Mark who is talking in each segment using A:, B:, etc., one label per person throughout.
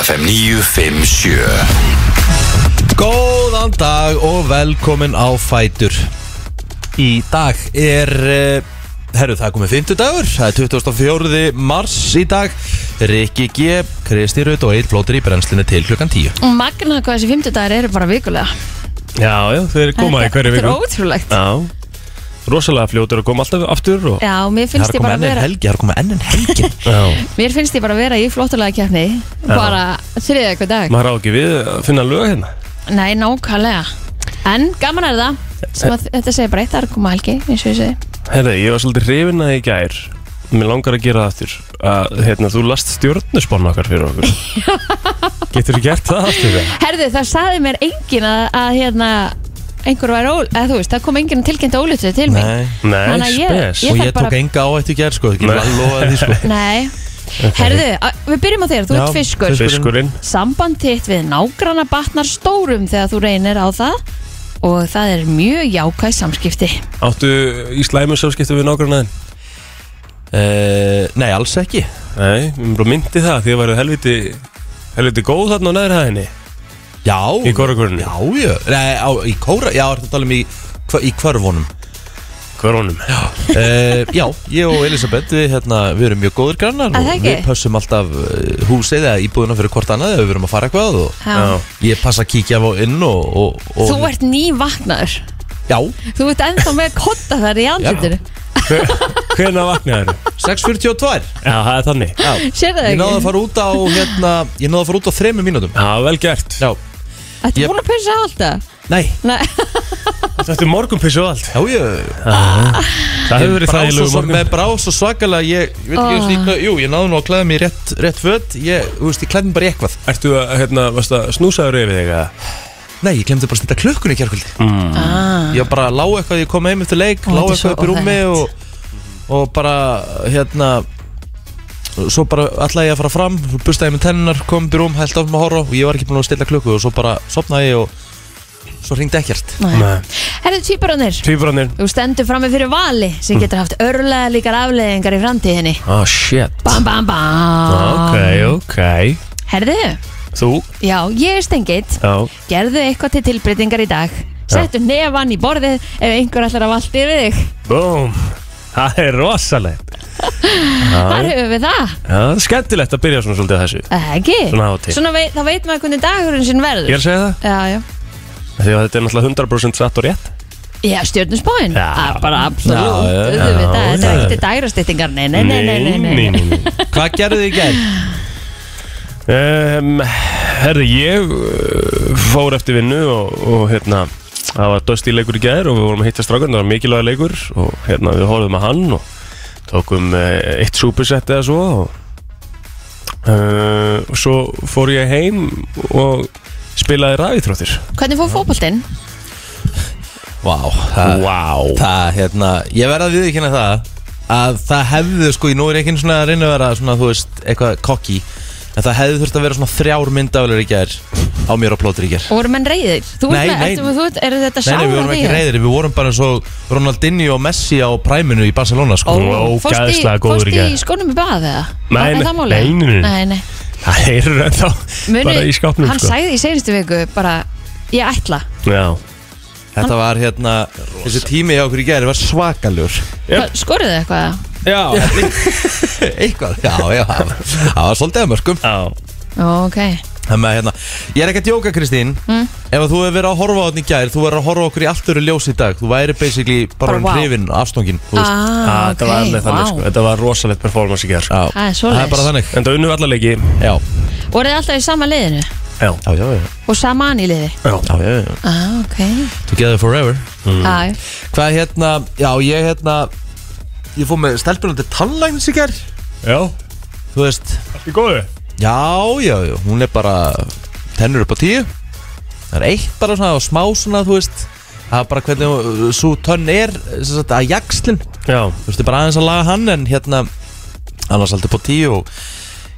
A: FM 957
B: Góðan dag og velkomin á Fætur Í dag er, eh, herru það er komið 50 dagur Það er 24. mars í dag Rikki G, Kristi Rutt og Eil Blóttir í brennslinu til klukkan 10
C: Og magna hvað þessi fimmtudagar eru bara vikulega
D: Já, já, þeir koma í
C: Þetta-
D: hverju viku
C: Þetta er ótrúlegt
D: Já, rosalega fljótur að koma alltaf aftur og
C: Já, mér finnst ég bara að vera
B: helgi, það er að koma enn en helgi
D: já.
C: Mér finnst ég bara að vera í flottulega kefni Bara þriðið eitthvað dag
D: maður á ekki við að finna lög hérna
C: Nei, nákvæmlega En gaman er það Svo að, Þetta segir bara eitt, það er að koma helgi eins og ég segi
D: Herði, ég var svolítið hrifin að í gær Mér langar að gera það aftur að, hérna, Þú last stjórnusbón okkar fyrir okkur Getur þú gert það aftur? eða?
C: Herðu, það saði mér engin að, að hérna einhver var ól, eða þú veist, það kom engin tilkynnt ólutu til mig
B: Nei
D: Nei,
C: Þannig að ég-
D: spes
C: ég-
B: Og
C: þarf
B: ég tók
C: bara-
B: enga á eftir gerð sko, ekki
D: Nei.
B: val lofa því sko
C: Nei, herðu, að, við byrjum á þér, þú
B: Já,
C: ert fiskur
B: fiskur.
D: Fiskurinn
C: Samband þitt við nágrana batnar stórum þegar þú reynir á það og það er mjög jákvæð samskipti
D: Áttu í slæmu samskipti við nágrunnaðin?
B: uh, Nei, alls ekki
D: Nei, mér bara myndi það Því að væru helviti, helviti góð þarna á neðri hæðinni
B: Já
D: Í kórakurinn
B: Já, já, nei, á, í kóra, já, ertu að tala um í, hva- í hverfunum
D: Hverunum
B: uh, já, ég og Elisabeth við, hérna, við erum mjög góður grannar
C: Er það
B: og
C: ekki?
B: við pössum alltaf eh, húsið eða íbúðuna fyrir hvort annað ef við erum að fara eitthvað og
C: Já.
B: ég passa að kíkja á inn og, og, og
C: Þú ert nývaknaður
B: já,
C: Þú ert ennþá með kotta þar í andlutinu
D: Hvernig vaknaði þér?
B: 6.42
D: Já, það er þannig
B: já.
C: Sérðu það
B: ég náði að
C: ekki?
B: fara út á hérna, ég náði að fara út á þremur mínútum
D: Já, vel gert
B: já,
C: Þetta
B: ég-
C: er búin að pissa alltaf
B: nei,
C: Nei,
D: Þetta er morgunpissu og allt
B: já ég
D: Það hefur verið
B: brá svo,
D: þægilegu
B: svo,
D: morgun
B: með brá svo svakalega ég, ég veit ekki, oh. jú, ég náði nú að klæða mig í rétt, rétt föt, ég, þú veist, ég klæði mig bara í eitthvað
D: Ertu að, hérna, varst að snúsaður yfir þig eða?
B: Nei, ég glemdi bara að stilla klökkun í kjærkvöldi
C: ah,
B: Ég bara lág eitthvað, ég kom heim eftir leik
C: Ó,
B: Lág
C: þetta er svo
B: eitthvað upp í rúmi og, og bara, hérna Svo bara ætlaði ég að fara fram Svo bustaði ég með tennunar, kom upp í rúm, held áfram að horfa Og ég var ekki búin að stilla klukku og svo bara sopnaði ég og Svo hringdi ekkert
C: nei. Herðu týparannir
D: Tvíbrannir
C: Þú stendur frammi fyrir vali sem
B: Mm.
C: getur haft örlega líkar afleðingar í framtíðinni
D: Ah, shit
C: Bam, bam, bam
D: Ok, ok
C: Herðu,
D: Þú?
C: já, ég er stengið
D: Já
C: Gerðu eitthvað til tilbreytingar í dag Settu nefan í borðið ef einhver ætlar að valda yfir þig
D: Búm Það er rosalegt
C: Þar
D: Já,
C: höfum við það
D: já, það er skemmtilegt að byrja svona svolítið að þessu
C: Eða ekki?
D: Svona á og til.
C: Svona veit, þá veitum við hvernig dagurinn sinn verður
D: Ég er að segja það
C: Já, já
D: Því að þetta er náttúrulega 100% satt og rétt
C: Já, stjórnusbáin
D: Já.
C: Bara absolutt
B: Já, já, já.
C: Þetta er
B: Já.
C: ekki til dagrastyttingar Nei, nei, nei, nei, nei, nei.
D: nei, nei.
B: Hvað gerðu þið í gær?
D: Um, herri, ég uh, fór eftir vinnu og, og hérna, það var dösti leikur í gæðir og við vorum að hitta strákan, það var mikilvæga leikur og hérna við horfum að hann og tókum uh, eitt súpersett eða svo og, uh, og svo fór ég heim og spilaði ræðitróttir
C: Hvernig fór fótboltinn?
B: Vá, það,
D: Vá
B: það, hérna Ég verða við ekki hérna það Að það hefðu, sko, nú er ég ekki einu svona að reyna að vera svona, þú veist, eitthvað kokki En það hefði þurft að vera svona þrjár myndaflur í gær Á mér og plótur í gær
C: Og voru menn reyðir? Þú
B: Nei,
C: ert með,
B: nei.
C: ertu- þú ert- eru þetta
B: Nei, nei, við
C: sára
B: vorum ekki reyðir, við vorum bara eins og Ronaldinho og Messi á præminu í Barcelona sko.
D: Ó. Ó, ógeðslega góður í
C: Fórst
D: gær.
C: í skónum í bað eða?
D: Nei,
C: Var- er
D: nei,
C: það málið?
D: nei, nei, nei.
C: nei, nei.
D: Það heyrur ennþá
C: Muni,
D: bara í skápnum
C: Hann
D: sko.
C: sagði í senustu viku bara Ég ætla
D: Já
B: Þetta var hérna, þessi tími hjá okkur í gæri var svakalur
D: Jep.
C: yep. Skoruðu þið eitthvað? eða?
D: Já,
B: Eitthvað, já, já, það var- það var svolítið að mörgum
D: já.
C: Ó, Ok Mm.
B: Þannig að hérna, ég er ekki að djóka Kristín Ef að þú hefur verið að horfa á hann í gæri, þú verður að horfa á okkur í allt öru ljós í dag Þú væri basically bara
C: Bara
B: um
C: wow.
B: hrifin, afstungin
C: Ah,
D: Það var alveg þannig
C: vá.
D: sko. Þetta var rosalegt performance í gæðir sko.
B: Það
C: Ah, Það er
B: Það
C: svoleiðis.
B: er bara þannig
D: En það unnum við alla leiki
B: Já,
C: Voruð þið alltaf í sama liðinu?
D: Já,
B: já, já, já,
C: Og sama hann í liði?
D: já.
B: já, já, já.
C: Ah, ok
B: Together forever
C: mm. ah,
B: Hvað hérna, já, ég hérna Ég fór með stelpunandi tannlægnis í gær
D: já.
B: Þú veist,
D: Allt í góðu
B: Já, já, já, hún er bara tennur upp á tíu Það er eitt bara svona og smá svona, þú veist Það er bara hvernig uh, svo tönn er sem sagt, að jakslinn Þú
D: Já,
B: veist, ég er bara aðeins að laga hann en hérna annars aldrei upp á tíu og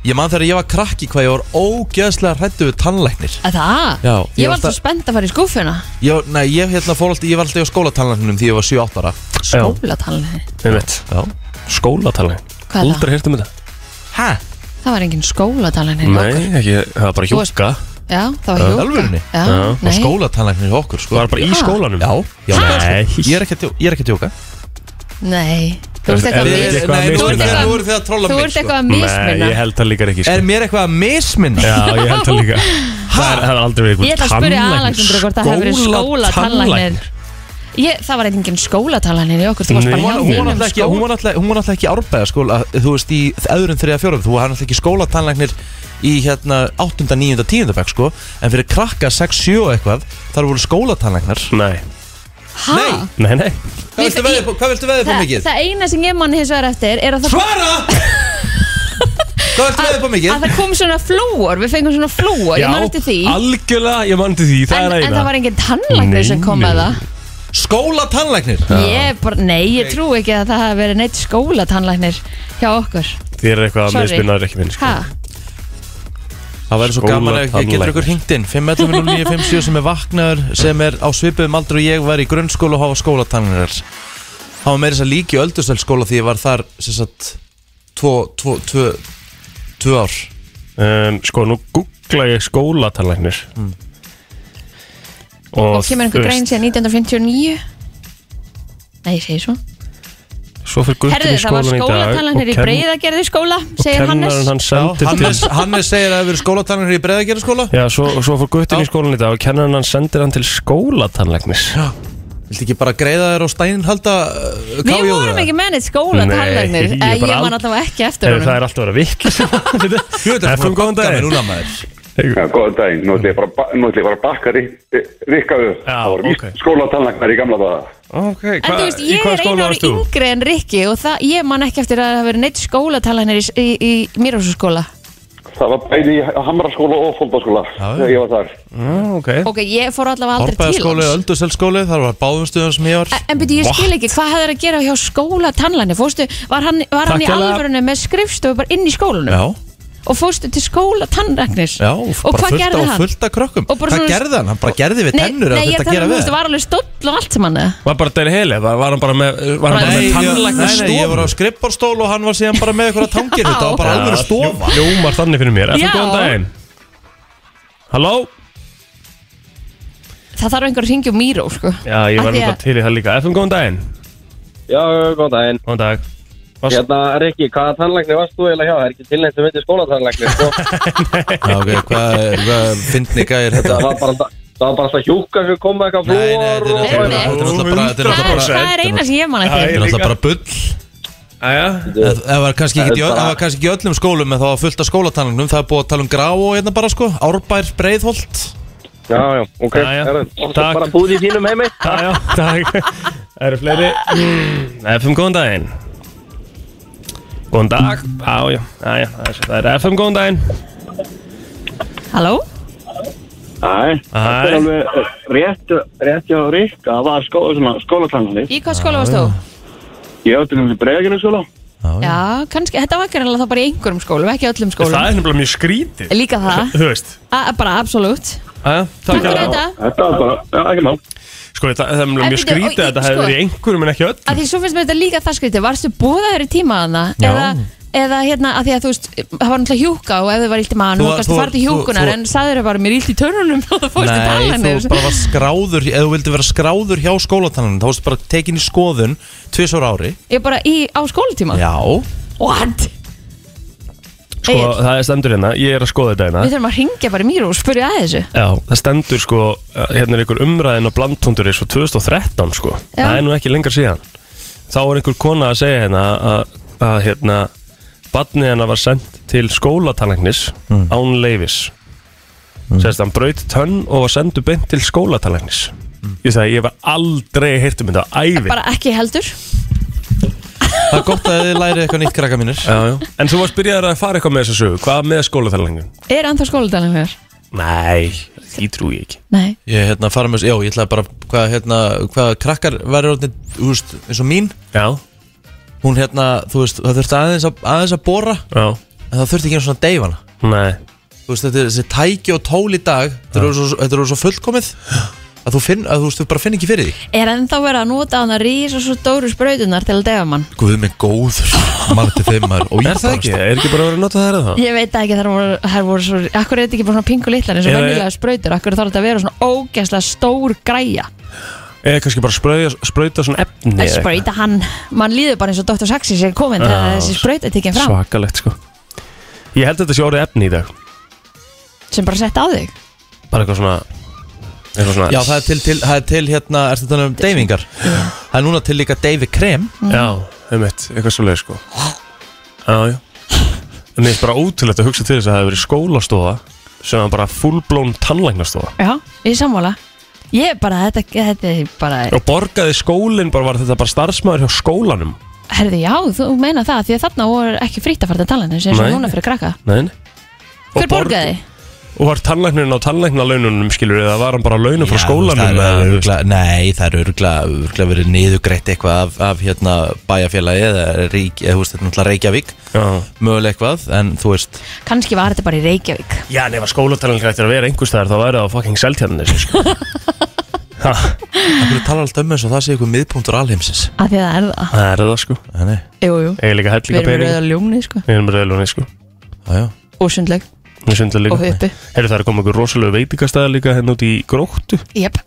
B: ég man þegar ég var krakki hvað ég var ógeðslega hrættu við tannlæknir
C: Það?
B: Já, ég
C: ég var
B: var
C: alltaf
B: alltaf-
C: spennt að fara í skúfuna
B: ég, Nei, ég, hérna, fór alltaf, ég var alltaf í skólatannlækninum því ég var 7-8 ára
C: Skólatalni
D: einmitt
B: Já
D: Skólatalning
C: Hvað er það?
D: Aldrei hirtum þetta
B: Hæ?
C: Það var engin skólatalan hérna
D: Nei, ekki, það var bara
C: Þú varst-
D: hjúka
C: Já, það var hjóka
B: Alvörunni?
C: Já,
D: Já,
C: já.
D: og
B: Og
C: nei
B: skólatalangin hjá okkur
D: Það
B: sko.
D: var bara í
C: Ha?
D: skólanum
B: Já, já
D: Nei.
B: sko. Ég er ekki að djó- ég er ekki að djóka
C: Nei Þú ert
D: Er-
C: eitthvað
D: er-
C: að
D: eitthvað að
B: Nei, nú
C: mismunna.
B: eru þið- nú eru þið að
C: mis-
B: trolla
C: Þú
B: mig
C: ert
B: sko.
C: eitthvað að
D: Nei,
C: mismunna
D: ég held það líka ekki sko.
B: Er mér eitthvað að misminna?
D: Já, ég held það líka Það er- það var aldrei verið
C: Ég ætla að spyrja Alexander hvort það hafi verið skólatannlæknir. Ég, það var engin skólatalanir í okkur, þú varst
D: Nei.
C: bara
B: Hún hún
C: hjá
B: var náttúrulega ekki, hún var náttúrulega- hún var náttúrulega ekki árbæða skóla, þú veist, í öðrum þriða fjórum, þú var náttúrulega ekki skólatannlæknir í hérna 8. 9. 10. bekk sko, en fyrir krakka 6, 7 og eitthvað, þar voru skólatannlæknar.
D: Nei,
C: Ha?
B: Nei.
D: nei, nei
B: Hvað viltu veðið hvað viltu veðið på
C: Það,
B: mikið?
C: það eina sem ég mann hins vegar eftir er að það,
B: Svara! Hvað viltu veðið på mikið?
C: að það kom svona flúor, við fengum svona flúor, ég mann eftir því
D: algjörlega, ég mann til því, það er
C: en, en
D: eina
C: það var engin tannlæknir sem
D: Nei,
C: kom að
D: nei.
C: það
B: Skólatannlæknir?
C: ég bara, Nei, ég trú ekki að það hafi verið neitt skólatannlæknir hjá okkur
D: Þér er eitthvað að
C: Sorry.
D: misbyrnaður ekki minn sko.
C: ha?
B: Það væri svo gaman ef ég getur ykkur hringt inn 5.11.957 sem er vaknaður sem er á svipuðum aldrei og ég var í grunnskóla og hafa skólatanginir Það var meira þess að líka í öldustöldskóla því ég var þar sem sagt tvo, tvo, tvo, tvo ár
D: um, Sko, nú googla ég skólatannlæknir
C: Og kemur einhver grein síðan 1959 Nei, ég segi svo
D: Svo fyrir
C: Herðu,
D: Guðbjörn í
C: það
D: skólan í
C: var
D: dag
C: skólatannlæknir í
D: ken-
C: breyðagerði skóla
D: og
C: segir Hannes
D: kennarinn hann
B: Já,
D: sendir til
B: Hannes, Hannes segir að það hefur verið skólatanginir í breðagerðaskóla
D: Já, svo, svo fór Guðbjörn
B: Já.
D: í skólan í dag og kennarinn hann sendir hann til skólatannlæknis
B: Viltu ekki bara greiða þér á stænin halda uh,
C: Við
B: KJ-ið?
C: vorum ekki mennið skólatannlæknir
D: Nei, ég
C: Eh, Ég
D: bara
C: man
D: ald-
C: allavega ekki eftir
D: Herðu, Það er
C: honum
D: alltaf að vera vitt
B: Jú, þetta er
D: FM,
B: svona
D: góðan
B: gott að
D: daginn.
B: með núna maður
A: Já, góðan daginn, nú ætlum ég bara að ba- nú ætla ég bara að bakka rik- eh, Rikka upp
D: Já,
A: Það voru víst
D: ok.
A: okay. skólatannlæknar í gamla daga
D: Ok,
C: En þú veist, ég er einu ári yngri en Rikki og það, ég man ekki eftir að það hafa verið neitt skólatannlæknir í, í, í Mýrhúsaskóla
A: Það var bæði í Hamraskóla og Fóldaskóla
B: Já, já.
A: þegar ég var þar
D: Ah, Ok,
C: Ok, ég fór allavega aldrei til
B: Árbæðaskóli,
C: hans
B: öldustöldskóli, þar var báðum stöðum sem ég var
C: En byrju, ég skil ekki, hvað hefði það að gera hjá skólatannlæknir? Fórstu, var hann, var hann í
D: Takk hérlega.
C: alvörunni með skrifstofu bara inn í skólunum?
B: Já,
C: og fórstu til skóla tannræknis
B: já,
C: og
B: bara
C: hvað
B: fullt
C: gerði
B: á
C: hann?
B: fullt af krökkum
C: Og bara
B: Hvað
C: svona-
B: gerði hann? Hann bara gerði við
C: Nei,
B: tennur
C: nei, ég er
B: að gera
C: þannig að
B: við
C: þú var alveg stóll og allt sem hann eða?
D: var bara Dæri Heli, var, var hann bara með, var hann bara
B: Nei,
D: með
B: ég-
D: tannlæknis
B: nei, nei, ég var á skrippborstól og hann var síðan bara með eitthvað tangir Þetta var bara
D: Já,
B: alveg stofa
D: ljó- Ljómar þannig fyrir mér
C: Já.
D: Eftir góðan daginn Halló
C: Það þarf einhver að ringja um Míró sko.
D: Já, ég
C: Af
D: var
C: því
D: náttúrulega
C: að-
D: til í það líka Eftir góðan daginn
E: Já, góðan daginn.
D: Góðan dag Varst-
E: Hérna, Rikki, hvaða tannlækni varst þú eiginlega hjá? Það er ekki tilnætt sem heitir skólatannlækni, sko.
B: Já, ok, hvað er, hvað finnni gæðir þetta?
E: Það var bara, það var bara alltaf hjúka sem kom með eitthvað
B: Nei, nei, þetta er
E: flúor og...
B: náttúrulega bara- þetta er náttúrulega bara- um þetta er
C: það,
B: náttúrulega
C: er- það er eina sem ég man
B: Þetta
C: ekki
B: er náttúrulega bara bull
D: Æja
B: Það það var kannski ekki,
E: Það er
B: það
E: bara-
B: var kannski ekki í öllum skólum en það var fullt af skólatalningnum Það er búið að tala um grá og hérna bara sko Árbær, Breiðholt
E: Já, já, ok.
D: Já, já.
E: herru,
D: Takk.
E: Bara búð í þínum heimi.
D: Æja, takk Það eru fleiri Eftir Mm, góðan daginn Góðan dag Já, já, já, já Það er FM góðan daginn
C: Halló?
F: Nei, þetta er
D: Æ.
F: alveg eh, rétt, rétt hjá Ríkka, það var skó, svona, skólatannandi.
C: Í hvað skóla varst þú?
F: Ég átti náttúrulega bregðinu skóla.
C: Já, kannski, þetta var ekki alveg þá bara í einhverjum skólum, ekki öllum
D: Það
C: skólum
D: er nefnilega mjög skrítið
C: Líka það,
D: Þú veist
C: A- bara absolutt
D: Æja,
C: Takk
D: takk
C: fyrir
D: alveg
C: þetta
F: Þetta var bara, já, ekki mál.
D: Sko, það það er
C: En
D: nefnilega mjög
C: bíddu, og
D: skrítið
C: ég-
D: að þetta hefði
C: sko-
D: verið í einhverjum en ekki öll
C: að því svo finnst mér þetta líka það skrítið varstu búðaður í tímaðana
D: Já.
C: eða, eða hérna að því að þú veist það var náttúrulega hjúka og ef þið var illt í
B: Þú
C: maðan þú
B: var-
C: kannski
B: þú-
C: farið í hjúkunar
B: þú-
C: en sagður þau bara mér illt í törnunum og það fórst í
B: Nei,
C: talanir
B: þú bara var skráður, eða þú vildi vera skráður hjá skólatalningnum Þá varstu bara tekin í skoðun tvisar ári
C: ég bara í, á skólatíma
B: Já,
C: what?
D: Sko,
C: Egill.
D: það er stendur hérna Ég er að skoða þetta hérna
C: við þurfum að ringja bara í mýru og spyrja að þessu
D: Já, það stendur sko, uh, hérna er einhver umræðin á blandtónduris frá 2013 sko,
C: Já.
D: það er nú ekki lengar síðan. Þá er einhver kona að segja hérna að, að hérna, badnið hennar var sendt til skólatalagnis án leifis. Sérst, hann braut tönn og var sendu beint til skólatalagnis. Ég sagði, ég var aldrei heyrt um þetta, á ævi.
C: bara ekki heldur
B: það er gott að þið lærið eitthvað nýtt krakka mínir
D: Já, já. En þú varst byrjaður að fara eitthvað með þessa sögu, hvað með skólatalagnin?
C: er ennþá skólatíma
D: Nei, því trúi ég ekki.
C: nei
B: Ég hérna fara með, já, ég ætlaði bara hvað hérna, hvað krakkar verður orðin, þú veist, eins og mín
D: Já,
B: Hún hérna, þú veist, það þurfti aðeins að, aðeins að bora
D: já,
B: En það þurfti ekki einu svona að deyfa hana
D: nei,
B: Þú veist, þetta er þessi tæki og tól í dag Þetta eru svo, þetta eru svo fullkomið að þú finn, að þú, veist, þú bara finn ekki fyrir því
C: Er ennþá verið að nota hana rís og svo stóru sprautunar til að defa mann?
B: Guð minn góður, maður til þeim maður og ég
D: Er það
B: bara
D: ekki? Er ekki bara verið að nota það eða það?
C: Ég veit það ekki, þar voru, þar voru svo, akkur er þetta ekki bara svona pingu litlar eins og
D: Eða-
C: venjulega sprautur, akkur þarf þetta að vera svona ógæslega stór græja
D: Eða kannski bara sprauta, sprauta svona efni
C: að
D: eða eitthvað.
C: sprauta hann, mann líður bara eins og Dr. Saxi sé komin þegar
D: Já,
C: þessi sprauta er tekin fram
D: Svakalegt sko Ég held að þetta sé orðið efni í dag
C: sem bara sett á þig
D: Bara eitthvað svona Eitthvað svona
B: Já, það er til, til, það er til hérna, er þetta um deyfingar Það er núna til líka deyfi krem
D: Já, einmitt, eitthvað svo leið sko Já, já En ég er bara ótrúlegt að hugsa til þess að það hefur verið skólastofa sem var bara fullblón tannlæknastofa
C: Já, ég er sammála Ég er bara, þetta, þetta er bara
D: og borgaði skólinn bara var þetta bara starfsmæður hjá skólanum
C: Herði, já, þú meina það, því að þarna voru ekki frítt að fara til talinu sem er
D: Nei.
C: núna fyrir krakka
D: Nei, nei
C: Hver
D: borg-
C: borgaði?
D: Og var tannlæknirinn á tannlæknalaununum skilur eða var hann bara á launum frá
B: Já,
D: skólanum
B: það er
D: eða, þú veist?
B: örgla, Nei, það er örgulega örgla verið niðugreitt eitthvað af, af hérna, bæjarfélagi eða rík, eða, þú veist, þetta er náttúrulega Reykjavík
D: Já
B: mögulega eitthvað, en þú veist
C: Kannski var þetta bara í Reykjavík
D: Já, en ef að skólatannleikar ættir að vera einhvers staðar þá væri það á fucking seltjarnir sko. Ha,
B: Akkur tala alltaf um eins og það sé eitthvað miðpunktur alheimsins
C: Af því að það er það
D: Það er það sko
B: Nei,
C: Jú, jú,
D: Ég er líka
C: við
D: hellinga
C: erum
D: pening
C: rauða ljóni, sko
D: Við erum rauðlunni sko
B: já, já
C: Og sundleg,
D: Við sundum líka
C: og uppi
D: Heyrðu, það er komið einhver rosalega veitingastæðar líka henn út í gróttu
C: Jep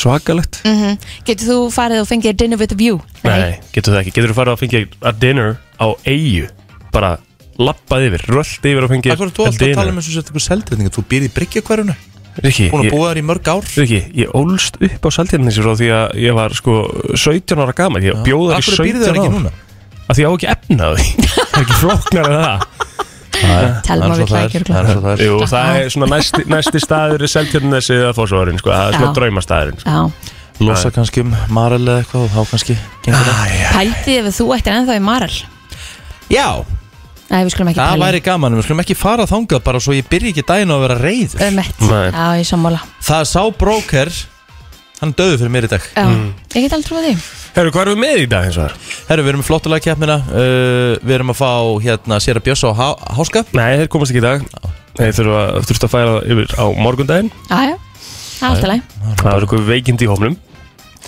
D: Svakalegt
C: mm Getur þú farið og fengið dinner with a view?
D: Nei, getur það ekki Getur þú farið að fengja að dinner á eigu Bara lappað yfir, röllt yfir og fengið
B: Akkur þú alltaf að tala um eins og þetta eitthvað seldreitinga Þú býrð í bryggjakverjunu,
D: Riki,
B: búin að
D: ég,
B: búa þar í mörg ár
D: Riki, ég ólst upp á seltjarnir frá því að ég var sko 17 ára gaman Ég bjóða í
B: Akkur
D: 17
B: býrð þar ekki
D: ára
B: núna
D: að því ég á ekki efna á því það er ekki flóknar en það
B: Það er
C: Telma vill
B: svo það
C: ekki
B: er, það
C: örugglega.
B: er svo það er.
D: Jú, það er svona næsti, næsti staður er Seltjarnesi eða Fossvórin, sko, það er svona
C: Já.
D: draumastæðurinn sko.
C: Já,
B: Losa kannski um Marel eða eitthvað og þá kannski gengur það.
C: pæltið ef þú ættir ennþá í Marel
B: Já,
C: Nei, við skulum ekki
B: það
C: pæla
B: væri gaman en Við skulum ekki fara þangað bara svo ég byrja ekki daginn á að vera reyður
C: Ömett,
D: Nei.
C: Um já, ég er sammála
B: Það er sá bróker Hann döðu fyrir mér í dag
C: Já,
D: Mm.
C: ég get aldrei trúið því
D: Herru, hvað erum við með í dag eins og þar?
B: Herru, við erum með flottulega keppnina uh, Við erum að fá hérna Sera Björs á há, háska
D: Nei, þeir komast ekki í dag Þeir þurfa þurft að færa yfir á morgundaginn
C: Já, já, það er alltaf leið
D: Það er eitthvað veikindi í hófnum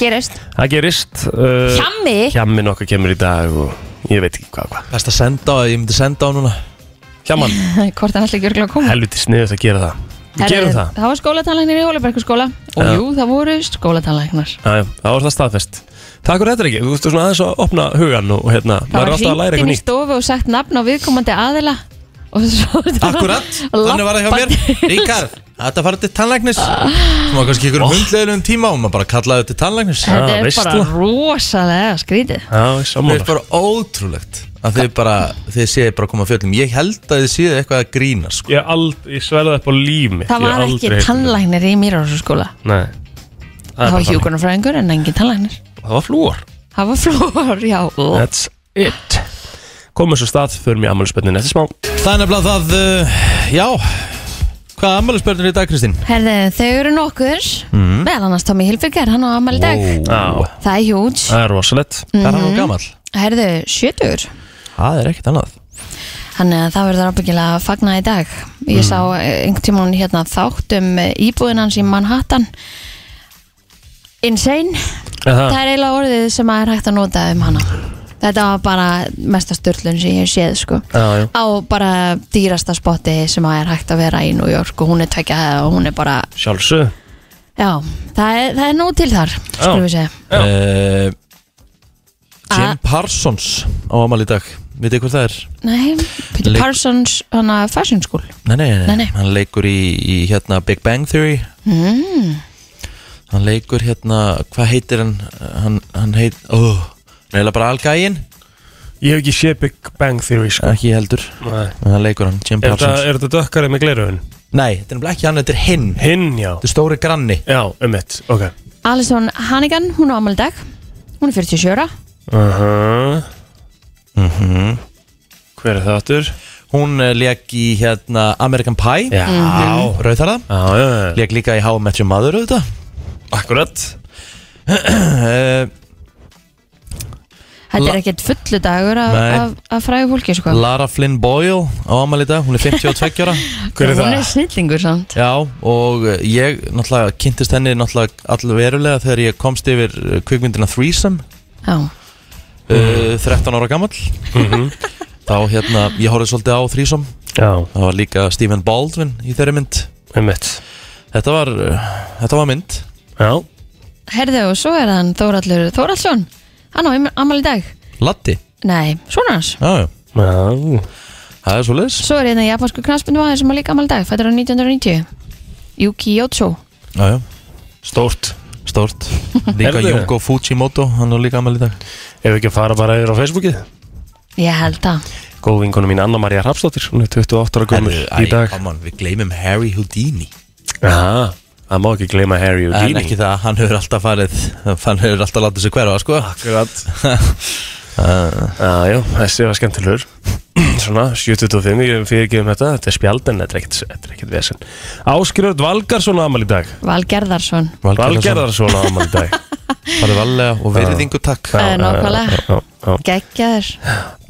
C: Gerist
D: Það gerist uh,
C: Hjammi
D: Hjammin okkar kemur í dag og ég veit ekki hvað og hvað
B: Best að senda á, ég myndi senda á núna
D: Hjamman,
C: Hvort hann ætla ekki örgulega að koma
D: helviti sniðið að gera það Við
C: Herri,
D: gerum það
C: var skólatanlæknir í Hólabergskóla Og
D: Já.
C: jú, það voru skólatanlæknar
D: Já, já, Það var það staðfest Takk fyrir þetta ekki, þú veist svona aðeins að opna hugan og hérna,
C: Það
D: maður er
C: var
D: alltaf að læra
C: hringt
D: eitthvað
C: inn í
D: nýtt
C: stofu og sagt nafn á viðkomandi aðila Og svo
B: Akkurat, þannig var það hjá mér Ríkar, þetta farið til tannlæknis Má kannski ykkur um hundleginum tíma og maður bara kallaði þetta til tannlæknis
D: Já,
C: Þetta er bara
D: veistla.
C: rosalega skrítið
D: Já, ég
B: Það
D: sammála
B: er bara ótrúlegt að þið bara, þið séu bara að koma að fjöllum Ég held að þið séu eitthvað að grína sko.
D: Ég, hef ald, ég sverða upp á lími
C: Það var ekki
D: um
C: tannlæknir í Mýrarhúsaskóla
D: Nei
C: Það
D: bara
C: var
D: þannig.
C: hjúkunarfræðingur en engin tannlæknir
D: Það var flúor
C: Það var flór, já
D: That's it Komum svo stað, förum í ammáluspennin eftir smá
B: Það er nefnilega það, uh, já Hvað ammælisbörnir í dag, Kristín?
C: Herði, þau eru nokkur
D: Mhm.
C: Meðal annars Tommy Hilfiger, hann á ammali í dag
D: Á,
C: Það er hjúts
D: það er rosalett
B: Hvað er hann nú gamall?
C: Herði, sjötur
B: Mhm. Það er ekkert annað
C: Þannig að það verður ábyggilega að fagna í dag Ég
D: Mm.
C: sá eh, einhvern tímann hérna þátt um eh, íbúðin hans í Manhattan Insane
D: Það
C: Það er eiginlega orðið sem að er hægt að nota um hana Þetta var bara mesta störlun sem ég hef séð sko
D: Já, já.
C: Á bara dýrasta spotti sem að er hægt að vera í New York og hún er tvekja og hún er bara
D: Sjálfsög
C: Já, það er, það er nóg til þar skulum við segja
D: Já.
B: uh,
C: A-
B: Jim Parsons á amal í dag Vitið þið hvað það er?
C: Nei, Peter
B: Leik-
C: Parsons hann að fashion school
B: Nei, nei, nei,
C: Nei, nei.
B: Hann leikur í, í hérna Big Bang Theory
C: mm.
B: Hann leikur hérna, hvað heitir hann? Hann, hann heit, ó Neila bara algægin,
D: Ég hef ekki séð Big Bang Theory sko
B: ekki heldur
D: Nei.
B: En hann leikur hann, Jim
D: Er þetta-
B: Parsons
D: er þetta dökkarið með gleraugun?
B: Nei, þetta er nefnilega ekki hann, þetta er hinn Þetta
D: Hinn, já
B: er stóri granni
D: Já, um mitt, ok
C: Alison Hannigan, hún á afmæli í dag Hún er 47 ára
D: uh -huh. Mhm. Hver er það aftur?
B: Hún eh, leik í hérna American Pie
D: Já, já,
B: Rauðarða
D: já, já.
B: Leik líka í How I Met Your Mother auðvitað
D: Akkurat
B: uh,
C: Þetta er ekkert fullu dagur af,
B: Nei.
C: af, af fræðu fólki sko.
B: Lara Flynn Boyle á ámæli í dag, hún er 52 ára
D: Hver er
C: Hún
D: það?
C: er snillingur samt
B: Já, og eh, ég náttúrulega kynntist henni náttúrulega allverulega þegar ég komst yfir eh, kvikmyndina Threesome
C: Já,
B: uh, 13 ára gammal Mhm. Þá hérna, ég horfði svolítið á Threesome
D: Já,
B: Það var líka Stephen Baldwin í þeirri mynd
D: einmitt
B: Þetta var, eh, þetta var mynd
D: Já,
C: herðu og svo er hann Þórallur Þórallsson Hann á amal í dag
B: Latti,
C: Nei, svona hans
B: já, já,
D: já
B: það er svolítið
C: Svo er hérna japansku knaspinu aðeins sem að líka amal í dag Fættur á 1990 Yuki Yotso
B: Já, já,
D: Stórt
B: stórt Líka
D: Herðu.
B: Junko Fujimoto, hann er líka ammæli í dag
D: Ef við ekki að fara bara yfir á Facebookið
C: Ég held það
D: Góð vinkonu mín Anna María Hrafsdóttir Hún er 28 ára gömur
B: Herðu, æ,
D: í dag
B: come on, Við gleymum Harry Houdini
D: Já, það má ekki gleyma Harry og
B: En
D: Dini
B: ekki það, hann hefur alltaf farið Hann hefur alltaf látið sig hverfa, sko Akkurat
D: Já, Ah, já, þessi var skemmtilegur Svona, 725, ég fyrirgefum þetta Þetta er spjald en þetta er ekkert- þetta er ekkert vesen Áskjörð Valgarsson á amal í dag
C: Valgerðarsson
D: Valgerðarsson á amal í dag
B: Farið valega og verðingu takk
C: Það er nákvæmlega
D: já, já.
C: Geggjaður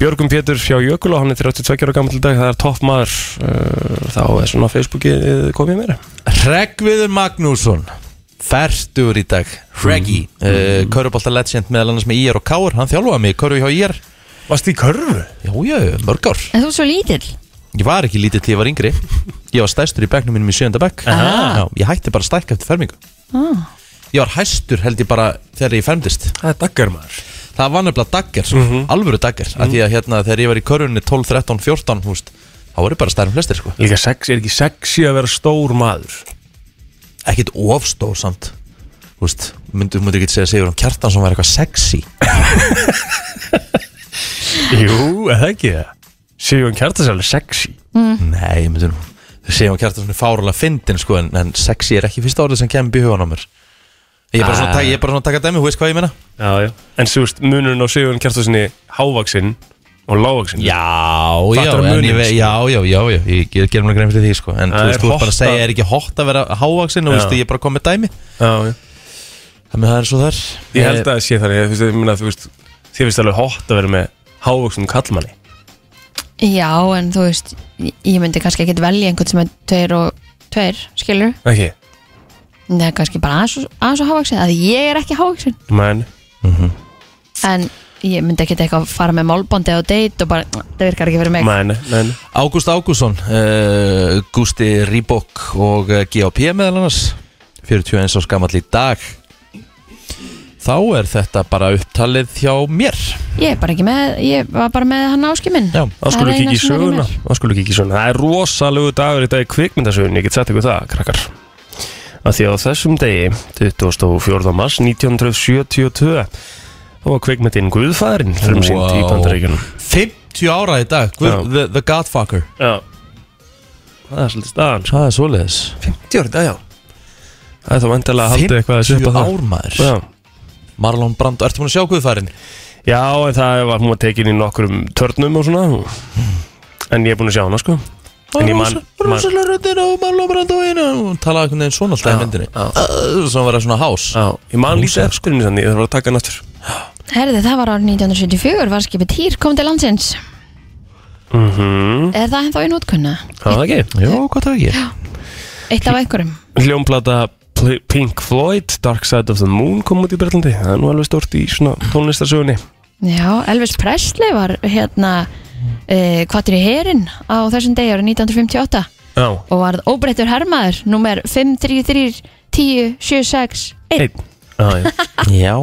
D: Björgum Pétur fjá Jökul og hann er 32 ára gammal í dag Það er topp maður uh, Þá er svona á Facebooki eh, komið meira
B: Hreggviður Magnússon Fertur í dag Hreggi mm. uh, legend meðal annars með IR og Káur Hann þjálfaði mig, Körfi hjá IR
D: Varst í körfu?
B: Já, já, mörg ár
C: En þú er svo lítill
B: Ég var ekki lítill til ég var yngri Ég var stæstur í bekknum mínum í sjönda bekk
C: Aha.
B: Já, Ég hætti bara að stækka eftir fermingu
C: ah.
B: Ég var hæstur held ég bara þegar ég fermdist
D: Það er daggar maður
B: Það var nefnilega dagger, sko, alvöru dagger mm Því að hérna þegar ég var í körfunni 12, 13, 14 húst, Þá var ég bara stærn flestir sko
D: Líka sex, er ekki sexy að vera stór maður
B: Ekkit ofstór samt húst, myndu, myndu ekki segja Sigur um kjartan sem var eitthvað sexy
D: Jú, eða ekki það Sigjón Kjartas er alveg sexy
B: Nei, ég myndu nú Sigur um kjartan sem er fárulega fyndin sko en, en sexy er ekki fyrsta orðið sem kemur í hugan á mér Ég er bara svona,
D: Ah.
B: ah. ég er bara svona að taka dæmi, þú veist hvað ég meina
D: Já, já En svo veist, munurinn á Sigjón Kjartasinni Hávaksin og lágvaksin
B: Já, já,
D: Fattar
B: en
D: muninn,
B: ég vei,
D: sko.
B: já, já, já, já, ég ger- gerum mér grein fyrir því sko En
D: Það
B: þú
D: er
B: veist, þú ert bara að
D: hotta-
B: segja, er ekki hótt að vera hávaksin og
D: Já.
B: veist, ég er bara komið dæmi
D: já, já
B: Þannig að það er Eh, svo þar
D: Ég held að það sé þannig, þú veist, ég meina, þú veist, þið finnst alveg hótt að vera með hávöksum kallmanni.
C: Já, en þú veist Ég ég myndi kannski ekki velja einhvern sem er tveir og tveir, skilur
D: Ekki?
C: Það er kannski bara aðeins og- aðeins og hávaksin að ég er ekki hávaksin
D: Men,
C: en ég myndi ekki eitthvað að fara með málbóndi á date og bara, það virkar ekki fyrir mig
D: men, men.
B: Ágúst Ágússon, uh, Gústi Rýbok og eh, G.A.P. meðal annars 41 árs gamall í dag Þá er þetta bara upptalið hjá mér
C: ég er bara ekki með, ég var bara með hann áski minn
B: Já,
D: Það skulum
C: er eina
D: ekki í
C: sem er í
D: söguna.
C: mér.
D: Það skulum ekki í söguna. Það er rosalegu dagur í dag í kvikmyndasögunni, ég get sagt ykkur það, krakkar. Af því á þessum degi, 24. mars 1972, þá var kvikmyndin Guðfærin frum sínt í
B: Wow.
D: Bandaríkjunum.
B: 50 ára í dag,
D: Já.
B: Guð, the, the Godfucker
D: Já. Það er svolítið staðan.
B: Það er svoleiðis
D: 50 ári dag, já. Það er þá endilega að halda eitthvað að svipa
B: 50
D: það.
B: ár maður
D: Já.
B: Marlon Brando, ertu búin að sjá Guðfærin?
D: Já, en það var hún var tekin í nokkrum törnum og svona En ég er búinn að sjá hana, sko En ég man, man
B: Rosalega röndin og Marlon Brando einu Hún talaði einhvern veginn svona alltaf í
D: Já,
B: myndinni
D: já.
B: Uh, Svo hann var svona hás
D: á, Ég man lítið
B: Rosa.
D: eftir henni þannig, ég þarf að taka hann aftur
C: Herði, það var árið 1974, var skipið Týr kom til landsins
D: Mhm,
C: er það ennþá í nótkunna?
D: Það var það ekki
B: Jó, hvað það ekki?
C: Eitt af einhverjum
D: Hljómplata Pl- Pink Floyd, Dark Side of the Moon kom út í Breitlandi Það er nú alveg stort í svona tónlistarsögunni
C: Já, Elvis Presley var hérna uh, kvartir í herin á þessum degi árið 1958
D: Já,
C: og varð óbreyttur hermaður nummer 533 10 76 1
D: einn Já, já,
B: Já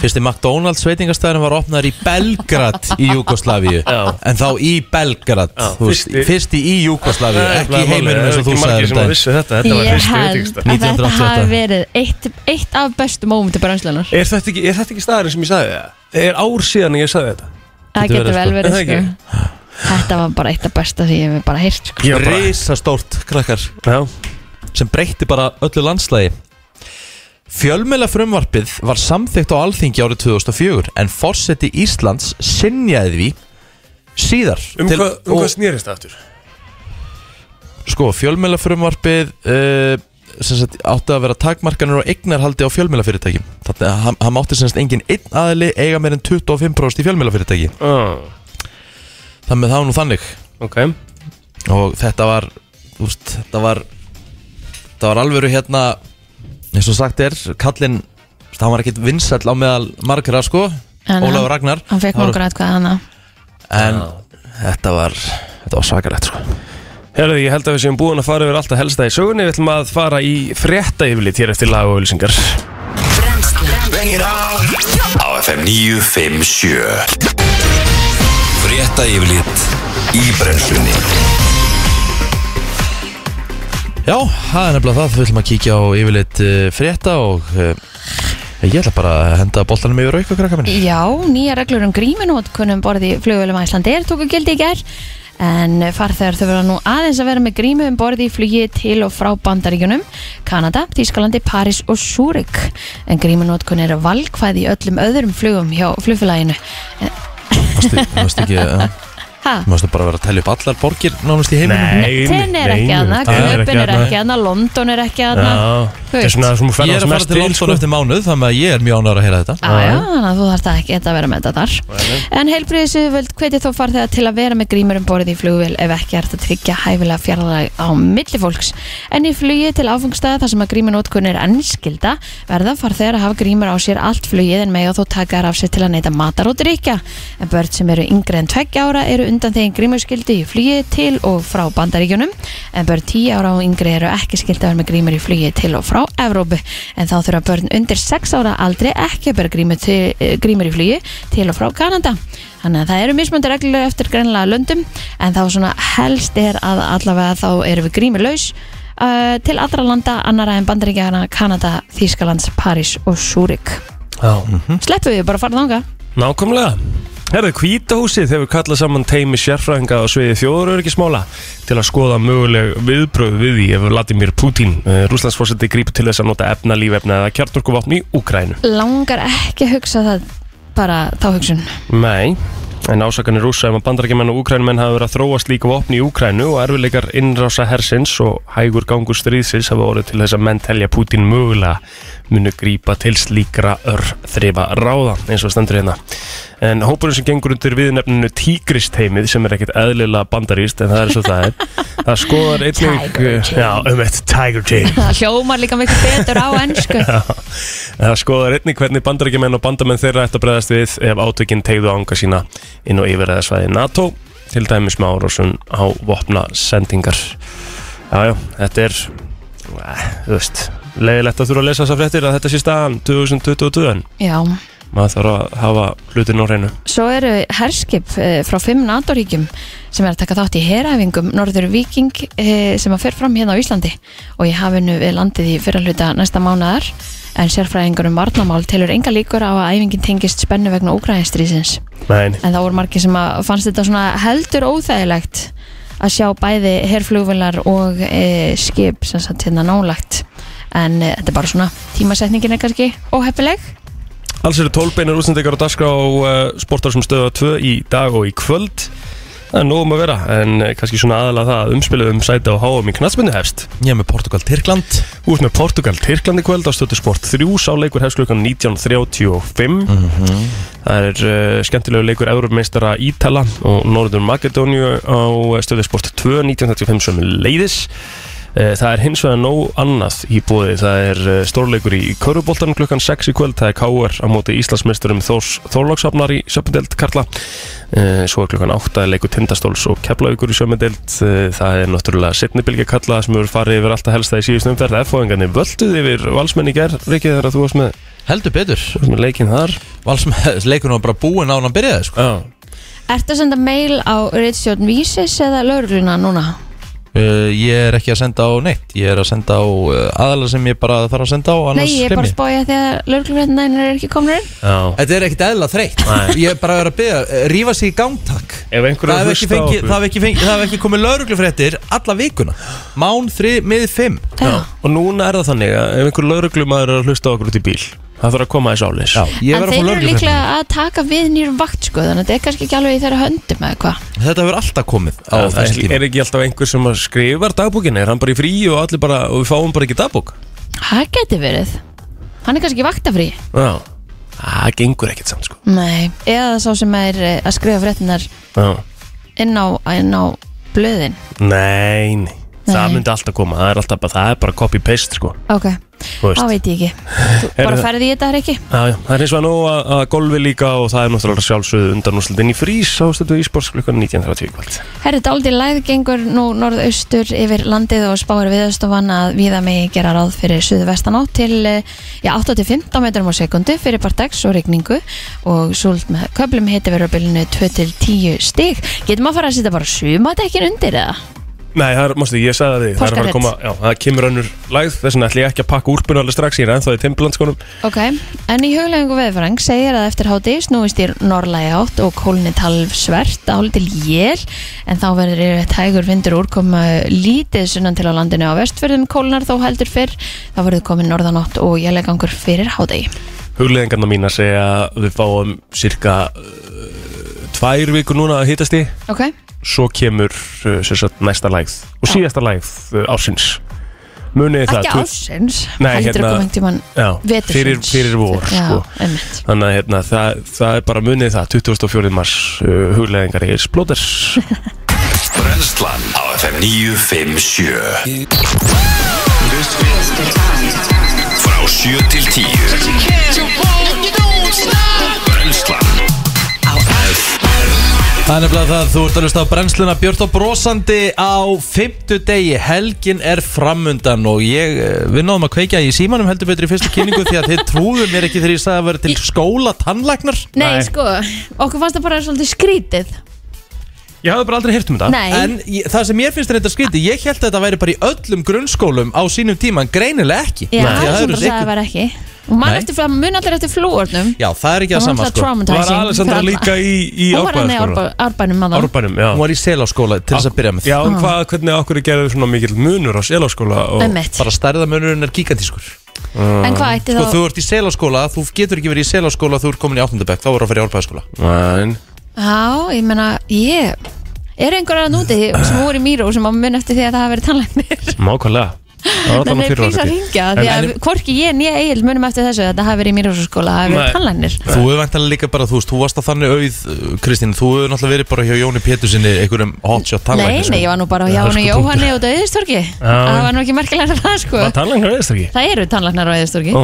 B: Fyrsti McDonalds veitingastæðurinn var opnaður í Belgrad í Júkoslavíu
D: Já.
B: En þá í Belgrad
D: Já,
B: þú veist,
D: fyrsti-
B: Fyrsti í Júkoslavíu, ekki í heiminum eins og þú
D: Það er
B: sagðir
D: ekki margir sem
B: um
D: að
B: daginn.
D: vissu þetta, þetta var
C: Ég
D: fyrst
C: held
D: veitingsta
C: að þetta
B: 1928.
C: hafi verið eitt, eitt af bestu mómentu brennslunar
D: Er þetta ekki, er þetta ekki staðarinn sem ég sagði það? Það er ár síðan að ég sagði þetta
C: Það
B: Getur
C: getur
B: verið,
C: vel
B: sko.
C: verið
D: Er það
C: sko. Þetta var bara eitt af besta því ég hef bara heyrt sko.
D: Ég var bara-
B: Risastórt krakkar
D: Já,
B: sem breytti bara öllu landslægi Fjölmjöla frumvarpið var samþykkt á alþingi árið 2004 en forseti Íslands sinjaði því síðar
D: um
B: til-
D: hvað um
B: og-
D: hvað snerist það aftur?
B: sko, fjölmjöla frumvarpið uh, sem sagt, átti að vera takmarkanur og eignarhaldi á fjölmjölafyrirtækjum þannig að hann, hann mátti sem sagt engin einn aðili eiga meir en 25% í fjölmjölafyrirtæki
D: ah,
B: þannig að það var nú þannig
D: Ok,
B: og þetta var úst, þetta var þetta var alvöru hérna eins og sagt er, kallinn þú veist, hann var ekkit vinsæll á meðal margra sko
C: En hann-
B: Ólafur Ragnar
C: Hann fekk
B: Það var-
C: mörgur aðkvæða hana
B: en þetta var þetta var svakalegt sko
D: herðu ég held að við séum búin að fara yfir alltaf helsta í sögunni Við ætlum að fara í frétta yfirlit hér eftir lag og auðlýsingar
G: Bengir á Á FM 957 Frétta yfirlit Í brenslunni
B: Já, það er nefnilega það, við ætlum að kíkja á yfirleitt uh, frétta og uh, ég ætla bara að henda boltanum yfir auka krakka minni.
C: Já, nýja reglur um grímunótkunum borði í flugvölum Æslandi er tóku gildi í gær en farþegar þau verða nú aðeins að vera með grímu um borði í flugi til og frá Bandaríkjunum, Kanada, Þískalandi, París og Súrik. En grímunótkun er valkvæð í öllum öðrum flugum hjá flugfélaginu.
B: Mástu, mástu ekki, uh,
C: Ha?
B: mástu bara vera að telja upp allar borgir nánast í heiminum?
C: Tenn er ekki aðna, Köpen er ekki aðna, London er ekki aðna.
D: Það er svona sem þú
B: Ég er
D: ferðast
B: að fara
D: mest
B: til
D: til
B: London
D: sko.
B: eftir mánuð, þannig að ég er mjög ánægur að heyra þetta.
C: Já, Ah, já, þannig að þú þarft ekki að vera með þetta þar En heilbriðisöfvöld hvetið þó farþega til að vera með grímur um borðið í flugvél ef ekki er að tryggja hæfilega fjarlag á milli fólks En í flugi til áfengstæða þar sem að grímunótkun er ennskilda verða farþegar að hafa grímur á sér allt flugið en mega þó taka þær af sér til að neyta matar og drikja En börn sem eru yngri en 20 ára eru undan þegar grímurskildi í flugi til og frá bandaríkjunum en börn 10 ára og yngri eru ekki skilt að vera með grímur í flugi til og frá Evrópu en þá þurfa börn undir 6 ára aldrei ekki að bera grímur, til, eh, grímur í flugi til og frá Kanada þannig að það eru mismöndir reglulega eftir greinlega löndum en þá svona helst er að allavega þá eru við grímurlaus uh, til allra landa annara en bandaríkjana Kanada, Þýskalands, París og Súrik
B: Mhm.
C: Sleppum við bara að fara þanga
D: Nákvæmlega Herðu, kvítahúsið hefur kallað saman teimi sérfræðinga á sviði þjóðuröryggismála til að skoða möguleg viðbröð við því ef Vladimir Putin, uh, Rúslandsfórseti, grípur til þess að nota efna lífefna eða kjartorkuvapn í Úkrænu.
C: Langar ekki að hugsa það bara þá hugsun
D: Nei, en ásakanir rúsa um að bandarækjumenn og úkrænumenn hafa verið að þróa slíka vopn í Úkrænu og erfileikar innrása hersins og hægur gangur stríðsins hafa orðið til þess að menn telja Putin mögulega munu grípa til slíkra ör þrifa ráða eins og stendur hérna. En hópurinn sem gengur undir viðnefninu tígristeimið sem er ekkert eðlilega bandaríst en það er svo það er. Það skoðar einnig...
C: Tiger Team.
D: Já, um eitt Tiger Team.
C: Það hljómar líka mikið betur á ennsku
D: Það skoðar einnig hvernig bandarækjumenn og bandamenn þeirra eftir að bregðast við ef átökinn tegðu ánga sína inn á yfirræðasvæði NATO til dæmis með árásun á vopna sendingar. Jájá, þetta er, eh, þú veist, leiðilegt að þurfa að lesa þessar fréttir að þetta sé staðan 2022 en
C: Já,
D: maður þarf að hafa hlutin á hreinu.
C: svo eru herskip eh, frá fimm NATO-ríkjum sem er að taka þátt í heræfingum Norður Viking eh, sem að fer fram hérna á Íslandi og ég hafi nú við landið í fyrra hluta næsta mánadar en sérfræðingur um varnamál telur enga líkur á að æfingin tengist spennu vegna úgræðinstrísins
D: Nein,
C: en það voru margir sem að fannst þetta svona heldur óþægilegt að sjá bæði herflugvilar og e, skip sem satt hérna nálagt en e, þetta er bara svona tímasetningin er kannski óheppileg
D: Alls eru 12 beinar útsendingar á dagskrá uh, sportar sem stöða 2 í dag og í kvöld. Það er nógum að vera, en eh, kannski svona aðalega það að umspilið um sæti á háum í knatsmyndu hefst.
B: Ég er með Portugal, Tyrkland.
D: Þú ert með Portugal Tyrklandi kvöld á stötu sport 3 sáleikur hefst klukkan 19.35 Það er uh, skemmtilegu leikur Európmeistara Ítala og Norður Makedóniu á stötu sport 2 19.35 sem leiðis Eh, Það er hins vegar nóg annað í bóði Það er eh, stórleikur í Köruboltan klukkan 6 í kvöld Það er K.R. á móti Íslandsmeisturum Þórs Þórlóksafnar í söpindeld Karla Eh, Svo er klukkan 8 leikur Tindastóls og Keflavíkur í sömendelt Það er náttúrulega setnibilgja kalla sem hefur farið yfir alltaf helsta í síðust umferð F-fóðingarnir völduð yfir valsmenn í gerð Rikið þegar að þú varst með,
B: Heldur betur.
D: þú varst með leikinn þar
B: Valsmenn, leikunum var bara búinn á hann að byrja það, sko.
D: Já
C: Ertu að senda mail á Ritstjórn Vísis eða laurugluna núna?
B: Uh, ég er ekki að senda á neitt. Ég er að senda á uh, aðalega sem ég bara þarf að senda á, annars
C: Nei, ég er bara
B: gleym
C: að spója því að lauruglunarnir er ekki komnir inn
D: Já
B: Þetta er ekkit eðla þreytt. Ég er bara að vera að byrja, uh, rífa sig í gangtak.
D: Ef einhver er
B: Það
D: að
B: hef ekki,
D: hlusta á
B: fengi,
D: okkur
B: það hef ekki, fengi, það hef ekki komið lauruglufréttir alla vikuna. Mán 3 mið 5.
C: Já.
D: Og núna er það þannig að ef einhver lauruglumæður er að hlusta á okkur út í bíl það þarf að koma þessu ális
B: Já, ég
C: en
B: verð að
C: þeir
B: fá
C: eru
B: lögreglufréttir.
C: líklega að taka við nýrum vakt sko, þannig að þetta er kannski ekki alveg í þeirra höndum eða hvað
B: Þetta hefur alltaf komið á
D: Það
B: þessum
D: er,
B: tíma
D: er ekki alltaf einhver sem að skrifar dagbókin er hann bara í frí og allir bara og við fáum bara ekki dagbók
C: það geti verið hann er kannski vaktafrí
D: Já, það gengur ekkert samt sko
C: Nei. eða sá sem er eh, að skrifa fréttinar
D: Já.
C: inn á, inn á blöðin
D: Nei, nei, það
C: Nei.
D: myndi alltaf koma það er, alltaf bara, það er bara copy-paste sko
C: ok,
D: Þú veist.
C: þá veit ég ekki Þú
D: Heyrðu
C: bara
D: það.
C: ferði í þetta er ekki
D: Já, já, það er eins og að nú að, að golfi líka og það er náttúrulega sjálfsögðu undan úrslutin í frís á stöðu Ísborgs klukkan 19.30 í kvöld.
C: Herri, dálítið læð gengur nú norðaustur yfir landið og spáir viðastofan að viða megi gera ráð fyrir suðvestan átt til eh, já, 8-15 metrum á sekundu fyrir partags og rigningu og súld með köplum hiti verður á bylunu 2-10 stig. Getum að fara að setja bara sumadekkin undir eða?
D: Nei, það er, mástu, ég sagði það því, það er að fara að
C: Páskarett.
D: koma, já, það kemur önnur lægð, þess vegna ætlum ég ekki að pakka úrpunni alveg strax, ég er ennþá í Timberlandskonum.
C: Ok, en í huglegingu veðfrang segir að eftir háti snúist í norðlægi átt og kólni talvsvert álítil jél en þá verður yfir tægur vindur úrkoma lítið sunnan til á landinu á vestfyrðum kólnar þó heldur fyrr þá verður komin norðanátt og jælegangur fyrir háti
D: Hugleðingarna mína segja að við fáum cirka uh, tvær vikur núna að hittast í,
C: Ok,
D: svo kemur uh, sem sagt, næsta lægð og síðasta lægð uh, ásins. Munið þið það,
C: ekki
D: tvo-
C: ásins
D: Nei,
C: heldur
D: hérna-
C: hérna, komin tíman
D: já,
C: vetursins
D: fyrir, fyrir vor,
C: Já,
D: sko.
C: einmitt
D: Þannig að hérna, það, það er bara munið það 24. mars uh, hugleðingar í Splóters
G: Brennslan á FM 957 Frá 7 til 10 Brennslan
B: Það er nefnilega það, þú ert að hlusta á brennsluna Björn og brosandi á fymtu degi, helgin er framundan og ég, eh, við náðum að kveikja í símanum heldur betur í fyrstu kynningu því að þið trúðu mér ekki þegar ég sagði að vera til skóla tannlæknar
C: Nei, sko, okkur fannst það bara svolítið skrítið
D: Ég hafði bara aldrei heyrt um þetta
C: Nei,
B: En ég, það sem mér finnst þetta skrítið, ég held að þetta væri bara í öllum grunnskólum á sínum tíma, en greinilega ekki Því
C: já,
B: að
C: það
B: það
C: sem
B: eru
C: bara sagði
B: sikkert-
C: var ekki Og mann
B: Nei.
C: eftir, mun allir eftir flúornum
B: Já, það er ekki að
C: Það var
B: sama
C: alltaf
B: sko Hún
D: Var
C: traumatizing
D: Alessandra líka í, í
C: Hún var hann í
D: árbæðarskóla?
C: Árba- árbænum áðan
D: Árbænum, já
B: var í selaskóla til þess að byrja með
D: Já, en
C: Ah.
D: hvað, hvernig okkur gerðu svona mikill munur á sélaskóla og...
C: Einmitt.
B: Bara stærðamunurinn er gigantískur
C: En hvað ætti
B: Sko,
C: þá
B: þú ert í selaskóla, þú getur ekki verið í selaskóla Þú ert komin í áttundabæk, þá voru að fara í árbæðaskóla
D: Nein.
C: Já, ég meina, ég Er einhverjar að núti sem voru í Míró sem á mun eftir því að það hafa verið tannlæknir
D: Mákvælega Það var
C: Þannig
D: þannig
C: er
D: fyrir
C: prís að
D: ári
C: ringja Því að hvorki ég nýja Egil munum eftir þessu að það hafa verið í Mírós-skóla að hafa
D: Nei.
C: verið tannlæknir
B: Þú hefur vantanlega líka bara, þú veist, þú varst að þannig auð uh, Kristín, þú hefur náttúrulega verið bara hjá Jóni Pétursinni einhverjum hotshot
C: Nei,
B: tannlækni
C: nei, ég var nú bara hjá
D: sko,
C: hann og Jóhanni og Döðistorki Það var nú ekki merkilega það sko
D: Var tannlæknar veist ekki?
C: Það eru tannlæknar á Döðistorki
D: Ó.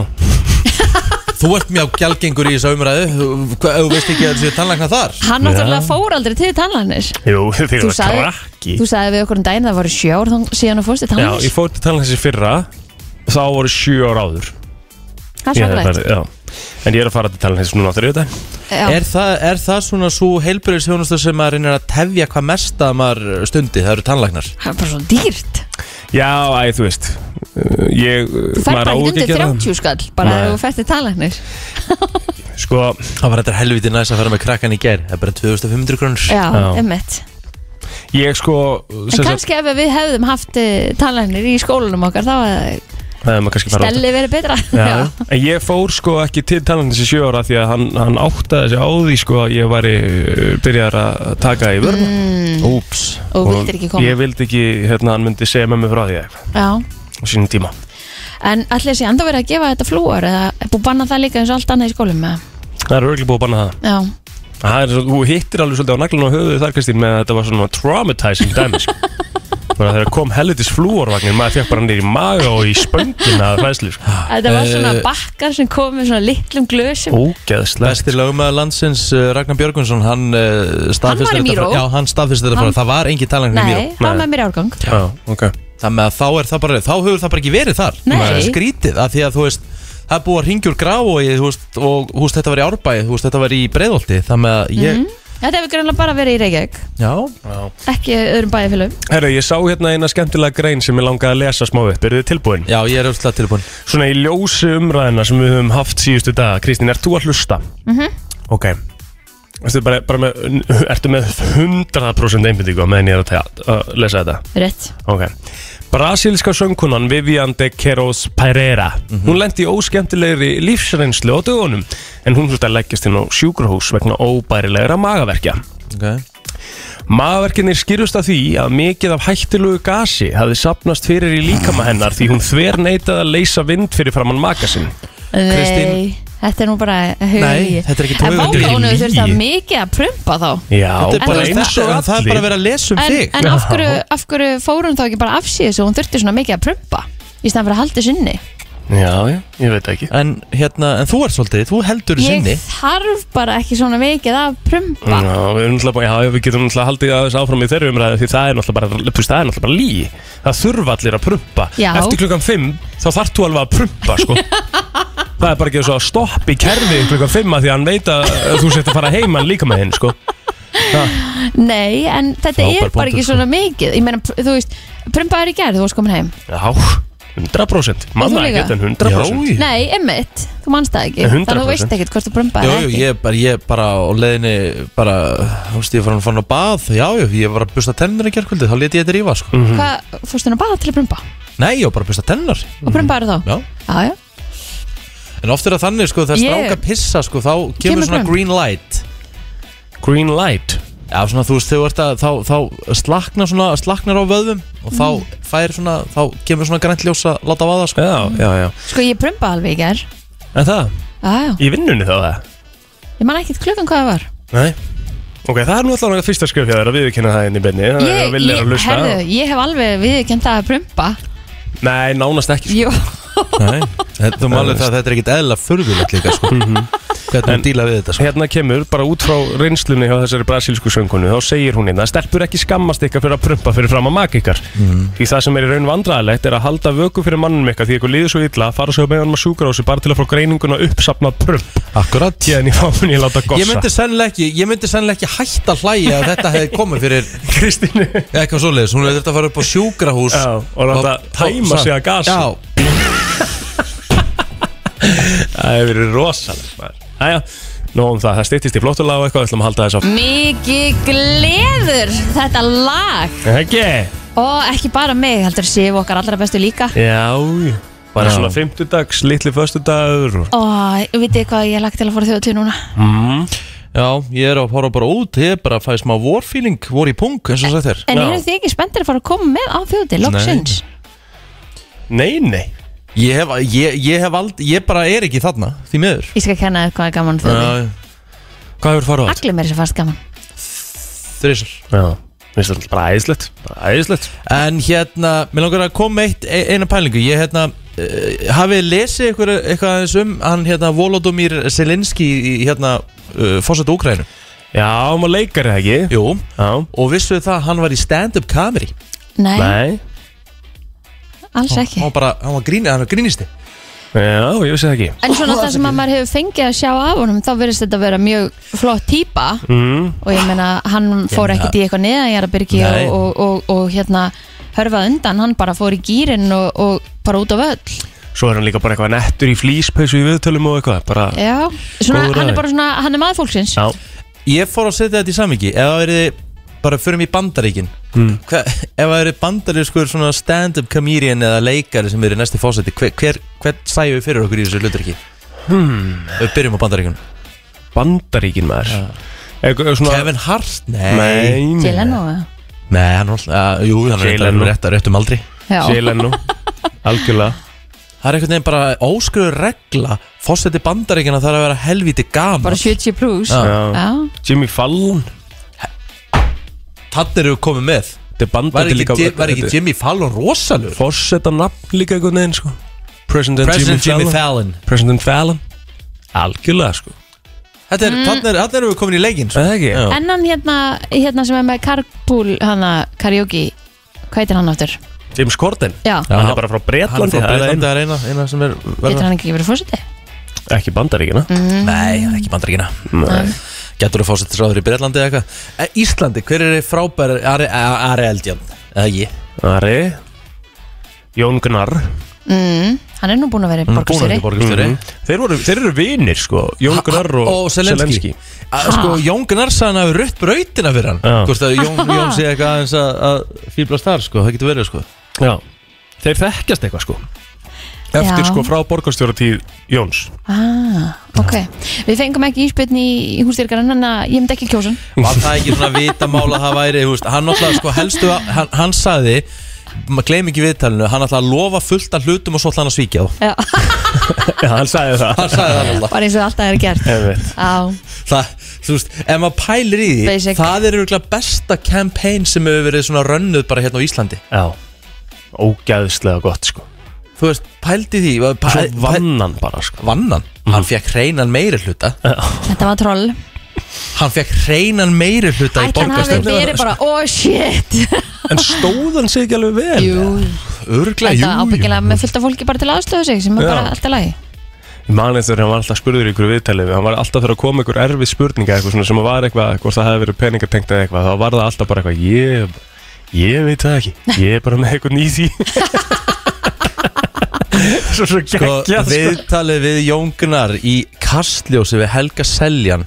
B: Þú ert mjög gjaldgengur í þessu umræðu Þú hvað- ef þú veist ekki að þessu tannlækna þar
C: Hann náttúrulega fór aldrei til tannlæknir
D: Jú, þeir
C: Þú
D: eru
C: sagði-
D: krakki
C: Þú sagði við okkur um daginn það voru sjór síðan og fórstu
D: Já,
C: tannlæknir
D: ég fór til tannlæknar sér fyrra Þá voru sjö ára áður Ég
C: Það er
D: hef
C: svakalegt
D: farið- Já En ég er að fara til tannlæknar sér núna á þriðu dag
C: Já.
B: er, það, er það svona svo heilbyrðisjónustu sem maður reynir að tefja hvað mest að maður stundi, það eru tannlæknar
C: Það er bara svo dýrt
D: Já, æ, þú veist uh, Ég,
C: Þú fær bara
D: á
C: ekki
D: að
C: undir
D: gera það.
C: 30 skall Bara
D: Nei.
C: ef þú fætti talagnir
D: Sko,
B: Það var þetta helviti næst að fara með krakkan í gær Það er bara 2500 krónur
C: Já,
D: Já.
C: emmitt
D: ég sko
C: En kannski ef við hefðum haft talagnir í skólanum okkar Þá að
D: kannski fara á þetta.
C: stelli verið betra
D: Já. En ég fór sko ekki til tannlæknis í sjö ára því að hann, hann áttaði sig á því sko að ég væri uh, byrjar að taka í vörna
B: Úps
C: Mm. Og vildir ekki koma
D: Ég vildi ekki, hérna, hann myndi segja með mig frá því eitthvað
C: Já
D: á sínum tíma
C: En allir sé enda verið að gefa þetta flúor eða er búið að banna það líka eins og allt annað í skólum eða?
D: Það er örgulega búið að banna það
C: Já,
D: Það er svo, þú hittir alveg svolítið á naglun og höfuðu þar Kristín með að þetta var svona traumatizing dæmi sko. Bara þegar kom helvitis flúorvagnir maður fekk bara nýr í maga og í spöngina að fæslu sko.
C: þetta var svona bakkar sem kom með svona litlum glösum
D: Ógeðslega
B: Besti lögmaður landsins uh, Ragnar Björgunsson Hann uh, staðfist
C: Hann var í
B: þetta frá-
C: Míró.
B: Já, hann staðfist þetta
C: Hann-
B: frá Það var engin tannlækni í Míró
C: Nei, hann var
D: Nei.
C: með mér í árgang
D: Já, ok
B: Það með að þá er það bara Þá hefur það bara ekki verið þar
C: Nei.
B: Það er skrítið af því að þú veist Það er búið að ringjur grá og ég, þú veist, og þú veist, þetta var í árbæði, þú veist, þetta var í breiðolti, það með að ég,
C: Mhm. Þetta hefur greinlega bara verið í Reykjavík
B: já,
C: Ekki öðrum bæjarfélum
D: Herra, ég sá hérna eina skemmtilega grein sem ég langaði að lesa smá upp, eru þið tilbúin?
B: já, ég er öll tilbúin.
D: Svona í ljósi umræðina sem við höfum haft síðustu daga Kristín, ert þú að hlusta? Mhm Ok Ertu, bara, bara með, ertu með 100% einbindingu á meðan ég er að, te- að lesa þetta?
C: Rétt
D: Ok Brasilíska söngkunan Vivian de Queiroz Pereira
B: Mhm.
D: Hún lendi í óskemmtilegri lífsreynslu á dögunum En hún þurfti að leggjast inn á sjúkrahús vegna óbærilegra magaverkja
B: okay.
D: Magaverkinir skýrust af því að mikið af hættilugu gasi hafði sapnast fyrir í líkama hennar Því hún þver neitaði að leysa vind fyrir framann maka sinn Kristín?
C: Nei, þetta er nú bara hugi
B: Nei, þetta er ekki
C: En
B: hugulígi.
C: vákónu
D: Lygi.
C: þurft að mikið að prumpa þá
D: Já,
B: Þetta er bara
C: En þú veist
B: eins
D: allir.
B: og allir Það er bara að vera að lesa um
C: En,
B: þig
C: en af, hverju, af hverju fór hún þá ekki bara af síðis og hún þurfti svona mikið að prumpa í stæðan fyrir að halda sinni
D: Já, já, ég veit ekki
B: En hérna, en þú er svolítið, þú heldur í
C: Ég
B: sinni
C: þarf bara ekki svona mikið að prumpa
D: Já, við, erum náttúrulega bara- já, við getum náttúrulega haldið aðeins áfram í þeirri umræði því það er náttúrulega bara, þú veist, það er náttúrulega bara lí Það þurfa allir að prumpa
C: Já.
D: Eftir klukkan 5 þá þarf þú alveg að prumpa, sko Það er bara ekki svo að stoppa í kerfi klukkan 5 að því að hann veit að þú sett að fara heim hann líka með hinn, sko
C: Nei, en þetta
B: Frábær
C: er
B: punktur,
C: bara ekki
B: sko.
C: svona mikið Ég meina, pr- þú veist, prumpa er í gerð, þú varst komin heim
D: Já, 100% Manna
C: líka?
D: ekkert en 100%
B: Jú,
C: Nei, einmitt, þú manst það ekki
D: 100%.
C: Þannig að þú veist ekkert hvort þú prumpaði
B: jú,
C: ekki
B: ég er bara, ég er bara á leiðinni bara, þú veist, ég fann fann á bað Já, jú, ég var að busta tennur í gerkvöldi, þá leti ég þetta rífa,
D: Mm.
B: sko
C: Hvað, fórstu hún að baða til að prumpa?
B: Nei, ég var bara að busta tennur
C: Og prumpaði þá?
B: Mhm. Já,
C: Já, já,
B: en oft er það þannig, sko, þegar
C: Ég-
B: stráka pissa, sko, þá kemur
C: Kemur
B: svona
C: fram.
B: green light
D: Green light
B: Já, svona, þú veist, þegar þú ert að, þá, þá slaknar svona, slaknar á vöðum og þá
C: Mm.
B: fær svona, þá kemur svona grænt ljós að láta vaða, sko
D: Já, já, já
C: sko ég prumpaði alveg í gerð
D: En það,
C: Já, já,
D: í vinnunni þá það
C: ég man ekkert klukkan hvað það var
D: Nei Ok, það er nú alltaf fyrsta skröf hjá þér að viðkynna það inn í benni Það er að
C: ég,
D: vilja
C: ég,
D: að hlusta
C: herðu, ég hef alveg viðkjönd það að prumpa
D: Nei, nánast ekki
C: Jú,
B: Nei, þetta, þú málið það að þetta er ekkit eðla furðulegt líka, sko Hvernig
D: Mhm. En-
B: þú díla við þetta, sko
D: hérna kemur, bara út frá reynslunni hjá þessari brasilísku söngunu, þá segir hún hérna stelpur ekki skammast ykkar fyrir að prumpa fyrir fram að maka ykkar því það sem er í raun vandræðilegt er að halda vöku fyrir mannum ykkar því ykkur líður svo illa að fara svo með honum að sjúkra bara til að fá greininguna uppsapnað prump
B: Akkurat
D: hérna í fámunni að láta
B: Ég
D: gossa
B: myndi sennilega ekki, ég myndi sennilega ekki hætta að hlæja að þetta hefði komið fyrir
D: Kristínu
B: eitthvað svoleiðis, hún hefði þetta að fara upp á sjúkrahús
D: Já, og láta
B: Og-
D: tæma
B: og-
D: sig að gasi.
B: Já,
D: Það hefur verið rosalegt maður. Jæja, nóg um það, það styttist í flottulag og eitthvað, við ætlum að halda þess á
C: mikið gleður þetta lag
D: Ekki,
C: Og ekki bara mig, heldur séu okkar allra bestu líka
D: já, bara svona fymtudags, litli föstudagur og...
C: Og vitið þið hvað ég lagt til að fara þjóðatíð núna
B: já, ég er að fara bara út Ég er bara að fæ smá vorfíling, vor í punk eins og sagt þér
C: En
D: Já.
C: eru þið ekki spenntir að fara að koma með á þjóðatíð, loksins
D: Nei, nei,
B: Ég hef, ég, ég hef ald, ég bara er ekki þarna Því miður
C: Ég skal kenna þér hvað er gaman þjóðatíð
B: Já, Hvað hefur farað átt?
C: Allir mér sem fast gaman
B: Þrísar
D: já, finnst þetta bara æðislegt, bara æðislegt
B: En hérna, mér langar að koma með eitt, e- eina pælingu Ég hérna, uh, hafið þið lesið ykkur, eitthvað aðeins um Hann hérna, Volodymyr Zelenski í hérna, uh, Fórsættu Úkrænu
D: Já, maður leikar það ekki
B: Jú,
D: Já,
B: og vissuð það að hann var í stand-up kameri
C: Nei,
D: nei
C: alls ekki
B: Hann var bara, hann var, grín, hann var grínisti
D: Já, ég vissi það ekki
C: En svona það sem að maður hefur fengið að sjá af honum Þá verðist þetta vera mjög flott típa
D: mm.
C: og ég meina hann fór
B: meina-
C: ekkert í eitthvað neðanjarabyrgi og,
B: Nei.
C: og, og, og hérna hörfað undan, hann bara fór í gýrin og, og bara út á völl
D: Svo er hann líka bara eitthvað nettur í flýspeysu í viðtölum og eitthvað bara,
C: Já, svona,
D: Góður
C: hann
D: afi.
C: er bara svona, hann er maður fólksins
D: Já,
B: Ég fór að setja þetta í samingi Ef það verið, bara förum í bandaríkin mm. Hva, Ef það verið bandarískur svona stand-up comedian eða leikari sem verið næsti fósætti hver, hver, hver sæju við fyrir okkur í þessu hluturki? Hmm. Við byrjum á bandaríkun
D: bandaríkin maður Eitthvað svona
B: Kevin Hart? Nei,
D: Nei,
C: til
D: nei.
C: enn og
B: Nei hann var alltaf, jú, hann
D: Jay
B: er rétt,
D: Leno.
B: rétt, rétt um aldri
C: Já,
D: Jelenu Algjörlega
B: Það er einhvern veginn bara óskröðu regla Fósætti bandaríkina þarf að vera helvíti gaman
C: bara 70 plus
B: Já.
D: Já.
C: Já,
D: Jimmy Fallon
B: Þannig eru við komið með
D: Þetta er
B: Var
D: bandaríkin
B: ekki, Ji- var ekki Jimmy Fallon rosalur?
D: Fossetta nafn líka einhvern veginn sko President,
B: President
D: Jimmy,
B: Jimmy
D: Fallon.
B: Fallon
D: President Fallon Algjörlega sko
B: Þetta er, mm. þannig er, þarna erum við komin í sko. leggin
D: Er Það ekki
B: Já.
C: en hann hérna, hérna sem er með Carpool, hana, karaoke hvað heitir hann áttur?
D: James Corden
C: Já,
B: Já.
D: Hann er bara frá
B: Hann er
D: Bretlandi það
B: frá
D: er
B: Bretlandi, það er eina, eina sem er
C: getur
B: verða-
C: hann ekki verið fórseti?
D: einn- Ekki bandaríkina
B: Nei, það er ekki bandaríkina
D: Mm, Nei.
B: Getur þú fórsett ráður í Breitlandi eða eitthvað Eh, Íslandi, hver er frábær Ari, Ari Eldján? Eða ég
D: Ari Jón Gunnar
C: Mm, hann er nú búin að vera borgarstjóri
B: borgarstjóri
D: Mhm. Þeir, voru, þeir eru vinir sko Jón Gunnar og,
B: Og Selenski Sko, Jón Gunnar sagði hann hafi rutt brautina fyrir hann
D: Já.
B: Hvort að Jón, Jón sé eitthvað aðeins að, að fýblast þar, sko, það getur verið, sko
D: Já þeir þekkjast eitthvað sko eftir
C: Já.
D: sko frá borgarstjóratíð Jóns
C: Ah, ok. Við fengum ekki íspilni í hústyrkarann en að ég myndi ekki kjósun.
B: Var það ekki svona vitamál að það væri þú veist, Hann náttúrulega sko helstu að- Hann, hann sagði, maður gleym ekki viðtalinu Hann ætlaði að lofa fullt af hlutum og svo ætlaði hann að svíkja þá
C: Já,
D: Já, hann sagði það
B: Hann sagði það náttúrulega
C: bara eins og alltaf er gert.
D: Einmitt.
C: Á,
B: Það, þú veist, ef maður pælir í því
C: Basic.
B: Það er örgulega besta campaign sem hefur verið svona rönnuð bara hérna á Íslandi
D: Já, ógæðslega gott sko
B: Þú veist, pældi því var-
D: Svo
B: pæ, pæ,
D: vann hann bara sko
B: Vannan, hann fekk hreinan meiri hluta
C: þetta var troll.
B: Hann fekk hreinan meiri hluta í
C: Ætli hann hafi
B: borgarstjórn
C: verið bara, oh shit.
D: En stóð hann sig ekki alveg vel?
C: Jú,
B: Örgulega,
C: þetta
B: jú, jú
C: ábyggilega með fullt af fólki bara til aðstöðu sig sem er
D: Já.
C: bara alltaf lagi.
D: Ég man eftir þegar hann var alltaf spurður í ykkur viðtalið Hann var alltaf fyrir að koma ykkur erfið spurninga eitthvað svona sem var eitthvað, hvort það hefði verið peningatengt eða eitthvað þá var það alltaf bara eitthvað ég, ég veit það ekki, ég er bara með eitthvað nýði Svo svo
B: sko,
D: geggjað sko.
B: viðtalið við Jóngnar í kastljósi við Helga Seljan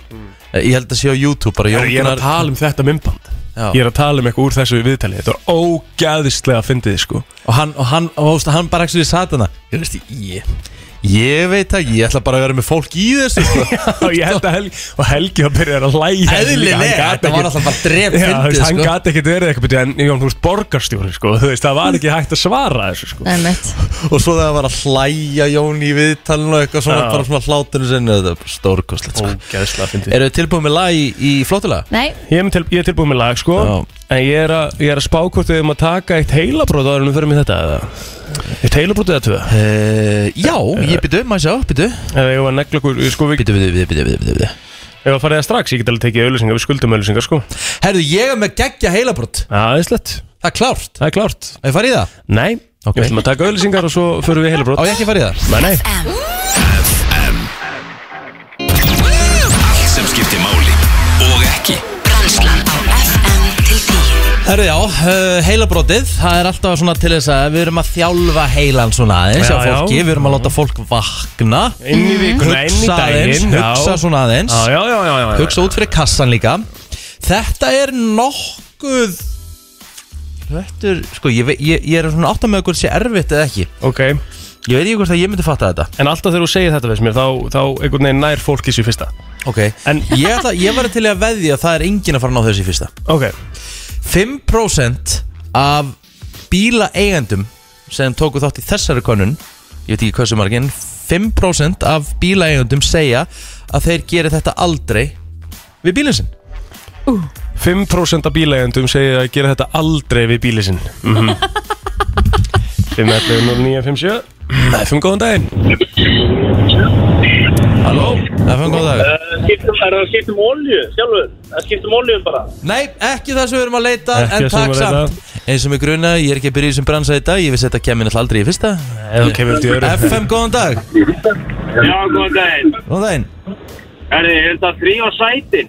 B: Eh, ég held að sé á YouTube bara
D: Ég er
B: Jóngnar
D: að tala um þetta mymband Ég
B: já,
D: er að tala um eitthvað úr þessu viðtalið Þetta var ógæðislega að fyndið sko
B: og hann, og hann, og, veist, hann bara ekki satt hana ég veist ég ég veit að ég ætla bara að vera með fólk í þessu sko.
D: og ég held að Helgi og Helgi var byrjar að læja
B: eðlilega, þetta var alltaf bara dref
D: Já, þú veist,
B: fyndið
D: hann
B: sko.
D: gæti ekkert verið eitthvað en Jón, þú veist, borgarstjóri, sko, þú veist, það var ekki hægt að svara þessu, sko
C: Einmitt.
B: og svo þegar hann var að hlæja Jón í viðtalinu og eitthvað svona,
D: Já.
B: bara svona hlátunum sinni þetta er bara stórkostlegt sko.
D: Ógæðslega fyndið
B: eru þið tilbúið með lag í, í flótulega?
C: Nei,
D: ég, er til, ég er tilbúið með lag, sko
B: Já.
D: En ég er, að, ég er að spá hvort við erum að taka eitt heilabrót áður en við förum í þetta eða Eitt heilabrót eða tvö
B: Uh, já, ég byrju, maður sjá, byrju
D: Eða ég var að negla okkur, sko, við
B: Byrju, byrju, byrju, byrju, byrju
D: Ég var að fara það strax, ég get alveg tekið auðlýsingar, við skuldum auðlýsingar, sko
B: Herðu, ég er með geggja heilabrott
D: Aðeinslegt,
B: Það er klárt
D: það er klárt
B: Á ég farið í það?
D: Nei,
B: Ok.
D: við ætlum að taka auðlýsingar og svo förum við í heilabrót
B: Á ég ekki farið í það?
D: Nei, nei
G: Allt sem skiptir máli og ekki
H: Brennslan á FM til 10
B: Herru já, uh, heilabrótið Það er alltaf svona til þess að við erum að þjálfa heilan svona aðeins
D: Já,
B: Já,
D: já.
B: fólki Við erum að láta fólk vakna
D: Inn í vikuna, inn í
B: Hugsa aðeins,
D: daginn já.
B: hugsa svona aðeins
D: Já, já, já, já, já, já.
B: Hugsa út fyrir kassan líka Þetta er nokkuð Þetta er, sko, ég, ve- ég, ég er svona átt að með okkur sé erfitt eða ekki
D: Ok,
B: Ég veit ekki hvort að ég myndi fatta þetta
D: en alltaf þegar þú segir þetta veist mér þá, þá einhvern veginn nær fólk í sér fyrsta
B: Ok En ég, ætla, ég var til í að veðja að það er engin að fara að ná þessi fyrsta
D: Ok,
B: 5% af bílaeigendum sem tóku þátt í þessari konun ég veit ekki hversu margin 5% af bílaeigendum segja að þeir geri þetta aldrei við bílinn sinn
D: 5% af bílægjandum segir að gera þetta aldrei við bíli sinn mm -hmm. 5, 11, 0, 9, 5, 7 Það er 5 góðan daginn
B: Halló? Það fann góð dag
F: Eh, Er það skipt um olju sjálfur? Það skipt um olju bara
B: Nei, ekki það sem við erum að leita
D: Ekki
B: en
D: það sem
B: takk
D: við erum að
B: samt eins og mig gruna, ég er ekki að byrja í sem bransa í dag ég vissi þetta kemur náttúrulega aldrei í fyrsta
D: Ef þú kemur út í öru
B: FM, góðan dag
F: Já, góðan daginn
B: Góðan daginn
F: Er það þrý á sætin?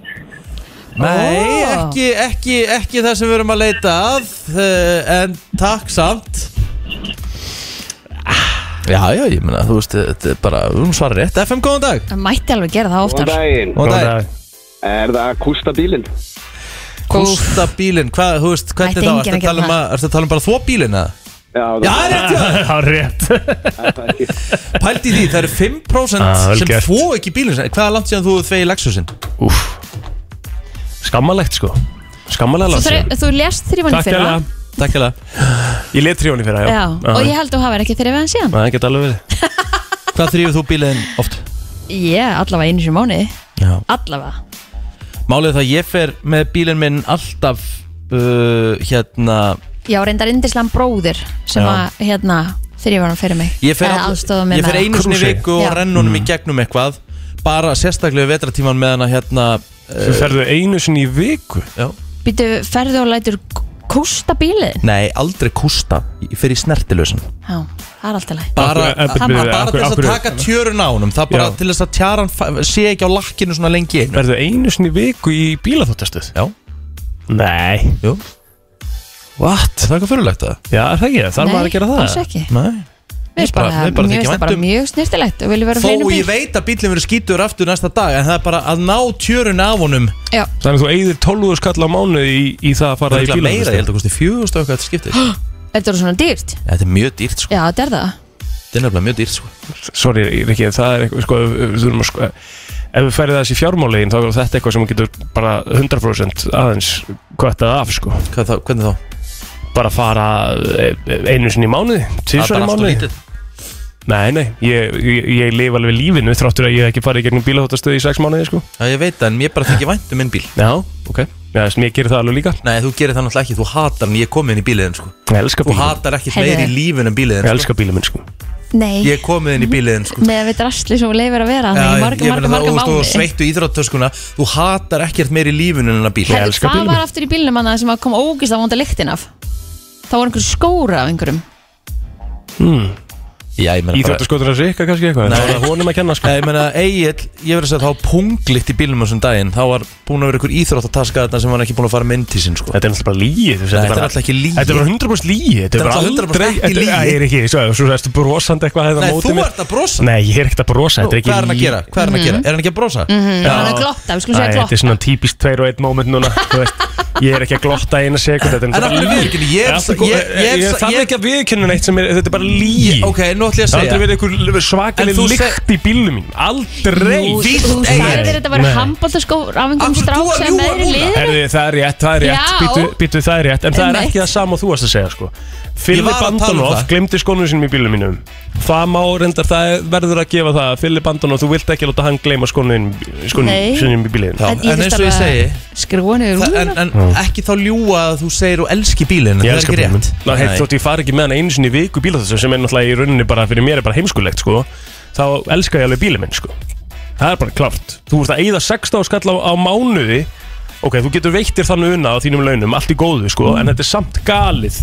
B: Nei,
C: Ó.
B: ekki, ekki, ekki það sem við erum að leita að eh, En takk samt Já, já, ég meina, þú veist, þetta er bara, hún svarar rétt FM, góðan dag
C: hann mætti alveg gera það oftar.
E: daginn.
B: Góðan dag
E: Er það kústa bílinn?
B: Kústa bílinn, hvað, þú veist, hvernig
C: Ætti
B: þá
C: enginn
B: Ertu
C: að
B: að
C: gera
B: tala um,
C: það.
B: að, ertu að tala um bara þvó bílinn, eða?
E: Já,
B: Já, rétt, já,
D: Það er rétt
B: pældi því, það eru 5%
D: Ah, vel
B: sem
D: gert.
B: þvó ekki bílinn sinn. Hvað er langt síðan þú þvegi Lexusinn?
D: Úf Skammalegt sko Skammalega
C: Þú,
D: langt
C: þre-
D: síðan.
C: þú lest þrýfann
D: Takk
C: fyrir
D: hérlega
C: það.
B: Takk hella
D: Ég let tríóni fyrir það
C: Já, og ég
D: Já,
C: held að þú hafið ekki þrýfann síðan.
D: það geta alveg verið
B: Hvað þrýfur þú bílinn oft?
C: Ég, allavega einu sem mánuði.
B: Já
C: Allavega.
B: Málið er það að ég fer með bílinn minn alltaf uh, hérna
C: Já, reyndar indislan bróðir sem
B: Já.
C: að, hérna, þrýfann fyrir mig.
B: Ég fer,
C: Eða
B: all-
C: aðstoðaði mig
B: ég fer
C: með
B: einu
C: það.
B: sinni í
D: Krúsi.
B: viku og
C: Já.
B: renn honum í gegnum eitthvað bara sérstaklega við vetratíman meðan að hérna uh,
D: Þú ferðu einu sinni í viku
B: já.
C: Býtu, ferðu og lætur k- kústa bílinn?
B: Nei, aldrei kústa Ég fer í snertilösun
C: Já, það er alltaf læg.
B: Bara,
D: Af hverju-
B: bara,
D: af hverju- af
B: bara
D: hverju-
B: til þess
D: af
B: að
D: hverju-
B: taka tjörun á honum Það bara
D: Já.
B: til þess að tjaran fa- sé ekki á lakkinu svona lengi í einu
D: Ferðu einu sinni í viku í bílaþóttastuð
B: Já,
D: Nei
B: jú What? Er það eitthvað fyrirlegt það?
D: Já, er það ekki, þarf maður að gera það
C: Alls ekki.
B: Nei
C: Mér finnst bara,
B: mér bara
C: mjög,
B: þykir
C: finnst það
B: vænt
C: bara
B: um-
C: mjög snirtilegt og viljum vera
B: Þó
C: hreinu
B: ég veit að bílinn verður skítur aftur næsta dag En það er bara að ná tjörun af honum
C: Já,
D: Þannig að þú eigðir 12 skall á mánu í, í það að fara í
B: Það
D: bílaþjónustu.
B: er meira, ég held að kosti 4000 og eitthvað þetta skiptir
C: Þetta er svona dýrt
B: Þetta er mjög dýrt sko
C: Já, þetta er það
B: Þetta er nefnilega mjög dýrt sko
D: sorry Rikki, það er eitthvað sko, við þurfum að sko, ef við færið þessi fjármálegin þá er þetta eitthvað sem getur bara 100% aðeins kvættað af sko.
B: Hvað þá, Hvernig þá?
D: bara fara eh, einu sinni í mánuði tvisvar í mánuði nei, nei, ég, ég, ég lifa alveg lífinu þráttur að ég hef ekki farið í gegnum bílahóttastöð í sex mánuði sko.
B: Já, ég veit það, en ég bara þykir vænt um minn bíl
D: já, ok, já, þess, ég gerir það alveg líka
B: Nei, þú gerir það náttúrulega ekki, þú hatar hann, ég kom inn í bíliðin sko
D: ég elska
B: Þú
D: bílum,
B: hatar ekkert
C: Heyrðu.
B: meir í lífin en
D: ég
B: bíliðin sko.
D: elska bílum minn sko.
C: Nei,
B: Ég er komið inn í bíliðin sko
C: með að við drastli svo leifir að vera Þannig marga, marga, marga
B: Þú
C: mánuði
B: sveittu íþróttöskuna, þú hatar ekkert meir í lífinu en að bíl
D: Ég
C: Herðu,
D: elska
C: Hvað
D: bílinn
C: var
D: minn.
C: aftur í bílnum hann sem að kom ógist að vonda lyktin af? Það voru einhver skóra af einhverjum
B: Já, ég meina bara
D: Íþjóttaskotur að rikka kannski eitthvað
B: Nei.
D: Það er honum að kenna sko
B: Já, Ég meina, Egil, ég verið að segja þá punglitt í bílnum þessum daginn Þá var búin að vera ykkur íþróttaska þarna sem var ekki búin að fara mynd til sín sko
D: Þetta er náttúrulega bara líi
B: Nei, þetta er alltaf ekki lygi.
D: Þetta er bara 100% líi Þetta er bara
B: náttúrulega 100%
D: aldrei
B: ekki
D: Þetta
B: lygi.
D: Æ, ég er ekki Svo, svo erstu brosandi eitthvað hérna á
B: Nei,
D: móti
B: þú
D: mér.
B: ert að brosa.
D: Nei, ég er ekkert að brosa Þetta er ekki
B: Hvað er hann að
D: lygi.
B: gera? Hvað er hann að
C: Mm.
B: gera? Er hann ekki að brosa?
D: Já.
C: Hann er að glotta, við
D: Æ,
C: skulum segja
D: Þetta er
C: glotta
D: svona típist 2 og 1 moment núna Þú veist Ég er ekki að glotta eina sekund Þetta er
B: En af hverju
D: náttúrulega
B: viðurkenni? Ég er-
D: alltaf góð-
B: ég- ég-
D: Ég
B: ég-
D: þarf
B: ég-
D: ekki að viðkynna neitt sem er Þetta er bara líi
B: Ok, nú
D: Það
B: ætlum ég að
D: er aldrei
B: segja
D: verið einhver
B: En
D: svakalig
B: þú seg-
D: lykt í bílum mín Aldrei
C: Þú
B: Víst,
C: þú
B: Egill.
C: sagðir þetta
D: Nei.
C: verið handbóltaskór af einhverjum
B: Af hverju þú
C: strák
B: að
C: sem
B: ljúga
C: er
B: núna?
C: í liðinu
D: Herði, það er rétt, það er rétt,
C: Já.
D: býtu, býtu, það er rétt En það er
C: Einmitt.
D: ekki það sama og þú varst að segja sko Filip
B: var að tala um
D: Antonov
B: það.
D: glemdi skónum sínum í bílum mínum Það má reyndar, það er- verður að gefa það Filip Antonov, þú vilt ekki láta hann gleyma skónum
C: Nei.
D: sínum í bílum
B: Já. En eins og ég segi-
C: Skrúa niður
B: Þa-
C: úr
B: En, en ekki þá ljúa að þú segir og elski
D: Ég
B: bílinn Það er
D: elska
B: ekki
D: bílum
B: rétt
D: Ná, heit, Þótt ég fari ekki með hann einu sinni í viku bíla þessu sem er náttúrulega í rauninni bara fyrir mér er bara heimskulegt sko Þá elska ég alveg bílum minn sko Það er bara klart Þú ert að eyða 16 skall á, á mánuði Ok, þú getur veittir þannig unna á þínum launum, allt í góðu sko En þetta er samt galið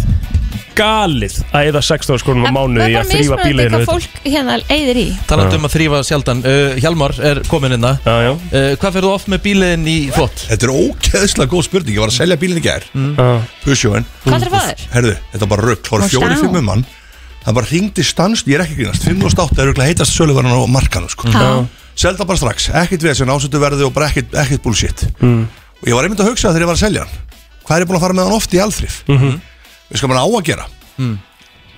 D: Galið að eyða 16 skallum á mánuði í að þrýfa bílinu
C: hvað fólk hérna eigðir í
B: Talandi um að þrýfa sjaldan uh, Hjalmar er komin hérna uh,
D: Já, já,
B: Hvað ferðu oft með bílinn í þvott?
I: Þetta er ókeðslega góð spurning, ég var að selja bílinn í gær
D: já.
I: Pusjóin
C: Hvað er það þér?
I: Herðu, þetta var bara rugg,
C: Má
I: hóra fjóri
C: sjá.
I: fimmu mann um Hann bara ringdi stanst, ég er ekki að grínast 508 er ruglega heitast söluverðan á markanum sko. Selda bara strax, ekkert við sem ásöndu verði og bara ekkert, ekkert bullshit Og ég var einmitt að hugsa þegar ég var að selja hann Hvað er ég búin að fara með hann oft í alþrif? Mm -hmm. Við skal á að gera mm.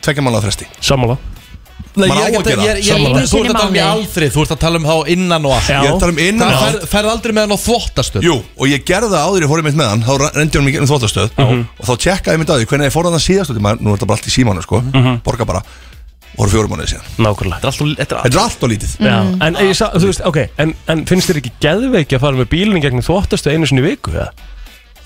I: Tvekja manna fresti
D: sammála
B: Nei,
I: Maður á að gera,
C: sammála.
B: Þú ert að tala um í
C: Mánuði.
B: aldrei, þú ert að tala um þá innan og allt
I: Ég er að tala um innan
B: Það
I: á
B: fer, ferð aldrei með hann á þvottastöð
I: Jú, og ég gerði það áður ég fór einmitt með hann þá rendi hann mig um þvóttastöð og þá tjekkaði ég mynd að því hvernig ég fór hann að síðast því maður, nú er þetta bara allt í símánu sko, borga bara voru fjórum mánuði síðan
D: Nákvæmlega
B: Þetta
I: Þetta er allt og lítið
D: Já, en, ég, sa- þú veist, okay, en, en finnst þér ekki geðveiki að fara með bílinu gegn þvóttastu einu sinni í viku? eða?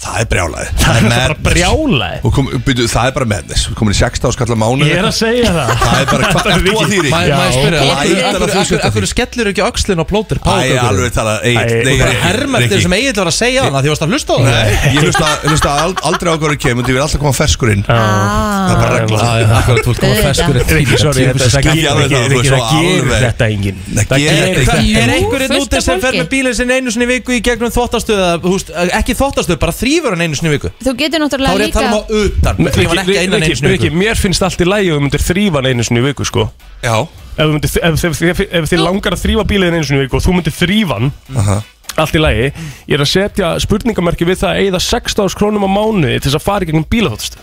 I: Það er brjálæði Það er
D: Bara
I: madness.
D: brjálaði
I: Og kom, byrju, Það er bara mednes Við komin í 16 skallar mánu
D: Ég er að segja það
I: Það er bara hvað Ert þú að þýri?
B: Maður
D: Já.
B: maður spyrir,
I: Lætur
B: af hverju- af
I: að þú
B: hverju- af
I: sért
B: hverju-
I: að
B: af hverju
I: því.
B: skellur ekki öxlin á plóter
I: Æ, alveg tala
D: Æ,
I: Egil,
D: þú
I: Nei,
D: bara
I: Rikki,
B: Hermertir
I: Rikki.
B: sem Egil var að segja hann Því varst að hlusta á það
I: Nei, ég hlusta, hlusta al- aldrei á hverju kemur Því við erum alltaf koma ferskur inn Það er bara regla
B: Já, já, akkurat þú ert komað feskur í
D: Rikki, sorry,
B: tíma.
D: þetta það
I: skil ég
D: gerir-
I: alveg
D: Rikki, Rikki, það
I: það, þú veist, svo
D: gerir
I: alveg.
D: þetta enginn
I: Það gerir þetta
B: Það er
C: Jú,
B: einhverjum
C: fullt
B: úti
C: af
B: sem fer
C: fólki.
B: með bílinn sinn einu sinni í viku í gegnum þvottastöð eða, þú veist, eh, ekki þvottastöð, bara þrýfur hann einu sinni í viku
C: Þú getur
B: Þá er
C: náttúrulega
B: ég að
C: líka
B: tala um á utan Þrýfur hann ekki einan einu
D: Rikki,
B: sinni í
D: Rikki,
B: viku
D: mér finnst allt í lagi og þú myndir þrýfa hann einu sinni í viku sko.
I: Já,
D: ef, þú myndir, ef, ef, ef, ef þið langar að þrýfa bílinn einu sinni í viku og þú myndir þrýfa hann
I: aha
D: allt í lagi, ég er að setja spurningamarki við það að eigða 16 krónum á mánuði til þess að fara í gegnum bílaþóttust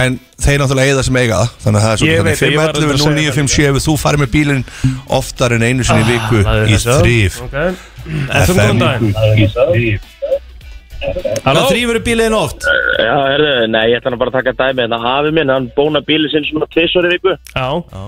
I: En þeir náttúrulega eigða sem eiga það Þannig að það er
D: Ég
I: svolítið
D: veit það, Ah, ég var að
I: 511
D: segja
I: 0957 ef Þú farið með bílinn oftar en einu sinni í viku Í þrýf
D: okay. FM góðan daginn Halló,
B: Það þrýfur bílinn oft
E: Já, herðu, nei, ég ætla nú bara að taka dæmi En afi minn, hann bóna bíli sinn svona tvisvar í viku
D: já,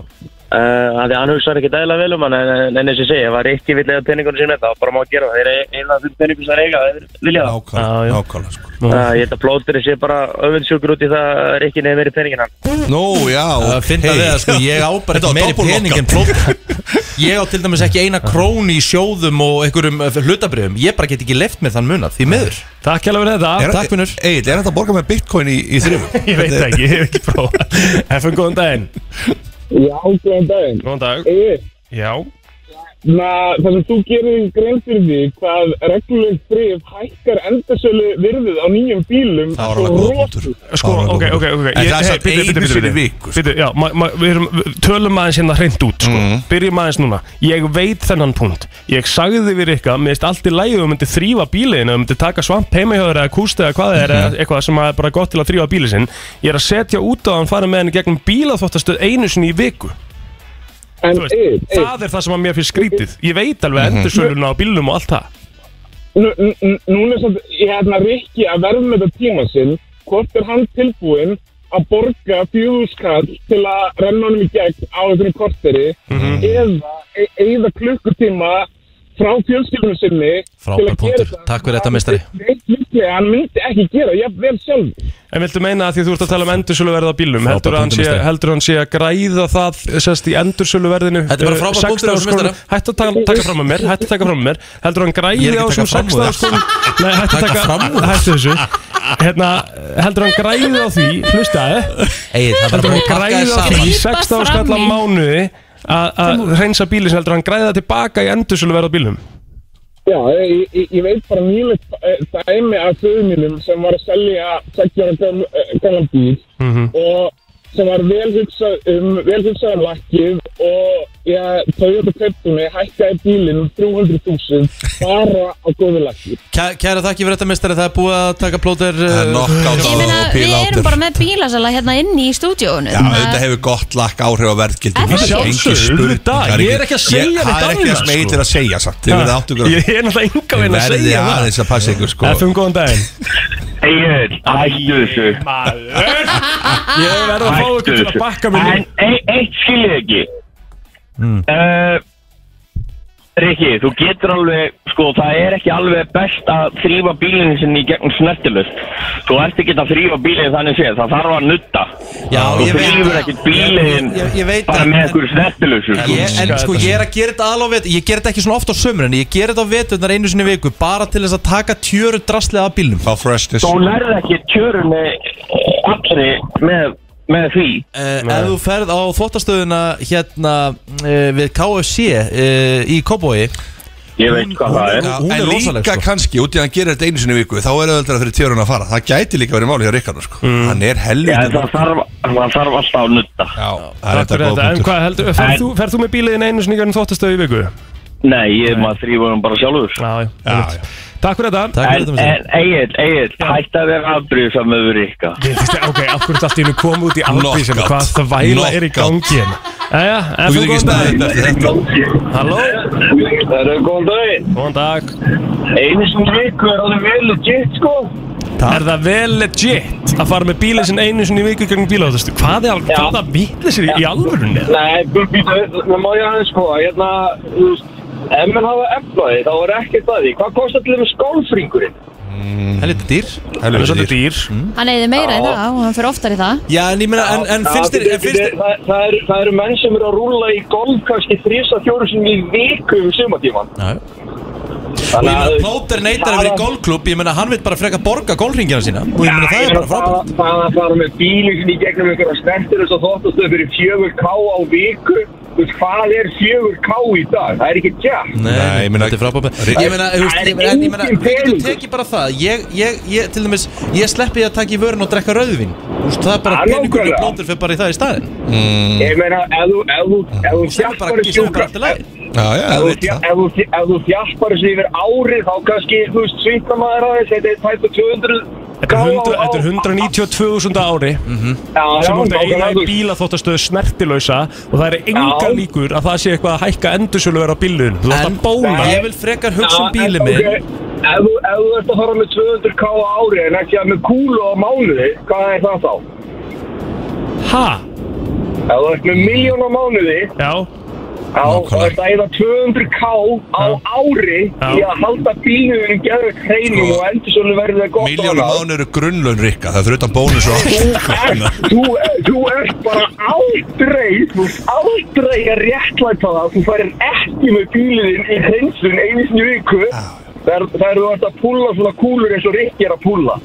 E: Uh, að því hann hugsaði ekki dæla vel um hann en, en- en eins og ég segi, ef það er ekki vilja að peningunum sín þetta, þá bara má að gera það, þeir eru einlega fyrir peningunum sem þeir eiga, þeir vilja
D: Já,
E: það
D: já.
I: Nákvæmlega, nákvæmlega sko
E: uh, Ég held að plóturinn sé bara öfundsjúkur út í það að er ekki nefnir meiri peningin hann
I: Nú, já,
D: Uh,
B: Það
I: ok
B: finna við að sko, ég á bara
I: Þetta
B: ekki
I: var
B: meiri
I: doppelganga.
B: pening en plótt Ég á til dæmis ekki eina krón í sjóðum og einhverjum hlutabriðum Ég bara get ekki left mér þann munað, því miður
D: Takk hérlega fyrir þetta
I: Er-
B: Takk, vinur.
I: Egill, E, er þetta að borga með bitcoin í, í þrifum?
D: Ég veit það ekki, ég hef ekki prófað FM, góðan daginn
E: Já, góðan daginn
D: Góðan dag
E: Egil,
D: Já
J: Na, það sem þú gerir þér grein fyrir því hvað regluleg þrif hækkar endarsölu virðið á nýjum bílum
I: Fáránlega góður punktur.
D: Sko,
I: Fáránlega
D: ok,
I: góður
D: ok,
I: punktur.
D: ok
I: En það er samt einu sinni í viku sko.
D: Býtu, já, ma, ma, við erum, við tölum aðeins hérna hreint út sko.
I: Mhm.
D: Byrjum aðeins núna Ég veit þennan punkt Ég sagði því við ykkar, mér finnst allt í lægi Þú myndir þrýfa bílin, þú myndir taka svamp heima hjá þér Eða kústi eða hvað það er
I: Mhm.
D: eða Eitthvað sem er bara gott til að þrýfa bílin sinn Ég er að setja út á hann fara með hann í gegnum bílaþvottastöð einu sinni í viku
J: En
D: Þú veist,
J: einn, einn,
D: Það er það sem að mér finnst skrítið Ég veit alveg
I: Mhm.
D: endursöluna á bílnum og allt það
J: nú- nú- nú- núna er samt, ég hefna Rikki að verða með þetta tíma sinn, hvort er hann tilbúinn að borga fjúðskall til að renna honum í gegn á einhverjum korteri
B: Mhm.
J: eða e eða klukkutíma frá fjölskyldunum sinni til
B: Frábær
J: að
B: punktur.
J: gera þetta.
B: Takk fyrir þetta, meistari.
J: Neitt líklega, hann myndi ekki gera, ég vel sjálf
D: En viltu meina að því þú ert að tala um endursöluverð á bílum
B: Frábær
D: heldur hann, sé,
B: punktur, meistari.
D: heldur hann sé að græða það sérst í endursöluverðinu eh,
B: Þetta er bara frábær punktur á þessu meistara.
D: Hættu að taka, taka fram að mér Hættu að taka fram að mér Heldur hann
B: Ég er
D: græði á
B: ekki að taka
D: þessum
B: fram úr
D: 16 skónum Nei, hættu að
B: Taka fram úr
D: taka Hættu þessu Hérna, heldur hann græði á því Hlustaði
B: Egið, það var
D: Heldur
B: bara
D: hann
B: að pakka
D: græði á
B: þess saman
D: því
C: Grípa
D: 16
C: fram
D: skall á
C: í.
D: mánuði að- að hreinsa bíli sem heldur hann græða tilbaka í endursöluverð á bílum
J: Já, ég, ég, ég veit bara nýlegt eh, dæmi af föðu mínum sem var að selja 60 ára göm- eh, gamlan bíl
B: Mhm.
J: og sem var vel hugsað um, vel hugsað um lakkið og ég tóði þetta kauptunni, hækkaði bílinn um 300.000 bara á góðu lakkið.
B: Kæ- Kæra þakki fyrir þetta mestari, það er búið að taka plóter eh,
I: Það er nokk á
C: Ég meina, við erum bara með bílasala hérna inni í stúdíónu
I: Já, auðvitað hefur gott lakk áhrif á verðgildi
C: Er það ekki?
D: Auðvitað, ég er ekki að segja neitt
I: Það er
D: annað,
I: ekki það sem
D: sko.
I: eitir að segja samt Þið verðið áttu ykkur
D: Ég er náttúrulega enga
I: að
D: veginn að
I: verðið
D: segja það
I: aðeins að passa ykkur sko
D: Efum góðan daginn
E: Egil, hættu þessu
D: Maður Ég verð að fá ykkur til að bakka mér
E: En e- eitt skil ég ekki
B: Mm.
E: uh, Rikki, þú getur alveg Sko, það er ekki alveg best að þrýfa bílinn sinni í gegnum snertilust Þú ert ekki að þrýfa bílinn þannig séð Það þarf að nutta
B: Já,
E: Þú
B: ég veit
E: þrýfur ekki bílinn
B: Ég- ég- ég veit
E: bara
B: það,
E: með
B: en-
E: einhverju snertilusu sko.
B: Ég, en sko ég er að gera þetta alveg á vetur Ég gera þetta ekki svona ofta á sömur En ég gera þetta á veturnar einu sinni í viku Bara til þess að taka tjöru draslið af bílnum
I: Fá freshness
E: Þú nærði ekki tjörunni allri með, með því
B: Uh, ef þú ferð á þvottastöðuna hérna uh, við KFC uh, í Kóbói
E: Ég veit hvað það er
I: Já,
B: hún er
I: En
B: rosaleg,
I: líka
B: sko.
I: kannski, út í að hann gerir þetta einu sinni í viku Þá er auðvitað fyrir tjörun að fara Það gæti líka verið máli hjá Ríkarnu sko Hann
E: Já, en
I: er helvítið
E: það þarf, það þarf alltaf að nutta
I: Já, það er
D: Þetta
I: þetta
D: er
I: góð
D: þetta, en
I: punktur
D: hvað heldur, ferð
E: En-
D: þú, ferð þú með bíliðin einu sinni í hvernig þóttastöðu í viku?
E: Nei, ég maður þrýfa hann bara sjálfur
D: Já, já,
I: Já, já.
D: Takk fyrir þetta
B: Takk fyrir þetta
E: En, en
B: með
E: Egil, Egil, hætt að vera afbrýðsam yfir ykkar
D: Ég finnst það, ok, af hverju allt í hennu kom út í albíð sem
I: Knockout.
D: hvað það væla er í
I: Knockout.
D: gangi hérna? Jæja,
I: Þú
D: ef þú
I: getur
D: góðan
I: ekki
D: dag
I: staðið eftir þetta
D: Halló,
E: Það eru góðan daginn
D: góðan dag
E: Einu sem viku er alveg vel legit, sko
D: Er það vel legit að fara með bílið sinn einu sinni í viku gegn bílaðastöðu? Hvað er alveg, hvaða bílið sér í alvörunni?
E: Nei, býttu, má ég aðeins sko Hérna, þú veist Ef menn hafa eflaði, þá er ekkert að því. Hvað kostar til þeim skálfringurinn?
B: helviti dýr
D: Það er
I: Helvítið
D: svolítið dýr
C: Hann eigði meira í það og hann fyrir oftar í það
B: Já, en ég meina, en, en finnst þér, en finnst þér
E: það, það, eru, það eru menn sem eru að rúla í golf kannski þrýsa fjóru sem í viku um sumatíman.
B: Já, já. Og ég meina, Plóter neytar að vera í golfklub Ég meina, hann vil bara freka borga golfringina sína Og ég meina, það er bara frábært
E: Það það að fara með bílinn sem í gegnum einhverja snertir þess að þóttastu fyrir fjögur ká á viku. Þú veist, hvað er fjögur ká í dag? Það er ekki tjátt.
B: Nei,
I: Nei,
B: Nei
I: ég meina-
B: þetta er frábært Ég meina, þú veist,
E: Það er
B: ég meina, en ég meina
E: engin
B: Við getum
E: peningur.
B: tekið bara það Ég, ég, ég, til dæmis, ég sleppi að taka í vörun og drekka rauðvin Þú veist, það er bara
E: Já,
B: peningur og
E: nákvæmlega.
B: plóter fyrir bara í það í staðin
E: Ég meina, ef þú, ef þú, ef þú
B: Sem er Mm. bara
E: þjappar
B: ekki, sem er bara
E: fjögur
B: allt í lagi
E: Ef
I: Já, já, það
E: þú
I: veit
E: þja-
I: það
E: ef þú þja- ef þú þjappar þessu yfir árið þá kannski, þú veist, svita maður aðeins, þetta er tæpa 200
D: Þetta er 100 þetta er 192.000 á ári sem voru að eiga í bílaþóttastöðu snertilösa og það er enga
E: Já.
D: líkur að það sé eitthvað að hækka endursöluverð á bílun þú ætti
B: En
D: að bóna
B: ég vil frekar hugsa um bílið minn
E: Ef þú ef þú ert að fara með 200 k á ári en ekki að með kúlu á mánuði, hvað er það þá?
D: ha,
E: Ef þú ert með miljón á mánuði,
D: já,
E: þá þá
I: Nákvæmlega.
E: ert að eða 200 k á ári í
D: Já.
E: að halda bílunum geður hreinum
I: Sko,
E: og endur svona verður það gott
I: Miljónum án eru grunnlaun Rikka Það er fyrir utan bónus og
E: án Þú þú ert bara aldrei, þú ert aldrei að réttlæta það að þú færir ekki með bílunum í hreinsun einu sinni í viku
I: Já.
E: Það er það er þú ert að púla svona kúlur eins og Rikki er að púla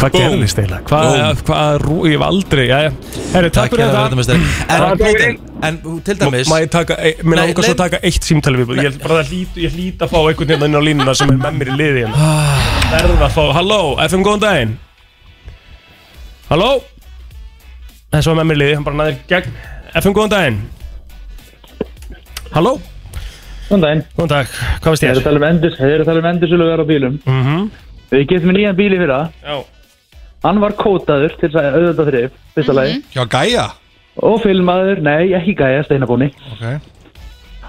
D: Hvað gerðist eiginlega? Hvað, hvað, rú- ég hef aldrei, jæja Herri, takk
B: Takk
D: fyrir þetta
B: fyrir þetta, meistari. En-
D: Takk fyrir.
B: Blóðin, En til dæmis
D: Má- má ég taka, eh, mér
B: Nei,
D: langar svo að
B: leið-
D: taka eitt símtali við Ég bara lít, ég lít að fá einhvern hérna inn á línuna sem er með mér í liði hérna Verða að fá, halló, FM góðan daginn Halló En svo er með mér í liði, hann bara næðir gegn FM góðan daginn Halló
K: Góðan daginn
D: Góðan dag, hvað veist
K: Þeir
D: ég?
K: eru að tala um endur Þeir eru að tala um endursölu að vera á bílum
D: mm -hmm.
K: Við getum nýjan bíl í fyrra
D: Já
K: Hann var kótaður til þess að auðvitað þrif Fyrsta lagi
I: Já, gæja
K: Og filmaður, nei, ekki gæja, steinabóni
I: okay.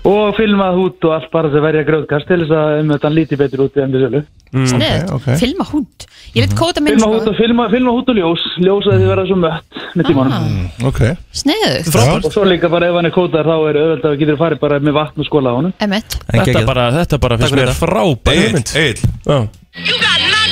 K: Og filmað út og allt bara þess að verja grjóðkast Til þess að um þetta lítið betur út í endursölu
C: Sniðugt. Filma hút Ég veit kóta minn
K: Filma hút
C: sko
K: og, filma, filma hút og ljós Ljós að þið verða svo mött með tímanum
I: Ok
C: Ah. Sniðugt
K: Og svo líka bara ef hann er kótaður þá er auðvitað að getur farið bara með vatn og skóla á honum
C: Emmett
D: Þetta bara, þetta bara finnst mér frábæð hugmynd
I: Egil
D: Já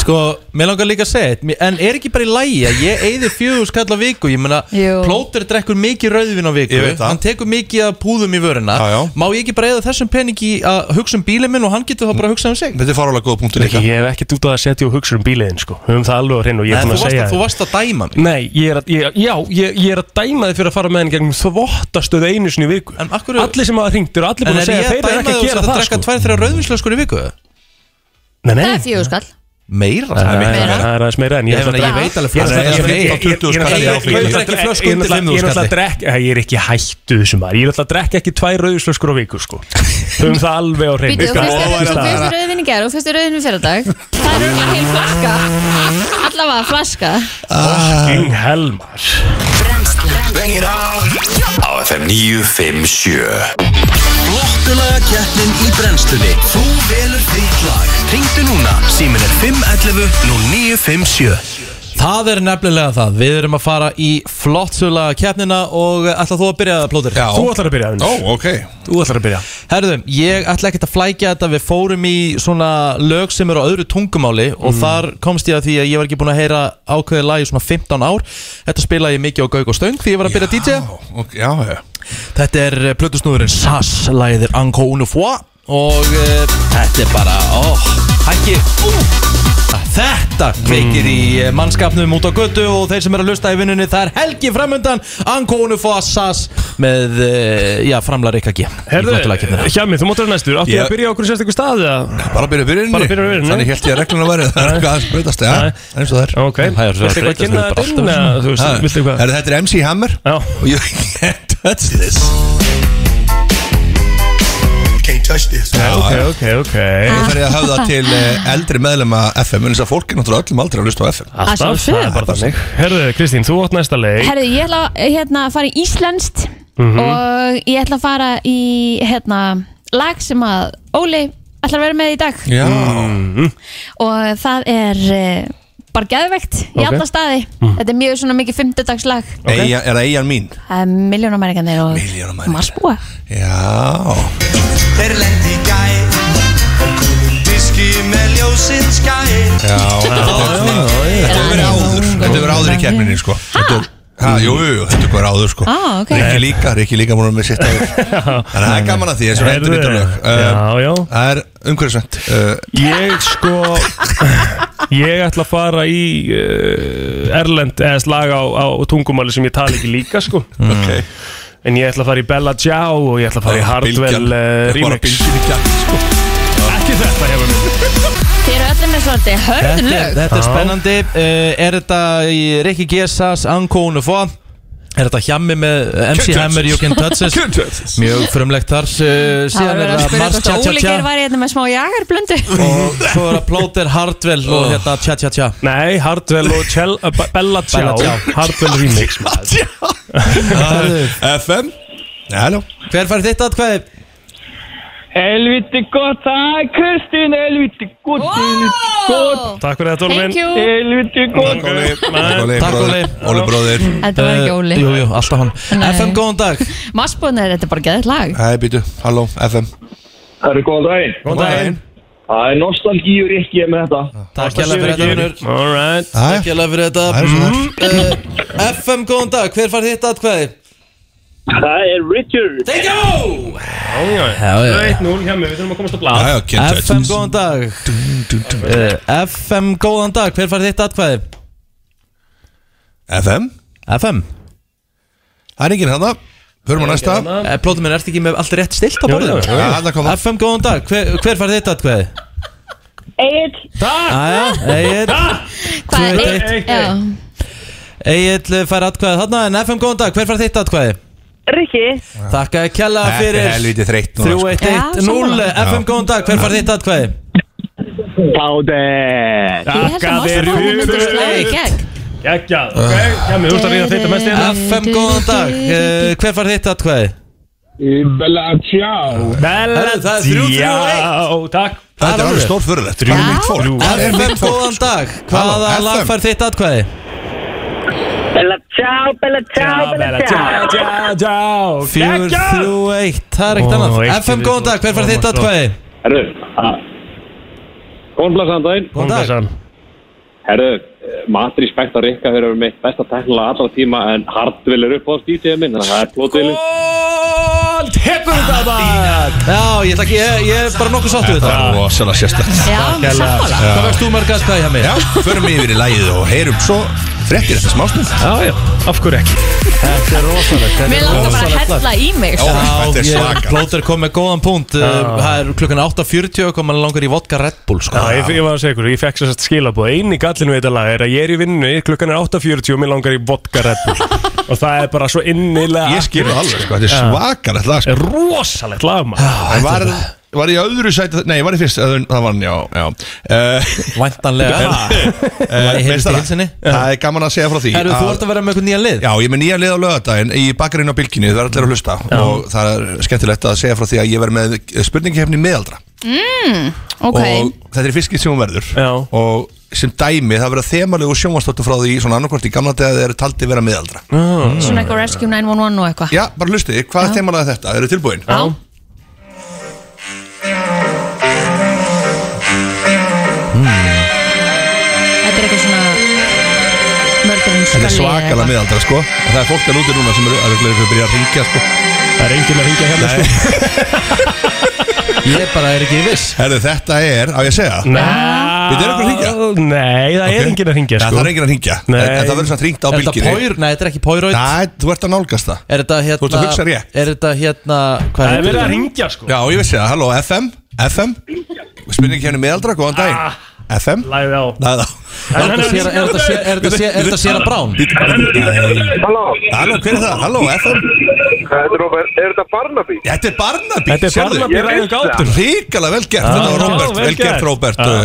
B: Sko, mér langar líka að segja eitt, En er ekki bara í lægi að ég eyði fjögur skall á viku Ég meina,
C: Jú.
B: plóter drekkur mikið rauðvin á viku
I: Ég veit það.
B: Hann tekur mikið að púðum í vöruna já, já. Má ég ekki bara eyða þessum peningi að hugsa um bílinn minn Og hann getur þá bara að hugsa um sig
I: Þetta er farulega góð punktur
D: Ég hef ekkert út á að setja og hugsa um bíliðin sko Höfum það alveg á hreinu og ég er
B: En
D: búin
B: þú
D: að
B: varst
D: segja
B: að-
D: þér.
B: þú varst að dæma mig
D: Nei, ég er að, ég, já, ég, ég er að dæma þið fyrir að fara með henni gegnum þvottastöð einu sinni í viku
B: akkur...
D: Allir sem hafa hringt eru allir búin
B: En
D: að
B: er
D: segja
B: ég
D: að
B: að
D: þeir eru
B: dæma
D: ekki að
B: þú
D: gera
B: að
D: það
B: drekka
D: sko
B: tvær þeirra rauðvinslöskur í viku?
D: Nei, nei
C: Það er fjögur skall
B: Meira
D: Það er meira. Það er aðeins meira en
B: Ég meina, ég veit alveg fyrir það. Ég veit að 20 skall er á fínu.
D: Ég er náttúrulega að drekka Ég er ekki hættu þessum maður Ég er náttúrulega að drekka ekki tvær rauðslöskur á viku sko Höfum það alveg á hreinu
C: Býtu, þú
D: sko.
C: fyrstu
D: Það-
C: rauðin í gerð og fyrstu rauðin í fyrradag Það er örugglega heil flaska Allavega flaska
D: Fucking hell maður
G: Bengir á Á FM 957
L: Flottulaga keppnin í brennslunni Þú velur þitt lag Ringdu núna, símin er 511 0957
B: Það er nefnilega það, við erum að fara í flottsula keppnina og ætla þú að byrja það plóður Já.
D: Þú ætlar að byrja Ó,
I: ok
D: Þú ætlar að byrja
B: Herðum, ég ætla ekkert að flækja þetta, við fórum í svona lög sem eru á öðru tungumáli og þar komst ég að því að ég var ekki búin að heyra ákveðið lag í svona 15 ár Þetta spilaði ég mikið á Gauk og Stöng því ég var að byrja DJ
I: ok, Já, já
B: Þetta er eh, plötusnúðurinn Sass, lagið er Anko Unufua og uh, þetta er bara, ó, hækki, ú, þetta kveikir í eh, mannskapnum út á götu og þeir sem eru að lusta í vinnunni, það er helgi framöndan, Anko Unufua, Sass með, uh, já, framlar Rikka G.
D: Herðu, Hjami, þú mátt vera næstur Áttu
I: Ég-
D: að byrja á okkur sérstakku staði
I: Bara byrja byrjunni
D: Bara byrja á byrjuninni.
I: Þannig held ég að regluna væri Það er eitthvað aðeins breytast Já, eins og það er
D: Ok, viltu eitthvað að kynna þetta inn eða, þú veist,
I: Ha,
D: viltu eitthvað
I: herru, Þetta er MC Hammer
D: Já
I: Og you can't touch this Can't touch this Já,
D: Ok,
I: já.
D: ok, ok
I: Nú fer ég að höfða til eh, eldri meðlema FM En þess að fólk er náttúrulega öllum aldrei að hlusta á FM
C: Alltaf, Að sjálfsögðu.
D: það er bara þannig Herðu, Kristín, þú átt næsta leik
C: Herðu, ég ætla að hérna, að fara í íslenskt
D: Mhm.
C: og ég ætla að fara í hérna, lag sem að Óli ætlar að vera með í dag
I: Já
C: og það er eh, bara geðvegt í
I: Ok.
C: alla staði
I: Mm.
C: þetta er mjög svona mikið fymtudagslag
I: Eyja- Er það eigin mín?
C: það er miljónamæringarnir og marsbúa
I: Já
L: Þeir lendi gæ Og kunum diski með ljósinn skæ
I: Já, þetta hefur verið áður Þetta hefur verið áður í kemminni sko Þetta er- Ha, jú, jú, jú, þetta er bara áður sko
C: Ah, ok.
I: Rikki líka, Rikki líka múnar með sitt áður Þannig að það er gaman að því, þessu
D: Heyrðu,
I: reyndur í tölög
D: já, já.
I: Það er umhverfisvænt uh,
D: Ég sko Ég ætla að fara í uh, Erlend eða slag á, á tungumáli sem ég tala ekki líka sko
I: Ok. Ah,
D: En ég ætla að fara í Bella Ciao og ég ætla að fara í Hardwell uh, Remix Ekki þetta hefur mér
C: þeir eru öllum með svolítið hörðu
B: Þetta er,
C: lög
B: þetta er spennandi uh, Er þetta í Rikki Gesas Ankónu Fó Er þetta hjammi með eh, MC
I: Can't touch
B: Hammer
I: this.
B: You Can Touch
I: Can't touch
B: Us
I: this.
B: Mjög frumlegt þar uh,
C: það var
B: Síðan
C: verið
B: er
C: að
B: það
C: spyrja
B: Mars Cha
C: hvort
B: Cha
C: Óli
B: Cha
C: geir var hérna með smá jagarblöndu
B: Og svo er það Plóter Hardwell og hérna Cha Cha Cha
D: Nei, Hardwell og Chel, uh, Be- Bella Ciao
B: Bella Ciao.
D: Hardwell Remix maður.
I: FM Halló
B: Hver fær þitt atkvæði?
M: Helviti gott, það er Kristín, helviti gott, helviti gott.
D: Takk fyrir þetta Óli minn.
M: Thank you. Helviti gott.
B: Takk Óli
I: Óli bróðir
C: Þetta var ekki Óli.
B: Eh, Jú, jú, alltaf hann
C: Nei.
B: FM, góðan dag
C: marsbúa er þetta er bara geðið lag
I: Hæ, býtu, halló, FM
M: Það eru góðan daginn.
D: Góðan daginn.
M: Það er nostalgíur ekki með þetta.
B: Takk hérlega fyrir þetta vinur
D: Alright
B: Takk hérlega fyrir þetta
I: Það er svona
B: Eh, FM, góðan dag, hver fær þitt atkvæði?
F: Það er Richard
D: There you go
B: Já, já, já.
D: 1-0 hjá mig, við þurfum að komast á blad
B: Já, já, FM góðan dag Eh, FM góðan dag, hver fær þitt atkvæði?
I: FM?
B: FM
I: Það er enginn hana, hörum
B: að
I: næsta.
B: Plótum Eh, minn, ertu ekki með allt rétt stilt á
I: Jú,
B: borðinu?
I: jú, jú. Já, þarna kom það.
B: FM góðan dag, hver, hver fær þitt atkvæði?
N: Egil
B: Æja, Egil
N: Hvað
B: Tvö,
N: er
B: eitt.
N: eitt? Já.
B: Egil fær atkvæði þarna en FM góðan dag, hver fær þitt atkvæði?
N: Rikki
B: Þakka kjalla
I: Þetta er
B: fyrir
I: helvítið þreytt núna, sko. Já,
B: 3-1-1-0
I: sammála.
B: FM
I: Já.
B: góðan dag, hver fær þitt atkvæði?
F: Báðir
D: Þakka þér fyrir Gækja, ok, hjá mig, þú ert að reyna að þetta
M: Eh,
D: mest hérna
B: FM góðan dag, eh, hver fær þitt atkvæði?
J: Bella ciao
D: Bella ciao Takk
I: Þetta er alveg stór fyrirlegt, þrjú mitt fólk Það er
B: FM
I: mitt fólk sko.
B: góðan dag,
I: Halló,
B: hvaða
I: FM.
B: lag fær þitt atkvæði?
N: Bella ciao, bella ciao, bella ciao
D: Já, já,
B: Fjögur, þrjú, eitt, það er ekkert
N: Ó,
B: annað
N: eitt í
B: FM, góðan
N: viðbót.
B: dag, hver
N: Ó,
B: fær þitt
I: sko.
N: svo.
B: atkvæði?
F: Herru Góðan blæsaðan daginn
B: Góðan dag.
D: blæsaðan
F: Herru, matri spekt á Rikka fyrir að vera mitt besta teknilega allra tíma en Hardvill er upp á stítiðið minn þannig að það er blótvillin
D: Allt hefur þetta
I: Ah,
D: bara
B: Já, ég ætla ekki, ég, ég er bara nokkuð sáttu við
I: Þetta er
B: það
I: rosalega sérstætt
B: Já, sammála. Hvað veist þú marga atkvæði hjá mig?
I: Já, förum yfir í lægið og heyrum svo frettir þetta smástund
D: Já, já, af hverju ekki
B: Þetta er rosalegt
C: Mér langar bara að hella í mig sko.
B: Já, ég, Plóter kom með góðan punkt uh, Það er klukkan 8.40 og kom hann langar í vodka Red Bull sko.
D: Já, ég, ég var að segja ykkur, ég fekk sérst skilabóð Einu gallinu við þetta lag er að ég er í vinnu Klukkan er 8.40 og mér langar í vodka Red Bull Og það er bara svo innilega
I: Ég skil það
D: accurate,
I: alveg, sko, þetta er
D: Já.
I: svakalegt lag sko.
D: Rosalegt lag
I: En var, var í öðru sæti Nei, var í fyrst, öðru, það var hann, já, já. Eh,
B: Væntanlega Var í heilsu
I: Meistara,
B: heilsinni?
I: Það er gaman að segja frá því
B: Herru, þú
I: að-
B: ert að vera með eitthvað nýja lið
I: Já, ég er með nýja lið á lögadaginn í bakarinn á bylginni, það er allir að hlusta og það er skemmtilegt að segja frá því að ég verð með spurningkefni meðaldra
C: mm, Ok
I: og þetta er fiskið sem hún verður
D: Já.
I: og sem dæmi það verða þemalegu sjónvastóttu frá því svona annarkvort í gamla dega þegar taldi vera meðaldra
D: mm.
C: Svona eitthvað Rescue 911 og eitthvað
I: Já, bara hlusti, hvað þemalega er þetta? Eru tilbúin?
C: Já. Hmm. Þetta er eitthvað svona Mörgurinn
I: Þetta er svakalega meðaldra sko og það er fólk að lúti núna sem eru örugglega að byrja að ringja sko
D: Það er enginn að ringja hérna
I: sko
B: Ég bara er ekki viss
I: Herðu, þetta er, á ég að segja
D: Nei Við
I: erum eitthvað að hringja?
D: Nei, það
I: Ok.
D: er enginn að ringja
I: Nei,
D: sko
I: það er enginn að hringja.
D: Nei.
I: En- en það verður samt hringt á
B: Er þetta
I: bylgjunni.
B: Poir- Nei, þetta er ekki Poiroid
I: Nei, þú ert að nálgast það
B: Er þetta hérna
I: ert að hugsa rétt.
B: Er þetta hérna
D: Það er
B: heitir
D: verið að
B: þetta?
D: ringja sko
I: Já, ég vissi það, halló, FM, FM Spurningkefni meðaldra, hérna um góðan
D: Ah.
I: daginn FM
D: Læði á
I: Læði á
B: Er þetta séra- er þetta séra- er þetta séra- er þetta séra brán?
I: Halló Halló, hver er það? Halló, FM
O: Þetta er Robert, er þetta Barnaby?
I: Þetta er Barnaby
D: Þetta er
I: sérðu?
D: Barnaby
I: Ég
D: ræður
I: veit
D: gátur.
I: það. Hrikalega vel gert,
D: Já,
I: þetta var
D: já,
I: Robert,
D: vel
I: vel gert
D: gert. Ah.
I: Robert
D: Já.
I: Uh,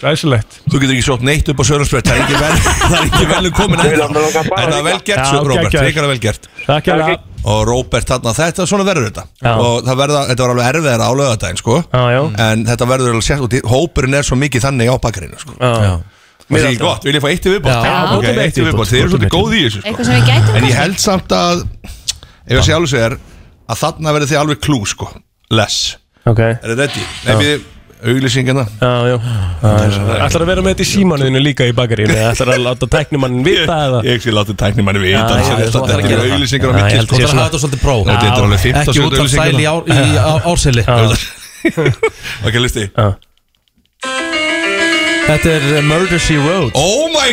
D: Glæsilegt
I: Þú getur ekki sótt neitt upp á Sörnarsbrett Það er ekki vel, það er ekki vel komin ennþá. En það er vel gert,
D: Já,
I: Sör- Robert,
D: geggjaður.
I: hrikalega vel gert
D: Takk
I: Takk.
D: hérna
I: Og Robert þarna, þetta er svona verður þetta
D: Já.
I: Og það verða, þetta var alveg erfiðar á lögadaginn, sko
D: Já, já
I: En þetta verður alveg sért og því- Hópurinn er svo mikið þannig á bakkarinu, sko
D: Já
I: Það er gott, vil ég fá eitt í viðbót?
D: Já,
I: Ok,
D: bótum eitt í
I: eitt í
D: viðbót.
I: viðbót, þið eru
D: Bótum eitt
I: svolítið
D: í
I: góð í þessu sko.
C: Eitthvað sem við gætum
I: En ég
C: kannski.
I: held samt að Ef ég sé alveg sér Að þarna verður þið alveg klú sko Less
D: Ok
I: Er þið ready? Nei, við hérna. auglýsingina
D: Já, já Ætlar að vera með þetta í símanuðinu líka í bakarínu Ætlar að láta tæknumann vita eða
I: Ég ekki láta tæknumann
D: Já,
I: vita
D: já,
I: sem
D: þú
I: Þetta
D: ætlar að
I: þetta
D: gera
I: eru
D: það.
I: auglýsingar á sko.
D: Já, ég
I: mitt
D: held
B: Þú þarf að hafa þetta svolítið pró
I: Þetta er alveg 15
B: Ekki út af sæl í ár- í á- ársili
I: Ok, listi
B: Þetta er uh, Murder She Wrote
I: Oh my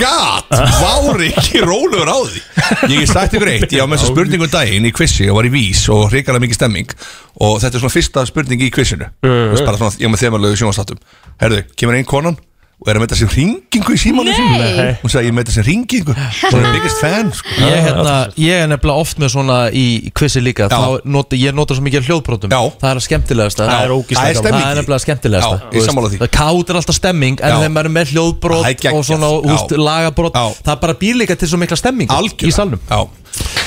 I: god Vári ekki rólegur á því Ég get sagt ykkur eitt, ég á með þessu spurningu um daginn í kvissi og var í vís og hrikalega mikið stemming og þetta er svona fyrsta spurning í kvissinu
D: Mhm.
I: Þú veist bara svona, ég á með þemalögu sjónvastáttum Herðu, kemur einn konan og er að meita sem hringingu í símanu
D: Nei.
I: Hún sagði, ég meita sem hringingu Hún er biggest fan sko.
B: Ég, hérna, ég er nefnilega oft með svona í kvissi líka Þá nota, ég nota svo mikið af hljóðbrotum Já. Það er að skemmtilegasta
I: Já. Það er ógeðslega
B: Það er
I: gaman.
B: Það er nefnilega skemmtilegasta
I: Já,
B: Þú
I: ég
B: veist,
I: sammála því.
B: Það kátir alltaf stemming En
I: Já.
B: þegar maður er með
I: Það er
B: hljóðbrot
I: geggjað.
B: og svona húst,
I: Já.
B: lagabrot Það bara býr líka til svo mikla stemming Algjörn. Í salnum
I: Já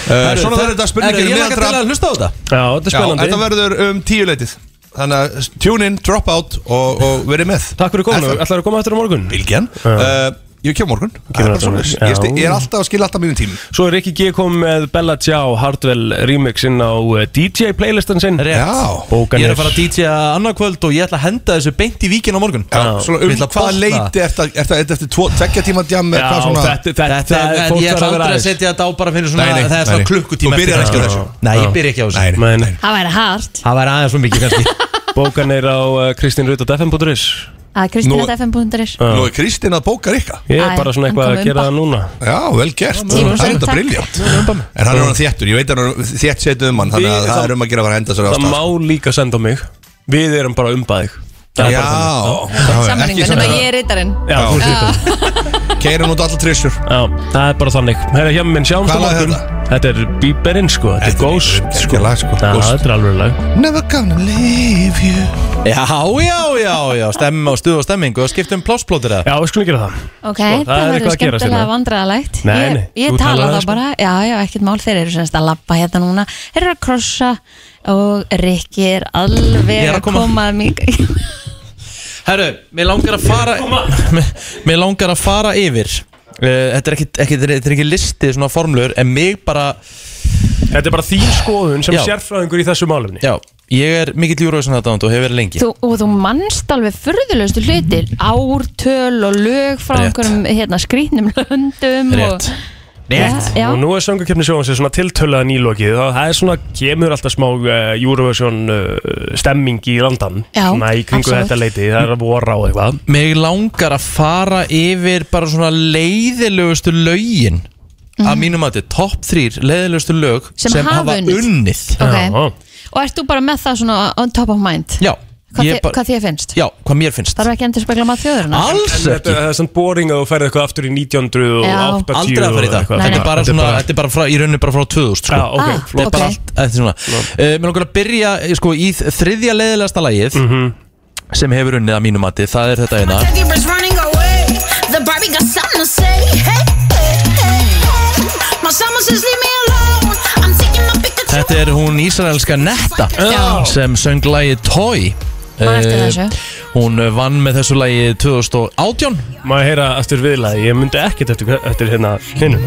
I: Uh, Svona verður þetta spurningin
B: Ég er ekki að hlusta á þetta
D: Já, þetta er spennandi
I: Þetta verður um tíu leitið Þannig að tune in, drop out og, og verið með
D: Takk fyrir kominu,
I: FM.
D: ætlar að koma aftur á morgun
I: Bylgjan uh, Ég kem morgun Það
D: kemur
I: er bara
D: alltaf
I: svoleiðis.
D: morgun.
I: Ég sti-
D: Já.
I: Ég er alltaf að skilja alltaf mínu tími
D: Svo er Rikki G kom með Bella Tjá Hardwell remix inn á eh, DJ playlistan sinn
B: Rétt.
D: Bókan
B: Ég er að fara að DJ annarkvöld og ég ætla að henda þessu beint í víkin á morgun
I: Já, svona um hvaða leiti eftir, eftir, eftir, eftir tvo, tveggja tíma djam eða hvað svona
B: þetta, þetta Ég ætla aldrei að setja þetta á bara fyrir svona
I: Nei, nei,
B: Það er
I: nei,
B: svona
I: nei.
B: klukkutíma
I: Þú byrjar
B: eftir,
I: ekki á
B: skilur.
I: þessu.
B: Nei,
D: Já.
B: ég byrja ekki á þessu
D: Nei, nei
C: Það væri hart
B: Það væri aðeins svo mikið kannski
D: Bókan er á uh, kristinrut.fm.is
C: að kristina.fm.is
I: Nú er Kristín að bóka Rikka
D: Ég er bara svona eitthvað að gera það núna
I: Já, vel gert,
D: Já,
I: það
D: mögulega.
I: er þetta
D: Takk.
I: briljant En hann er hann þéttur, ég veit að hann er þétt setið um hann Þannig að
D: Við-
I: það er um að gera að fara að henda sér á
D: Það má líka senda á mig Við erum bara um umbaðið
I: Já,
C: Samningu, nema ég er reytarinn
D: Já, þú ert þetta
I: Keirum út allar trissur
D: Já, það er bara þannig Herra hjá minn, sjáumst á
I: Hvað lag er
D: morgun Þetta er Bíberinn sko, þetta er Ghost sko. lag, sko. Já, þetta er alveg lag
I: Never gonna leave you
B: Já, já, já, já, stemmum á stuð og stemmingu og skiptum plássplótir eða
D: Já, við skulum gera það
B: Sko,
C: Ok,
B: það
C: það
B: er eitthvað
C: verður
B: að gera
C: skemmtilega
B: sérna.
C: vandræðalegt
B: Nei,
C: Ég,
B: nei,
C: ég
B: þú
C: tala
B: talar sko.
C: það
B: aðeins,
C: bara, já, já, ekkert mál Þeir eru semst að labba hérna núna Þeir eru að krossa og Rikki er alveg
B: Ég er
C: að
B: að koma.
C: koma að mig
B: Herru, mér langar að fara mér- Mér langar að fara yfir Eh, Þetta er ekki, ekki, þetta er ekki listi svona formlur En mig bara
D: Þetta er bara þín skoðun sem
B: Já.
D: sérfræðingur í þessu málefni
B: Já, ég er mikill júruvísan þetta og hefur verið lengi
C: þú, Og þú manst alveg furðulegustu hlutir Ártöl og lög frá
B: Mhm. Rétt.
C: einhverjum hérna, skrýtnum löndum og, Rétt. Já, já.
D: Og nú er söngakefni sjóðansins svona tiltöluða nýlokið og það er svona, kemur alltaf smá uh, Eurovision uh, stemming í landan
B: Já,
D: Svona í kringu
B: absolutt.
D: þetta leiti, það er að vora á eitthvað
B: Mig langar að fara yfir bara svona leiðilegustu lögin að mínum að þetta, topp þrýr leiðilegustu lög
C: Mhm. Sem hafa unnið.
B: unnið
C: Ok. og ert þú bara með það svona on top of mind
B: Já,
C: Hvað,
B: ég
C: þið,
B: bara-
C: hvað þið finnst?
B: Já, Ah. hvað mér finnst
C: Þarf ekki að endur spekla maður þjóðurinn
D: en, en þetta- Það er svona boring að þú ferði eitthvað aftur í 1900 og
C: Já.
D: 80
B: Aldrei að fara í það,
D: og eitthvað.
B: þetta er bara svona, þetta er bara frá, í rauninni bara frá 2000 sko.
D: Já, ok, Ah, flott.
B: Þetta er bara
D: ok.
B: allt, þetta er svona uh, Mér langar að byrja eh, sko, í þ- þriðja leiðilegasta lagið sem hefur unnið að mínum mati, það er þetta eina
H: Teddy Bear's running away. The Barbie got something to say. Hey, hey, hey, hey. My someone says leave me alone. I'm taking my pick.
B: Þetta er hún ísraelska Netta sem söng lagið Toy
H: Man eftir
B: Eh,
H: þessu.
B: Hún vann með þessu lagi 2018
D: Má ég heyra eftir viðlagi, ég myndi ekkert eftir, eftir hérna hinn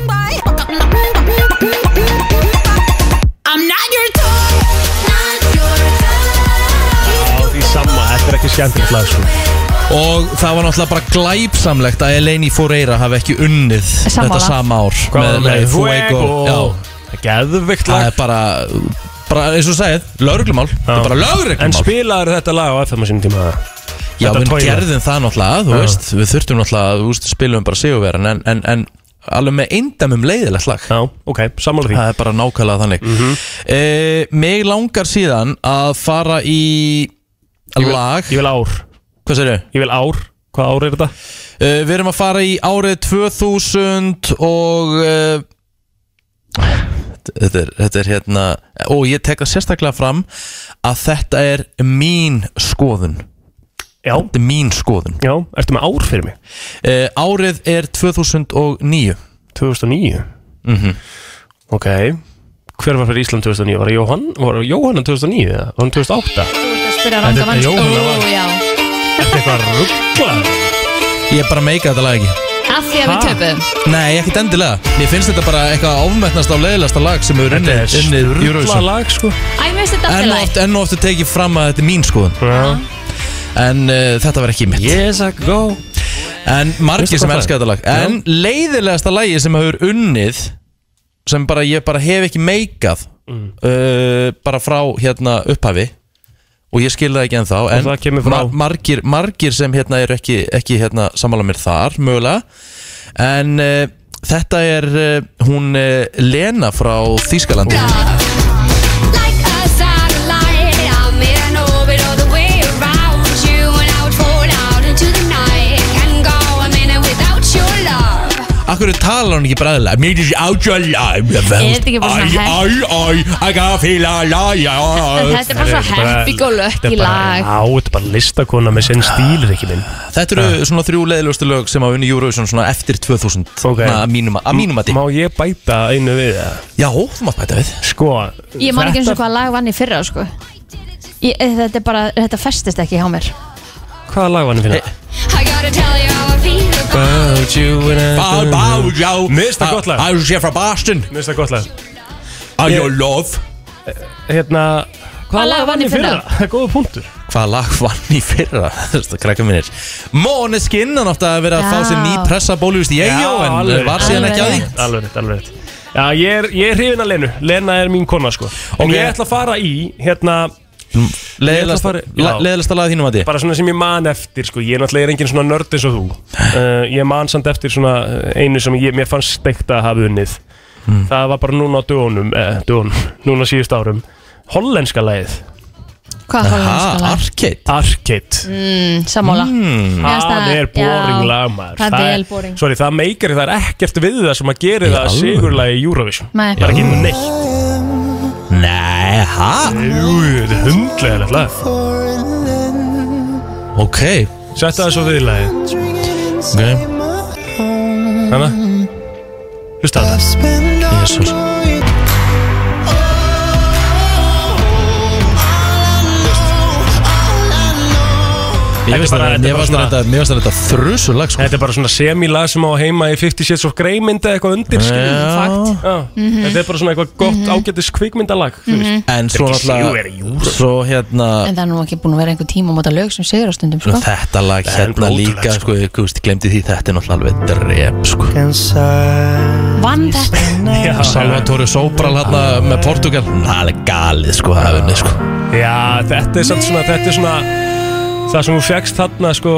H: I'm not your toy. Not your
D: Á því sama, þetta er ekki skemmtilegt lag sko
B: Og það var náttúrulega bara glæpsamlegt að Eleni Foureira hafi ekki unnið
D: Sammála.
B: þetta sama ár
D: Hvað var með
B: lagið
D: Fuego?
B: Já,
D: geðvikt
B: lag Það er bara, bara eins og þú segið, lögreglumál Þetta er bara lögreglumál
D: En spilaður þetta lag á FM á sínum tíma
B: Já,
D: Þetta
B: við
D: toy lag?
B: gerðum það náttúrulega, þú
D: Já.
B: veist Við þurftum náttúrulega, þú veist, spilum bara sigurveran En, en, en alveg með eindamum leiðilegt lag
D: Já, Mhm. ok, sammála því
B: Það er bara nákvæmlega þannig mm Mig langar síðan að fara í lag
D: vil,
B: Ég
D: ég vil ár
B: Hvað segirðu?
D: Ég vil ár Hvað ár er þetta?
B: Eh, við erum að fara í árið 2000 og uh, þetta, er, þetta er hérna Og ég tek það sérstaklega fram að þetta er mín skoðun
D: Já
B: Þetta er mín skoðun Eh,
D: Já, ertu með ár fyrir mig?
B: árið er 2009
D: 2009?
B: Mhm
D: Ok Hver var fyrir Ísland 2009? Var það Jóhann? Var það Jóhann 2009 eða? Var hann 2008?
C: Spyrja
D: Þetta
C: ranga
D: er
C: vann
D: Jóhanna Vang.
C: já
D: Ertu eitthvað ruggla?
B: Ég er bara að meika þetta lag ekki
C: Af því að við
B: Ha?
C: töpuðum
B: Nei, ekkert endilega Mér finnst þetta bara eitthvað ofmennast af leiðilegasta lag sem hefur unnið unnið Eurovision.
D: lag sko
C: Æ, mér finnst þetta
B: Enn og
C: alltaf læg
B: aftur, enn og aftur tekið fram að þetta er mín skoðun En uh, þetta var ekki mitt
D: Yes, I go
B: En margir
D: Veistu
B: sem
D: hvað
B: elska
D: það er?
B: þetta lag En leiðilegasta lagi sem hefur unnið Sem bara, ég bara hef ekki meikað
D: Mm.
B: uh, Bara frá hérna upphafi Og ég skil það ekki ennþá En
D: það kemur frá-
B: margir, margir sem hérna eru ekki, ekki hérna, sammála mér þar Mögulega En uh, þetta er uh, hún uh, Lena frá Þýskalandi Akkur tala hún ekki bræðilega Mér er átjóðlega
C: Er þetta ekki bara svona happy-
B: Æ, æ, æ, gafila, já, já
C: Þetta er bara svo happy-go-lucky lag.
D: Á, þetta er bara listakona með sinn stíl, ekki minn
B: Þetta eru svona þrjú leiðilegustu lög sem hafa unni Eurovision svona eftir 2000 okay. að mínum að mínum að
D: Má ég bæta einu við það?
B: Já, þú mátt bæta við
D: Sko
C: Ég man ekki eins og hvað lag vann í fyrra sko. ég, eh, Þetta er bara Þetta festist ekki hjá mér
B: Eh.
D: Hvaða lag var hann fyrir?
H: I gotta tell you how I feel
D: About you and
B: Bá, bá, já
D: Mista gott lag
B: Að sé frá Boston
D: Mista gott lag
B: Are you love
D: Hérna
C: Hvað lag vann í fyrra?
D: Það er góða punktur
B: Hvaða lag vann í fyrra? Þú veist, krakka mínir Måneskin, hann átti að vera að fá sér ný
D: Já.
B: pressa bólu Vist ég, já, en var síðan ekki að því
D: Alveg rétt, alveg rétt Já, ég er, ég er hrifin að Lenu Lena er mín kona, sko En ég ætla að fara í, hérna
B: Leiðilegasta- le- leiðilegasta lag þínum að því
D: Bara svona sem ég man eftir, sko Ég er náttúrulega er engin svona nörd eins og þú uh, Ég man samt eftir svona uh, einu sem ég, mér fannst steikt að hafa unnið Það var bara núna á dögunum eh, Dögunum, núna síðust árum Hollenska lagið
C: Hvað hollenska lag?
B: Ah, Arcade
D: Arcade
C: Mm, sammála
D: Mm.
C: Mér finnst
D: Það er boring
C: já,
D: lag maður
C: Það er vel boring
D: Sorry, það meikar það er ekkert við það sem að gera það
B: alvöru?
D: sigurlagi í Eurovision
C: Nei.
D: Það er ekki neitt
B: Nei, ha?
D: Jú, þetta er hundlega lag
B: Ok
D: Setta það svo við í lagið Hanna Hlusta á það Jésus
B: Ég veist það, mér varst
D: þetta
B: þetta Mér varst þetta þrusulag sko
D: Þetta er bara svona semilag sem á heima í 50 Shades of Grey mynda eitthvað undir skilur við.
B: Já. Fakt.
D: Já. Þetta er bara svona eitthvað gott ágætis kvikmyndalag þú veist.
C: Mhm.
B: En svo
D: Þetta er ekki sigur, er í
B: náttúrulega Svo hérna
C: En það er nú ekki búin að vera einhver tíma á móta lög sem sigur á stundum sko.
B: Þetta lag hérna líka sko, ég þú veist, glemdi því þetta er náttúrulega alveg drep sko.
C: Vann þetta
B: Salvatore Sobral hérna með Portugal Það er galið sko, það er unni sko.
D: Já, þetta er samt svona, þetta er svona það sem þú fegst þarna sko